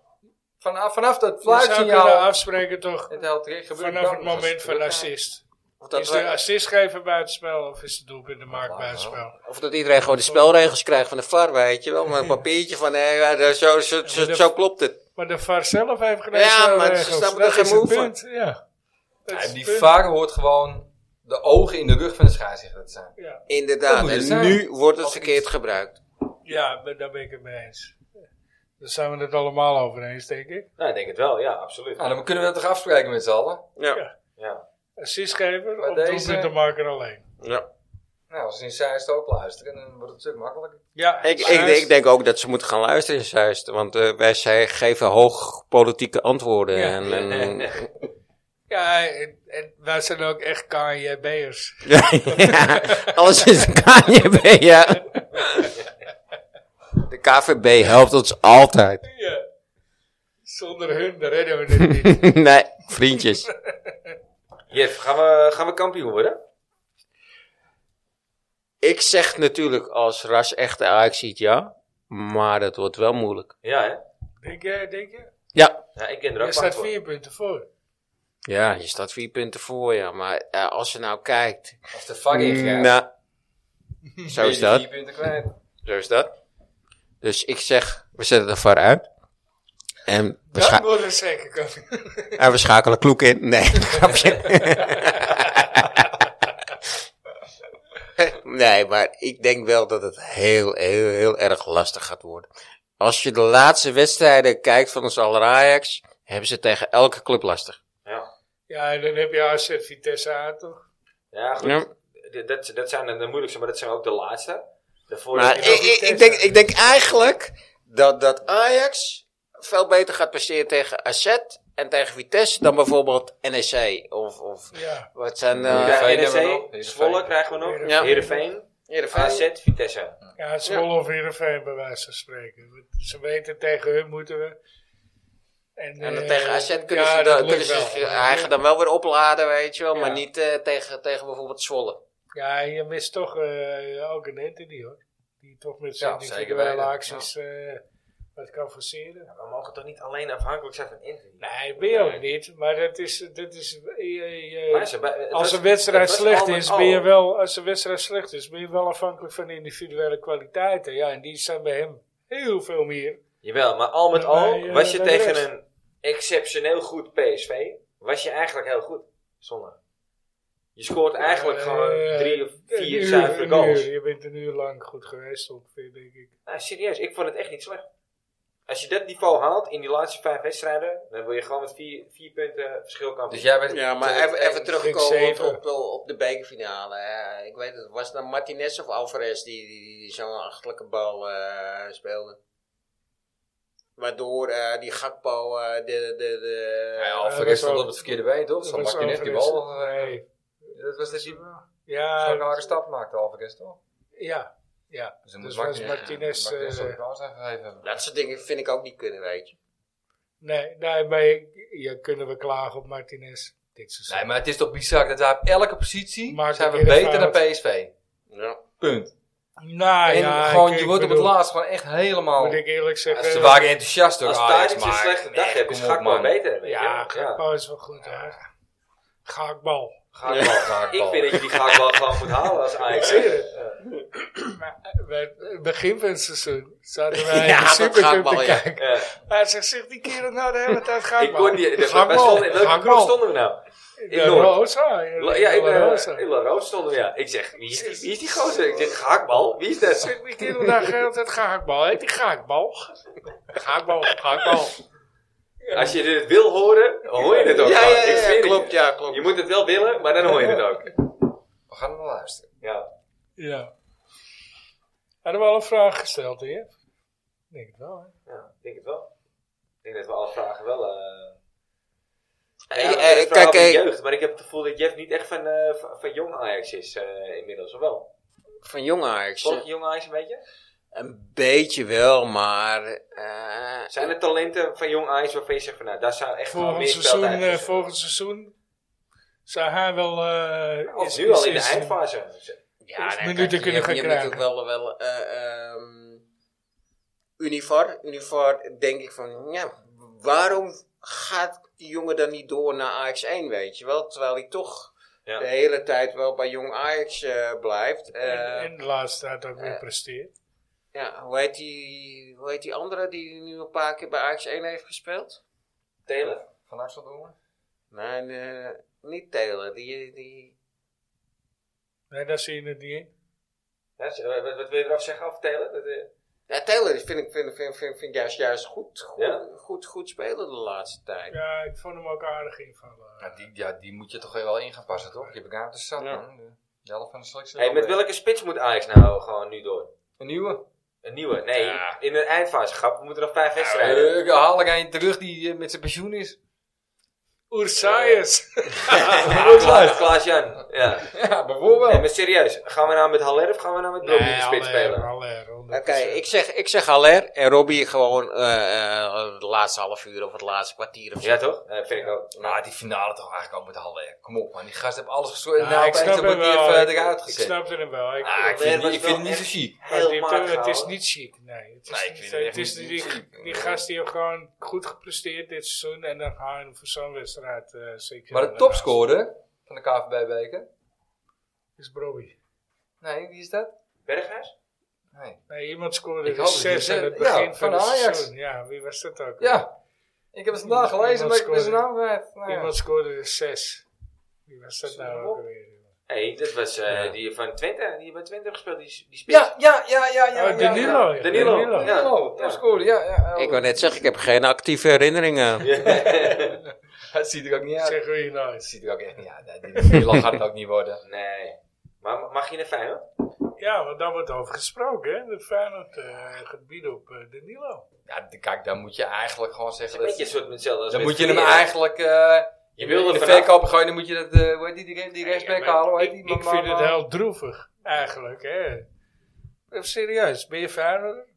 [SPEAKER 3] vanaf, vanaf dat
[SPEAKER 2] Je zou kunnen
[SPEAKER 3] fluitsignaal...
[SPEAKER 2] afspreken toch
[SPEAKER 3] Het helpt terecht gebeurt
[SPEAKER 2] vanaf
[SPEAKER 3] dat
[SPEAKER 2] het
[SPEAKER 3] nog eens.
[SPEAKER 2] moment van
[SPEAKER 3] Gebeurt
[SPEAKER 2] assist.
[SPEAKER 4] Of dat,
[SPEAKER 2] Is
[SPEAKER 4] we-
[SPEAKER 2] de assistgever buitenspel of is de doelpunt de maak
[SPEAKER 3] Ja,
[SPEAKER 2] buitenspel?
[SPEAKER 4] of dat iedereen gewoon de spelregels krijgt van de VAR, weet je wel. Met een papiertje van, hé, ja, daar- zo, zo, zo,
[SPEAKER 2] dat-
[SPEAKER 4] zo klopt het.
[SPEAKER 2] Maar de VAR zelf heeft gedaan.
[SPEAKER 4] Ja,
[SPEAKER 2] spelregels.
[SPEAKER 4] maar ze snappen
[SPEAKER 2] Dat
[SPEAKER 4] er geen
[SPEAKER 2] is het
[SPEAKER 4] moe van.
[SPEAKER 2] punt, Ja. Dat
[SPEAKER 3] nog.
[SPEAKER 2] is
[SPEAKER 3] Ja,
[SPEAKER 2] het
[SPEAKER 3] die
[SPEAKER 2] punt.
[SPEAKER 3] vaker hoort gewoon de ogen in de rug van de scheidsrechter te zijn.
[SPEAKER 2] Ja.
[SPEAKER 3] Dat
[SPEAKER 4] Inderdaad,
[SPEAKER 3] moet het
[SPEAKER 4] en
[SPEAKER 3] zijn.
[SPEAKER 4] nu wordt het
[SPEAKER 3] Als ik
[SPEAKER 4] verkeerd
[SPEAKER 3] iets-
[SPEAKER 4] gebruikt.
[SPEAKER 2] Ja, ben- daar ben ik het mee eens. Daar zijn we het allemaal over eens, denk ik.
[SPEAKER 1] Nou, ik denk het wel, ja, absoluut.
[SPEAKER 3] Nou, dan kunnen we dat toch afspreken met z'n allen?
[SPEAKER 4] Ja.
[SPEAKER 2] Ja.
[SPEAKER 1] Ja.
[SPEAKER 2] Assistgever
[SPEAKER 3] Maar
[SPEAKER 2] of
[SPEAKER 3] deze-
[SPEAKER 2] doelpunt de maker alleen.
[SPEAKER 4] ja.
[SPEAKER 3] Nou, als ze in Zeist ook luisteren, dan wordt het een stuk makkelijker.
[SPEAKER 2] Ja,
[SPEAKER 4] Ik, ik, ik denk ook dat ze moeten gaan luisteren in Zeist. Want eh, wij zij geven hoog politieke antwoorden.
[SPEAKER 2] Ja.
[SPEAKER 4] En, en,
[SPEAKER 2] Ja, en, en wij zijn ook echt KNJB'ers.
[SPEAKER 4] ja, alles is een KNJB, ja. De KVB helpt ons altijd.
[SPEAKER 2] Ja. Zonder hun redden we dit niet.
[SPEAKER 4] nee, vriendjes.
[SPEAKER 1] Jeff, gaan we, gaan we kampioen worden?
[SPEAKER 4] Ik zeg natuurlijk als ras echte Ajax ja. Maar dat wordt wel moeilijk.
[SPEAKER 1] Ja, hè?
[SPEAKER 2] denk je? Denk je?
[SPEAKER 4] Ja.
[SPEAKER 1] Ja, ik ken er ook
[SPEAKER 2] Er
[SPEAKER 1] maar
[SPEAKER 2] staat
[SPEAKER 1] voor.
[SPEAKER 2] vier punten voor.
[SPEAKER 4] Ja, je staat vier punten voor, ja. Maar eh, als je nou kijkt.
[SPEAKER 3] Als de vak ingaat, ben
[SPEAKER 4] Nou, zo
[SPEAKER 3] je
[SPEAKER 4] is
[SPEAKER 3] die
[SPEAKER 4] dat.
[SPEAKER 3] vier punten kwijt.
[SPEAKER 4] Zo is dat. Dus ik zeg, we zetten de VAR uit. En we,
[SPEAKER 2] Dat
[SPEAKER 4] scha-
[SPEAKER 2] wordt een zeker kampioen.
[SPEAKER 4] en we schakelen Kloek in. Nee, grapje. nee, maar ik denk wel dat het heel, heel, heel erg lastig gaat worden. Als je de laatste wedstrijden kijkt van ons aller Ajax, hebben ze tegen elke club lastig.
[SPEAKER 1] Ja,
[SPEAKER 2] Ja, en dan heb je AZ Vitesse aan, toch?
[SPEAKER 1] ja goed.
[SPEAKER 4] Ja.
[SPEAKER 1] D- Dat, dat zijn de moeilijkste, maar dat zijn ook de laatste. Daarvoor
[SPEAKER 4] Maar ik, ik, ik denk, ik denk eigenlijk dat, dat Ajax veel beter gaat presteren tegen AZ en tegen Vitesse dan bijvoorbeeld NEC of, of
[SPEAKER 2] Ja.
[SPEAKER 4] wat zijn
[SPEAKER 1] Ja,
[SPEAKER 4] eh
[SPEAKER 3] Heerenveen hebben we
[SPEAKER 1] NEC,
[SPEAKER 3] nog. Heerenveen.
[SPEAKER 1] Zwolle krijgen we nog.
[SPEAKER 2] Ja.
[SPEAKER 1] Heerenveen, AZ, Vitesse.
[SPEAKER 2] Ja, Zwolle of Heerenveen bij wijze van spreken. Want Ze weten tegen hun moeten we.
[SPEAKER 4] En dan
[SPEAKER 2] eh,
[SPEAKER 4] tegen AZ kunnen
[SPEAKER 2] ja,
[SPEAKER 4] ze,
[SPEAKER 2] dat
[SPEAKER 4] dan,
[SPEAKER 2] lukt
[SPEAKER 4] kunnen ze eh,
[SPEAKER 2] wel.
[SPEAKER 4] eigenlijk dan wel weer opladen, weet je wel, maar
[SPEAKER 2] Ja.
[SPEAKER 4] niet eh, tegen, tegen bijvoorbeeld Zwolle.
[SPEAKER 2] Ja, je mist toch eh, ook een Anthony hoor. Die toch met zijn
[SPEAKER 3] Ja,
[SPEAKER 2] individuele
[SPEAKER 3] zeker weten.
[SPEAKER 2] acties eh, wat kan forceren.
[SPEAKER 1] We mogen toch niet alleen afhankelijk zijn van Inter?
[SPEAKER 2] Nee, ben je ook niet. Maar dat is... Dat is je- je-
[SPEAKER 1] Maar ze- het
[SPEAKER 2] als
[SPEAKER 1] was-
[SPEAKER 2] een
[SPEAKER 1] het
[SPEAKER 2] wedstrijd
[SPEAKER 1] was
[SPEAKER 2] slecht
[SPEAKER 1] al met
[SPEAKER 2] is,
[SPEAKER 1] al.
[SPEAKER 2] ben
[SPEAKER 3] oh.
[SPEAKER 2] je wel... Als een wedstrijd slecht is, ben je wel afhankelijk van de individuele kwaliteiten. Ja, en die zijn bij hem heel veel meer.
[SPEAKER 1] Jawel, maar al met
[SPEAKER 2] Ja,
[SPEAKER 1] al
[SPEAKER 2] bij, eh,
[SPEAKER 1] was je
[SPEAKER 2] bij de
[SPEAKER 1] tegen
[SPEAKER 2] rest.
[SPEAKER 1] een exceptioneel goed PSV, was je eigenlijk heel goed zonder. Je scoort eigenlijk
[SPEAKER 2] Eh,
[SPEAKER 1] gewoon drie of
[SPEAKER 2] een
[SPEAKER 1] vier
[SPEAKER 2] uur,
[SPEAKER 1] zuivere
[SPEAKER 2] een
[SPEAKER 1] goals.
[SPEAKER 2] uur. Je bent een uur lang goed geweest ongeveer, denk ik.
[SPEAKER 1] Nou, serieus, ik vond het echt niet slecht. Als je dat niveau haalt in die laatste vijf wedstrijden, dan wil je gewoon met vier, vier punten verschil kampioen.
[SPEAKER 3] Dus jij bent...
[SPEAKER 4] Ja, maar
[SPEAKER 3] Tegen-
[SPEAKER 4] even, even terugkomen op,
[SPEAKER 2] zeven.
[SPEAKER 4] op, eh, op de bekerfinale. Eh, ik weet het, was het nou Martinez of Alvarez die, die, die zo'n achterlijke bal eh, speelde? Waardoor eh, die Gakpo eh, de... de, de
[SPEAKER 3] Ja,
[SPEAKER 2] dat is
[SPEAKER 3] Alvarez stond
[SPEAKER 2] wel-
[SPEAKER 3] op het verkeerde been, toch? Zo
[SPEAKER 2] Dat was
[SPEAKER 3] maakt hij net die
[SPEAKER 2] overigens-
[SPEAKER 3] bal. eh,
[SPEAKER 2] Nee.
[SPEAKER 3] Dat was dat die zo'n
[SPEAKER 2] Ja,
[SPEAKER 3] rare stap maakte, Alvarez, toch?
[SPEAKER 2] ja, ja.
[SPEAKER 3] Dus dan
[SPEAKER 2] Dus was
[SPEAKER 3] moet Martinez...
[SPEAKER 2] Martinez...
[SPEAKER 3] Martinez
[SPEAKER 2] eh,
[SPEAKER 3] zou de bal zijn gegeven.
[SPEAKER 4] Dat soort dingen vind ik ook niet kunnen, weet je.
[SPEAKER 2] Nee, nee, maar je, je kunnen we klagen op Martinez. Dit seizoen.
[SPEAKER 3] Nee, maar het is toch bizar dat wij op elke positie
[SPEAKER 2] Maakt
[SPEAKER 3] zijn
[SPEAKER 2] het
[SPEAKER 3] we
[SPEAKER 2] weer een
[SPEAKER 3] beter dan
[SPEAKER 2] fout.
[SPEAKER 3] PSV.
[SPEAKER 4] Ja.
[SPEAKER 3] Punt.
[SPEAKER 2] Nou
[SPEAKER 3] En
[SPEAKER 2] ja,
[SPEAKER 3] gewoon,
[SPEAKER 2] ik-
[SPEAKER 3] je
[SPEAKER 2] ik
[SPEAKER 3] wordt op het
[SPEAKER 2] bedoel,
[SPEAKER 3] laatst gewoon echt helemaal...
[SPEAKER 2] Moet ik eerlijk zeggen.
[SPEAKER 3] Ze waren enthousiast door
[SPEAKER 1] Als
[SPEAKER 3] Ajax,
[SPEAKER 1] Tadic een
[SPEAKER 3] maar
[SPEAKER 1] slechte dag
[SPEAKER 3] echt,
[SPEAKER 1] hebt, is
[SPEAKER 3] kom op,
[SPEAKER 1] Gakpo
[SPEAKER 3] man.
[SPEAKER 1] beter. weet je.
[SPEAKER 2] ja, Gakpo is wel goed hoor. Gakbal.
[SPEAKER 1] Gakpo.
[SPEAKER 3] Ja, Gakpo.
[SPEAKER 1] Ik vind dat je die Gakpo gewoon moet halen als Ajax.
[SPEAKER 2] Ik zie het. Maar eh, bij het begin van het seizoen zaten wij
[SPEAKER 4] Ja,
[SPEAKER 2] in de
[SPEAKER 4] dat
[SPEAKER 2] Supercup
[SPEAKER 4] gaatbal,
[SPEAKER 2] te
[SPEAKER 4] ja.
[SPEAKER 2] kijken.
[SPEAKER 1] Ja.
[SPEAKER 2] Hij zegt, zegt die kerel nou de hele tijd
[SPEAKER 1] Ik
[SPEAKER 2] gaatbal.
[SPEAKER 1] kon die, de, waar
[SPEAKER 2] Gaatbal,
[SPEAKER 1] stonden, in welke
[SPEAKER 2] gaatbal.
[SPEAKER 1] groep stonden we nou?
[SPEAKER 2] De
[SPEAKER 1] Noord.
[SPEAKER 2] Rosa.
[SPEAKER 1] La- Ja, in,
[SPEAKER 2] de Rosa.
[SPEAKER 1] eh, in La Roos stonden we, ja. Ik zeg, wie is die, wie is die gozer? Ik zeg, gehaktbal, wie is dat?
[SPEAKER 2] Zegt die kerel daar de hele tijd gaakbal. Heet die gaakbal? Gaakbal, gaakbal.
[SPEAKER 1] Als je dit wil horen, hoor je het ook
[SPEAKER 4] Ja,
[SPEAKER 1] gewoon.
[SPEAKER 4] ja,
[SPEAKER 1] Ik
[SPEAKER 4] ja,
[SPEAKER 1] zweer het
[SPEAKER 4] klopt,
[SPEAKER 1] je.
[SPEAKER 4] ja, klopt.
[SPEAKER 1] Je moet het wel willen, maar dan hoor je het ook.
[SPEAKER 3] We gaan hem luisteren.
[SPEAKER 1] Ja.
[SPEAKER 2] Ja. Hadden we al een vraag gesteld hier? Ik denk het wel, hè?
[SPEAKER 1] Ja, ik denk het wel. Ik denk dat we alle vragen wel. eh
[SPEAKER 4] Eh,
[SPEAKER 1] ja,
[SPEAKER 4] eh,
[SPEAKER 1] het verhaal
[SPEAKER 4] kijk,
[SPEAKER 1] van
[SPEAKER 4] eh,
[SPEAKER 1] jeugd, maar ik heb het gevoel dat Jeff niet echt van, eh, van, van jong Ajax is eh, inmiddels, of wel?
[SPEAKER 4] Van jong Ajax. eh,
[SPEAKER 1] Volg je jong Ajax een beetje?
[SPEAKER 4] Een beetje wel, maar... eh,
[SPEAKER 1] Zijn er talenten van jong Ajax waarvan je zegt van nou, daar zou echt wel meer
[SPEAKER 2] Volgend seizoen,
[SPEAKER 1] speeltijd
[SPEAKER 2] eh,
[SPEAKER 1] tussen-
[SPEAKER 2] volgend seizoen zou hij wel... eh
[SPEAKER 1] Of
[SPEAKER 2] is-
[SPEAKER 1] nu al
[SPEAKER 2] is-
[SPEAKER 1] in de
[SPEAKER 2] is-
[SPEAKER 1] eindfase.
[SPEAKER 4] ja, nee,
[SPEAKER 2] minuten
[SPEAKER 4] kijk, je-
[SPEAKER 2] kunnen gaan
[SPEAKER 4] Je
[SPEAKER 2] krijgen.
[SPEAKER 4] moet ook wel... wel eh, ehm, Univar. Univar denk ik van... Ja, waarom gaat die jongen dan niet door naar Ajax 1, weet je wel? Terwijl hij toch
[SPEAKER 1] Ja.
[SPEAKER 4] de hele tijd wel bij jong Ajax eh, blijft. Eh,
[SPEAKER 2] En, en de laatste tijd ook weer
[SPEAKER 4] eh,
[SPEAKER 2] presteert.
[SPEAKER 4] ja, hoe, heet die, hoe heet die andere die nu een paar keer bij Ajax 1 heeft gespeeld?
[SPEAKER 1] Telen.
[SPEAKER 3] Van Axel Dongen.
[SPEAKER 4] Nee, nee, niet Taylor. Die, die,
[SPEAKER 2] Nee, daar zie je het niet in.
[SPEAKER 1] Ja, z- eh, wat, wat wil je eraf zeggen over Telen? Dat, eh,
[SPEAKER 4] ja, Taylor vind ik, vind, vind, vind, vind ik juist, juist goed, goed,
[SPEAKER 1] Ja.
[SPEAKER 4] goed, goed spelen de laatste tijd.
[SPEAKER 2] Ja, ik vond hem ook aardig invallen.
[SPEAKER 3] Ja, die, ja, die moet je toch wel in gaan passen, toch? Die heb ik aan de stad,
[SPEAKER 4] Ja.
[SPEAKER 3] man. De- De helft van de selectie.
[SPEAKER 1] hey, met welke spits moet Ajax nou gewoon nu door?
[SPEAKER 3] Een nieuwe.
[SPEAKER 1] Een nieuwe? Nee,
[SPEAKER 3] Ja.
[SPEAKER 1] in de eindfase. Grap, we moeten nog vijf wedstrijden.
[SPEAKER 3] Eh, Ik haal ik een terug die eh, met zijn pensioen is.
[SPEAKER 2] Oersaiers.
[SPEAKER 1] Klaas, Klaas-Jan. Ja.
[SPEAKER 3] Ja, bijvoorbeeld.
[SPEAKER 1] Nee, maar serieus. Gaan we nou met Haller of gaan we nou met Brobbey in de spits spelen?
[SPEAKER 2] Oké,
[SPEAKER 4] Oké, ik, zeg, ik zeg Haller en Robbie gewoon eh eh het laatste half uur of het laatste kwartier of zo.
[SPEAKER 1] Ja, toch? Eh vind ik ook.
[SPEAKER 3] Nou, die finale toch eigenlijk ook met Halle. Kom op, man. Die gast heeft alles gescoord.
[SPEAKER 2] Ja,
[SPEAKER 3] en nou,
[SPEAKER 2] ik
[SPEAKER 3] ik
[SPEAKER 2] snap
[SPEAKER 3] snap
[SPEAKER 2] hem
[SPEAKER 3] wordt die
[SPEAKER 2] wel.
[SPEAKER 3] even eruit
[SPEAKER 2] Ik
[SPEAKER 3] gezet.
[SPEAKER 2] snapte hem wel. Ik,
[SPEAKER 3] Ah, ik
[SPEAKER 1] Nee,
[SPEAKER 3] vind
[SPEAKER 1] was
[SPEAKER 3] het niet- ik vind
[SPEAKER 1] wel
[SPEAKER 3] het niet zo
[SPEAKER 1] echt-
[SPEAKER 3] chic.
[SPEAKER 2] Maar
[SPEAKER 1] Heel
[SPEAKER 2] dit-
[SPEAKER 1] matig
[SPEAKER 2] het is
[SPEAKER 1] gehouden.
[SPEAKER 2] niet chic, nee. Het is,
[SPEAKER 3] Nee, ik
[SPEAKER 2] niet-
[SPEAKER 3] vind het echt
[SPEAKER 2] het is
[SPEAKER 3] niet
[SPEAKER 2] die,
[SPEAKER 3] chic.
[SPEAKER 2] die gast die heeft gewoon goed gepresteerd dit seizoen. En dan ga je hem voor zo'n wedstrijd eh, zeker.
[SPEAKER 3] Maar de
[SPEAKER 2] ernaast.
[SPEAKER 3] topscorer van de KVB-beker.
[SPEAKER 2] Is Broby.
[SPEAKER 3] Nee, wie is dat?
[SPEAKER 1] Berghuis?
[SPEAKER 3] Nee.
[SPEAKER 2] Nee, iemand scoorde
[SPEAKER 3] Ik
[SPEAKER 2] de
[SPEAKER 3] hoop dat die
[SPEAKER 2] zes aan
[SPEAKER 3] zes-
[SPEAKER 2] het
[SPEAKER 3] ja,
[SPEAKER 2] begin van,
[SPEAKER 3] van
[SPEAKER 2] het
[SPEAKER 3] Ajax.
[SPEAKER 2] seizoen. Ja, wie was dat ook?
[SPEAKER 3] Ja. Ik heb het vandaag gelezen,
[SPEAKER 2] Iemand
[SPEAKER 3] maar ik ben zijn
[SPEAKER 2] scoorde.
[SPEAKER 3] naam kwijt. Nou ja.
[SPEAKER 2] Iemand scoorde de zes. Wie was dat nou ook weer?
[SPEAKER 1] Hé, hey, dat was eh,
[SPEAKER 3] Ja.
[SPEAKER 1] die van Twente. Die bij Twente gespeeld, die, die spits.
[SPEAKER 3] Ja, ja, ja, ja, ja.
[SPEAKER 2] oh,
[SPEAKER 3] ja,
[SPEAKER 2] Danilo.
[SPEAKER 3] ja.
[SPEAKER 2] ja,
[SPEAKER 1] Danilo. Ja.
[SPEAKER 3] Danilo, topscorer, ja. ja,
[SPEAKER 4] Ik wou net zeggen, ik heb geen actieve herinneringen.
[SPEAKER 3] Het ziet er ook niet uit.
[SPEAKER 2] Zeg wie je nou
[SPEAKER 3] Het
[SPEAKER 2] is.
[SPEAKER 3] ziet er ook echt niet uit. Nee, die- Die lach gaat het ook niet worden.
[SPEAKER 1] Nee. Maar ma- mag je naar Feyenoord?
[SPEAKER 2] Ja, want daar wordt over gesproken, hè? De Feyenoord eh, gaat bieden op eh, Danilo.
[SPEAKER 3] Ja, d- kijk, dan moet je eigenlijk gewoon
[SPEAKER 1] Dat is
[SPEAKER 3] zeggen...
[SPEAKER 1] een beetje een
[SPEAKER 3] Dat,
[SPEAKER 1] soort met hetzelfde als
[SPEAKER 3] dan
[SPEAKER 1] met
[SPEAKER 3] moet je hem
[SPEAKER 1] Vermeer.
[SPEAKER 3] eigenlijk... eh
[SPEAKER 1] Je wil
[SPEAKER 3] in
[SPEAKER 1] er
[SPEAKER 3] de
[SPEAKER 1] vanaf.
[SPEAKER 3] verkoop gooien, dan moet je dat... eh hoe heet die, die, die rechtsback
[SPEAKER 2] Ja, maar
[SPEAKER 3] halen? Hoe heet
[SPEAKER 2] ik-
[SPEAKER 3] die?
[SPEAKER 2] Ik
[SPEAKER 3] Maar-
[SPEAKER 2] vind
[SPEAKER 3] maar-
[SPEAKER 2] het heel droevig, eigenlijk. Hè? Even serieus, ben je Feyenoord?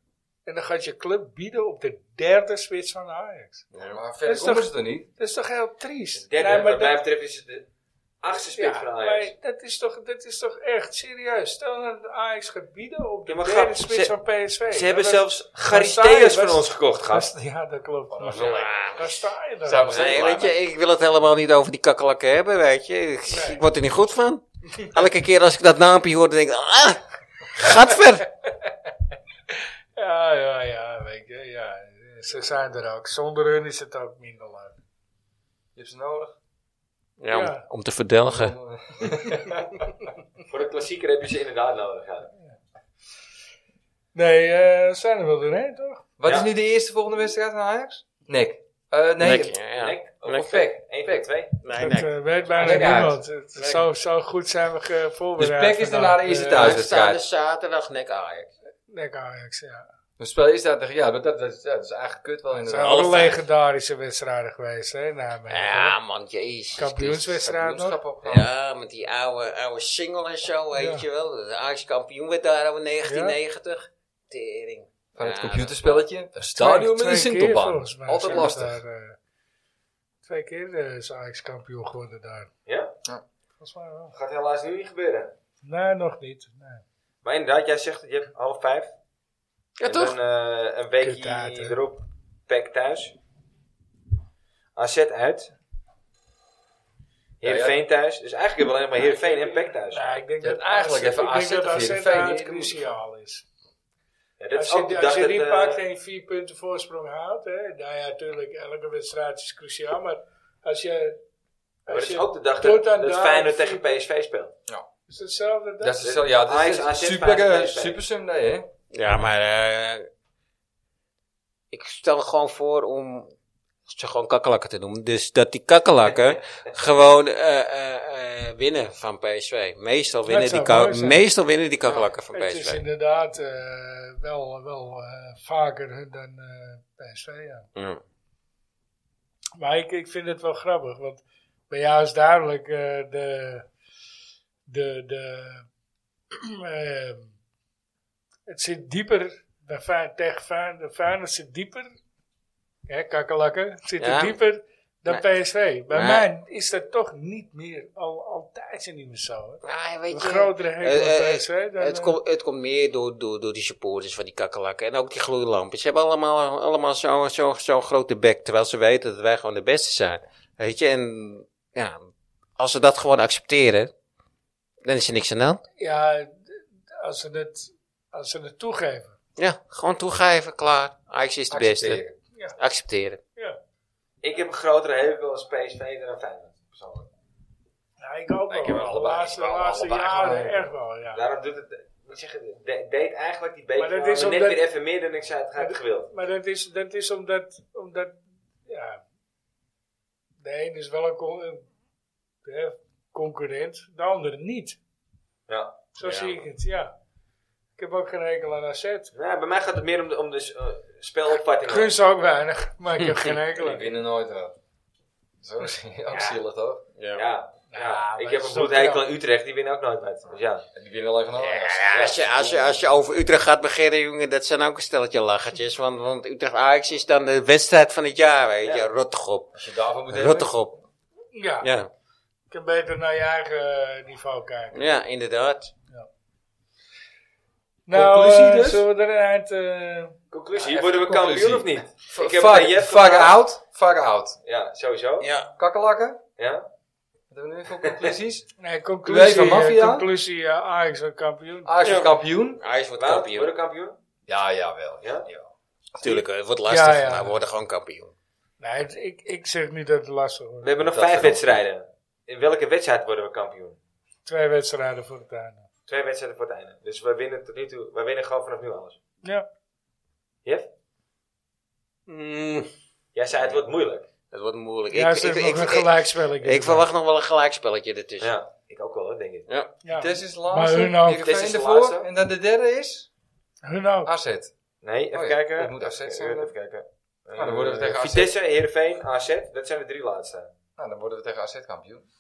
[SPEAKER 2] En dan gaat je club bieden op de derde spits van Ajax.
[SPEAKER 3] Ja, maar
[SPEAKER 2] Dat
[SPEAKER 3] verder
[SPEAKER 2] is
[SPEAKER 3] komen
[SPEAKER 2] toch-
[SPEAKER 3] ze er niet.
[SPEAKER 2] Dat is toch heel triest?
[SPEAKER 1] Derde,
[SPEAKER 2] Nee, maar
[SPEAKER 1] wat mij
[SPEAKER 2] dat-
[SPEAKER 1] betreft is het de achtste spits
[SPEAKER 2] ja,
[SPEAKER 1] van Ajax.
[SPEAKER 2] maar dat is, toch, dat is toch echt serieus. Stel nou dat Ajax gaat bieden op de
[SPEAKER 1] Ja, maar
[SPEAKER 2] derde
[SPEAKER 1] grap,
[SPEAKER 2] spits
[SPEAKER 1] ze-
[SPEAKER 2] van PSV.
[SPEAKER 1] Ze hebben
[SPEAKER 2] Dan-
[SPEAKER 1] zelfs
[SPEAKER 2] Saaien
[SPEAKER 1] Garisteus van
[SPEAKER 2] was-
[SPEAKER 1] ons gekocht, gast.
[SPEAKER 2] dan- Ja, dat klopt. Maar
[SPEAKER 1] wel
[SPEAKER 2] Daar sta je dan.
[SPEAKER 3] Zou we
[SPEAKER 4] Nee,
[SPEAKER 3] zeggen,
[SPEAKER 4] weet je, ik wil het helemaal niet over die kakkelakken hebben, weet je. Ik, ik word er niet goed van. Elke keer als ik dat naampje hoor, dan denk ik, ah, gatver.
[SPEAKER 2] Ja, ja, ja, weet je, ja. Ze zijn er ook. Zonder hun is het ook minder leuk.
[SPEAKER 3] Je hebt ze nodig.
[SPEAKER 4] Ja,
[SPEAKER 2] om-
[SPEAKER 4] om, te verdelgen.
[SPEAKER 3] Dan, eh,
[SPEAKER 1] Voor de klassieker heb je ze inderdaad nodig. Ja.
[SPEAKER 2] Nee, eh, we zijn er wel doorheen, toch?
[SPEAKER 3] Wat
[SPEAKER 1] Ja.
[SPEAKER 3] is nu de eerste volgende wedstrijd van Ajax? Nek. Eh nee,
[SPEAKER 1] Nek?
[SPEAKER 3] Nek.
[SPEAKER 1] Of Peck? Eén van de twee.
[SPEAKER 4] Nee,
[SPEAKER 2] dat eh, weet bijna
[SPEAKER 3] Leg uit.
[SPEAKER 2] niemand. Het- Zo, zo goed zijn we eh, ge-
[SPEAKER 3] Dus
[SPEAKER 2] voorbereid.
[SPEAKER 3] Peck is daarna de eerste thuis.
[SPEAKER 4] We staan dus zaterdag nek Ajax.
[SPEAKER 2] Nek Ajax, ja.
[SPEAKER 3] We spelen eerst uit tegen... Ja, maar dat, dat, dat is eigenlijk kut wel
[SPEAKER 2] Het zijn
[SPEAKER 3] inderdaad.
[SPEAKER 4] alle
[SPEAKER 2] alle
[SPEAKER 4] vijf.
[SPEAKER 2] legendarische wedstrijden geweest, hè? Nou,
[SPEAKER 4] Ja, man, jezus.
[SPEAKER 2] Kampioenswedstrijd nog.
[SPEAKER 3] Kampioenschap op.
[SPEAKER 4] Ja, met die oude, oude single en zo, weet
[SPEAKER 2] Ja.
[SPEAKER 4] je wel. De Ajax kampioen werd daar in 1990. Tering.
[SPEAKER 3] Van het
[SPEAKER 4] Ja,
[SPEAKER 3] computerspelletje. Een stadion met
[SPEAKER 2] Twee
[SPEAKER 3] een
[SPEAKER 2] keer
[SPEAKER 3] sintelbaan.
[SPEAKER 2] volgens mij
[SPEAKER 3] Altijd
[SPEAKER 2] zijn we
[SPEAKER 3] lastig.
[SPEAKER 2] daar, eh, twee keer eh, is Ajax kampioen geworden daar.
[SPEAKER 1] Ja?
[SPEAKER 2] Volgens mij wel.
[SPEAKER 1] Gaat helaas nu niet gebeuren.
[SPEAKER 2] Nee, nog niet. Nee.
[SPEAKER 1] Maar inderdaad, jij zegt dat je hebt half vijf.
[SPEAKER 4] Ja,
[SPEAKER 1] en
[SPEAKER 4] toch?
[SPEAKER 1] dan eh, een
[SPEAKER 2] Kut uit,
[SPEAKER 1] weekje
[SPEAKER 2] hè.
[SPEAKER 1] erop. Pack thuis. AZ uit. Heerenveen thuis. Dus eigenlijk hebben we alleen maar Heerenveen en PEC thuis.
[SPEAKER 2] Nou, ik denk
[SPEAKER 3] Ja,
[SPEAKER 2] dat
[SPEAKER 3] eigenlijk
[SPEAKER 2] AZ
[SPEAKER 3] even
[SPEAKER 2] ik denk
[SPEAKER 3] AZ of
[SPEAKER 2] dat AZ
[SPEAKER 3] Heerenveen,
[SPEAKER 2] daar
[SPEAKER 3] niet
[SPEAKER 2] cruciaal is.
[SPEAKER 1] Ja, dat
[SPEAKER 2] als
[SPEAKER 1] is
[SPEAKER 2] je,
[SPEAKER 1] ook de
[SPEAKER 2] als
[SPEAKER 1] dag
[SPEAKER 2] je
[SPEAKER 1] dat...
[SPEAKER 2] die
[SPEAKER 1] eh,
[SPEAKER 2] pakt en je vier punten voorsprong houdt, hè, nou ja, natuurlijk, elke wedstrijd is cruciaal, maar als je.
[SPEAKER 1] maar dat
[SPEAKER 2] Als
[SPEAKER 1] is
[SPEAKER 2] je
[SPEAKER 1] ook de dag
[SPEAKER 2] tot
[SPEAKER 1] dat,
[SPEAKER 2] aan
[SPEAKER 1] dat
[SPEAKER 2] daar
[SPEAKER 1] Feyenoord
[SPEAKER 2] vier
[SPEAKER 1] tegen
[SPEAKER 2] punten-
[SPEAKER 1] PSV speelt.
[SPEAKER 2] is hetzelfde dag.
[SPEAKER 3] Dat is zo, ja,
[SPEAKER 1] Ajax,
[SPEAKER 3] dat is een
[SPEAKER 1] AZ,
[SPEAKER 3] super, eh,
[SPEAKER 1] PSV.
[SPEAKER 3] super Sunday, hè?
[SPEAKER 4] Ja, maar eh, ik stel gewoon voor om ze gewoon kakkelakken te noemen. Dus dat die kakkelakken gewoon eh, eh, eh, winnen van PSV. Meestal winnen, die,
[SPEAKER 2] zou
[SPEAKER 4] ka-
[SPEAKER 2] mooi zijn.
[SPEAKER 4] meestal winnen die kakkelakken van
[SPEAKER 2] Het is
[SPEAKER 4] PSV.
[SPEAKER 2] inderdaad eh, wel, wel eh, vaker dan eh PSV, ja.
[SPEAKER 4] Ja.
[SPEAKER 2] Maar ik, ik vind het wel grappig, want bij jou is duidelijk eh, de, de, de eh, het zit dieper bij Fijn, tegen Fijn, de Feyenoord zit dieper, hè, kakkelakken, het zit er
[SPEAKER 4] Ja.
[SPEAKER 2] dieper dan PSV. Bij
[SPEAKER 4] Nee.
[SPEAKER 2] mij is dat toch niet meer, al, altijd zijn niet meer zo. Hè.
[SPEAKER 4] Ah,
[SPEAKER 2] Een
[SPEAKER 4] weet je,
[SPEAKER 2] grotere hekel
[SPEAKER 4] eh,
[SPEAKER 2] aan
[SPEAKER 4] eh,
[SPEAKER 2] PSV dan...
[SPEAKER 4] het,
[SPEAKER 2] eh,
[SPEAKER 4] komt, het komt meer door, door, door die supporters van die kakkelakken. En ook die gloeilampjes. Ze hebben allemaal, allemaal zo'n zo, zo'n grote bek. Terwijl ze weten dat wij gewoon de beste zijn. Weet je, en ja, als ze dat gewoon accepteren, dan is er niks aan de hand.
[SPEAKER 2] Ja, d- als ze het, als ze het toegeven.
[SPEAKER 4] Ja, gewoon toegeven, klaar. Ajax is de beste.
[SPEAKER 3] Accepteren.
[SPEAKER 4] Accepteren.
[SPEAKER 2] Ja,
[SPEAKER 1] Ik heb een grotere hekel als PSV dan aan Feyenoord. persoonlijk.
[SPEAKER 2] ja ik ook
[SPEAKER 3] Ik
[SPEAKER 2] wel.
[SPEAKER 3] heb
[SPEAKER 2] De
[SPEAKER 3] allebei-
[SPEAKER 2] laatste,
[SPEAKER 3] allebei-
[SPEAKER 2] laatste
[SPEAKER 3] allebei
[SPEAKER 2] jaren
[SPEAKER 3] gewoon.
[SPEAKER 2] echt wel, ja.
[SPEAKER 1] Daarom doet het... Wat zeg je, de- deed eigenlijk die
[SPEAKER 2] Maar dat
[SPEAKER 1] beker
[SPEAKER 2] is
[SPEAKER 1] net
[SPEAKER 2] omdat-
[SPEAKER 1] weer even meer dan ik zou het graag gewild.
[SPEAKER 2] Maar dat is, dat is omdat, omdat, ja, de een is wel een, con- een, hè, concurrent, de ander niet.
[SPEAKER 1] Ja.
[SPEAKER 2] Zo zie ik het, ja. Ik heb ook geen enkel aan AZ.
[SPEAKER 1] Nou, bij mij gaat het meer om de, om de s- eh, spelopvatting.
[SPEAKER 2] Ik gun ze ook weinig, maar ik heb geen
[SPEAKER 3] Die
[SPEAKER 2] enkel.
[SPEAKER 3] winnen nooit wel. Zo is het ook zielig, toch?
[SPEAKER 1] Ja. Ja,
[SPEAKER 2] maar
[SPEAKER 1] ik
[SPEAKER 2] dat
[SPEAKER 1] heb
[SPEAKER 2] is
[SPEAKER 1] een
[SPEAKER 2] toch
[SPEAKER 1] bloedhekel
[SPEAKER 2] knap.
[SPEAKER 1] aan Utrecht, die winnen ook nooit met. Dus ja.
[SPEAKER 3] En die winnen alleen van Ajax.
[SPEAKER 4] Ja, als, je, als, je, als je over Utrecht gaat beginnen, jongen, dat zijn ook een stelletje lachertjes. Want, want Utrecht-Ajax is dan de wedstrijd van het jaar, weet je.
[SPEAKER 1] Ja.
[SPEAKER 4] Rot toch op.
[SPEAKER 3] Als je daarvan moet hebben.
[SPEAKER 4] Rot toch op.
[SPEAKER 2] Ja, je
[SPEAKER 4] Ja,
[SPEAKER 2] kan beter naar je eigen eh, niveau kijken.
[SPEAKER 4] ja inderdaad.
[SPEAKER 2] Nou,
[SPEAKER 3] Conclusie
[SPEAKER 2] eh,
[SPEAKER 3] dus?
[SPEAKER 2] zullen we er een eind... eh,
[SPEAKER 1] Conclusie,
[SPEAKER 3] Ja,
[SPEAKER 1] worden we
[SPEAKER 3] even
[SPEAKER 1] kampioen of
[SPEAKER 3] conclusie.
[SPEAKER 1] niet?
[SPEAKER 3] V-
[SPEAKER 1] Ik heb
[SPEAKER 3] Fuck,
[SPEAKER 1] aan Jeff
[SPEAKER 3] fuck
[SPEAKER 1] gevraagd.
[SPEAKER 3] out, fuck out.
[SPEAKER 1] Ja, sowieso. Ja.
[SPEAKER 4] Ja.
[SPEAKER 3] Kakkelakken? Wat hebben we nu voor conclusies?
[SPEAKER 2] Nee, conclusie,
[SPEAKER 3] UEFA
[SPEAKER 2] eh,
[SPEAKER 3] Mafia? Ah.
[SPEAKER 2] conclusie eh, Ajax wordt kampioen.
[SPEAKER 3] Ajax wordt
[SPEAKER 4] Ja.
[SPEAKER 3] kampioen?
[SPEAKER 4] Ajax wordt
[SPEAKER 1] Wout,
[SPEAKER 4] kampioen.
[SPEAKER 1] Worden we kampioen?
[SPEAKER 3] Ja, jawel.
[SPEAKER 1] Ja?
[SPEAKER 3] jawel.
[SPEAKER 4] Tuurlijk, het wordt lastig,
[SPEAKER 2] Ja, ja.
[SPEAKER 4] maar we worden gewoon kampioen.
[SPEAKER 2] Nee, het- ik, ik zeg niet dat het lastig
[SPEAKER 1] We
[SPEAKER 2] wordt.
[SPEAKER 1] hebben nog
[SPEAKER 3] Dat
[SPEAKER 1] vijf
[SPEAKER 3] wel.
[SPEAKER 1] wedstrijden. In welke wedstrijd worden we kampioen?
[SPEAKER 2] Twee wedstrijden voor het einde.
[SPEAKER 1] Twee wedstrijden voor het einde. Dus we winnen tot nu toe, we winnen gewoon vanaf nu alles.
[SPEAKER 2] Ja.
[SPEAKER 1] Jeff?
[SPEAKER 4] Mm,
[SPEAKER 1] Jij zei het wordt moeilijk.
[SPEAKER 4] dat wordt moeilijk.
[SPEAKER 2] Ja, ze hebben nog een gelijkspelletje.
[SPEAKER 4] ik verwacht nog wel een gelijkspelletje ertussen.
[SPEAKER 1] Ja, Dus ik ook wel hoor, denk ik.
[SPEAKER 4] Ja.
[SPEAKER 2] Ja.
[SPEAKER 3] Vitesse is de
[SPEAKER 2] Maar
[SPEAKER 3] laatste.
[SPEAKER 2] hun ook.
[SPEAKER 3] Heerenveen
[SPEAKER 1] Vitesse is de
[SPEAKER 3] ervoor.
[SPEAKER 1] laatste.
[SPEAKER 3] En dan de derde is?
[SPEAKER 2] Hun ook.
[SPEAKER 3] AZ.
[SPEAKER 1] Nee, even
[SPEAKER 3] Oh ja,
[SPEAKER 1] kijken.
[SPEAKER 3] het moet AZ
[SPEAKER 1] Even-
[SPEAKER 3] zijn dan.
[SPEAKER 1] Even kijken.
[SPEAKER 3] Nou, dan worden we
[SPEAKER 1] Eh,
[SPEAKER 3] tegen AZ.
[SPEAKER 1] Vitesse, Heerenveen, AZ. Dat zijn de drie laatste.
[SPEAKER 3] Nou, dan worden we tegen AZ kampioen.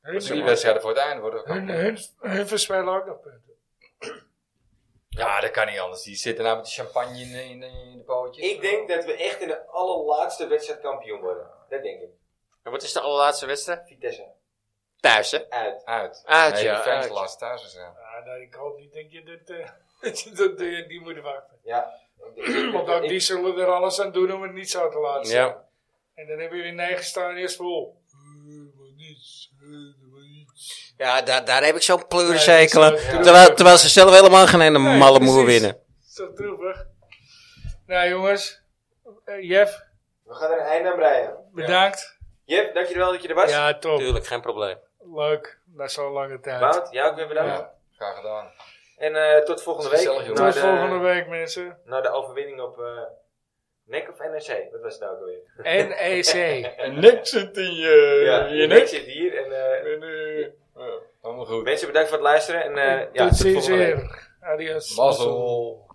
[SPEAKER 2] Hun,
[SPEAKER 3] Drie wedstrijden voor het einde worden we
[SPEAKER 2] hun,
[SPEAKER 3] kampioen.
[SPEAKER 2] hun, hun verspelen ook nog punten.
[SPEAKER 3] Ja, dat kan niet anders. Die zitten nou met de champagne in, in, in de pootjes.
[SPEAKER 1] Ik denk dat we echt in de allerlaatste wedstrijd kampioen worden. Dat denk ik.
[SPEAKER 4] En wat is de allerlaatste wedstrijd?
[SPEAKER 1] Vitesse.
[SPEAKER 4] Thuis, hè?
[SPEAKER 1] Uit.
[SPEAKER 3] Uit.
[SPEAKER 4] Uit,
[SPEAKER 3] nee,
[SPEAKER 4] ja,
[SPEAKER 3] de fans
[SPEAKER 4] uit.
[SPEAKER 3] laatst thuis is aan.
[SPEAKER 2] Ja, nou, ik hoop niet denk je dat, eh, dat je dat eh, die moet wachten.
[SPEAKER 1] Ja.
[SPEAKER 2] Want ook die zullen er alles aan doen om het niet zo te laten zijn.
[SPEAKER 4] Ja.
[SPEAKER 2] En dan hebben jullie negen staan eerst vol. Eh, maar niets, eh, maar niets.
[SPEAKER 4] Ja, daar, daar heb ik zo'n
[SPEAKER 2] pleurishekel aan. Nee,
[SPEAKER 4] pleurishekel
[SPEAKER 2] dat is wel-
[SPEAKER 4] terwijl, terwijl ze zelf helemaal geen ene
[SPEAKER 2] Nee,
[SPEAKER 4] malle
[SPEAKER 2] precies.
[SPEAKER 4] moer Mm, winnen.
[SPEAKER 2] Dat is toch droevig? Nou jongens, eh, Jeff,
[SPEAKER 1] We gaan er een einde aan breien.
[SPEAKER 2] bedankt.
[SPEAKER 1] Jeff, dankjewel dat je er
[SPEAKER 2] Ja,
[SPEAKER 1] was.
[SPEAKER 2] top.
[SPEAKER 4] Tuurlijk, geen probleem.
[SPEAKER 2] Leuk, na zo'n lange tijd.
[SPEAKER 1] Wout, jou ook weer bedankt.
[SPEAKER 3] Ja, graag gedaan.
[SPEAKER 1] En eh, tot volgende week.
[SPEAKER 3] Gezellig, jongens.
[SPEAKER 1] Naar
[SPEAKER 2] Tot
[SPEAKER 1] Nou, de-
[SPEAKER 2] volgende week mensen.
[SPEAKER 1] Naar de overwinning op eh NEC of NRC. Wat was het nou ook alweer?
[SPEAKER 2] NEC.
[SPEAKER 3] En niks zit in je,
[SPEAKER 1] ja,
[SPEAKER 3] Eh, je
[SPEAKER 1] NEC
[SPEAKER 3] nek.
[SPEAKER 1] zit hier. En, eh,
[SPEAKER 3] En, eh, ja, Allemaal goed.
[SPEAKER 1] mensen, bedankt voor het luisteren. En, eh, ja,
[SPEAKER 2] Tot
[SPEAKER 1] tot
[SPEAKER 2] ziens
[SPEAKER 1] volgende week.
[SPEAKER 2] weer. Adios.
[SPEAKER 3] Mazzel.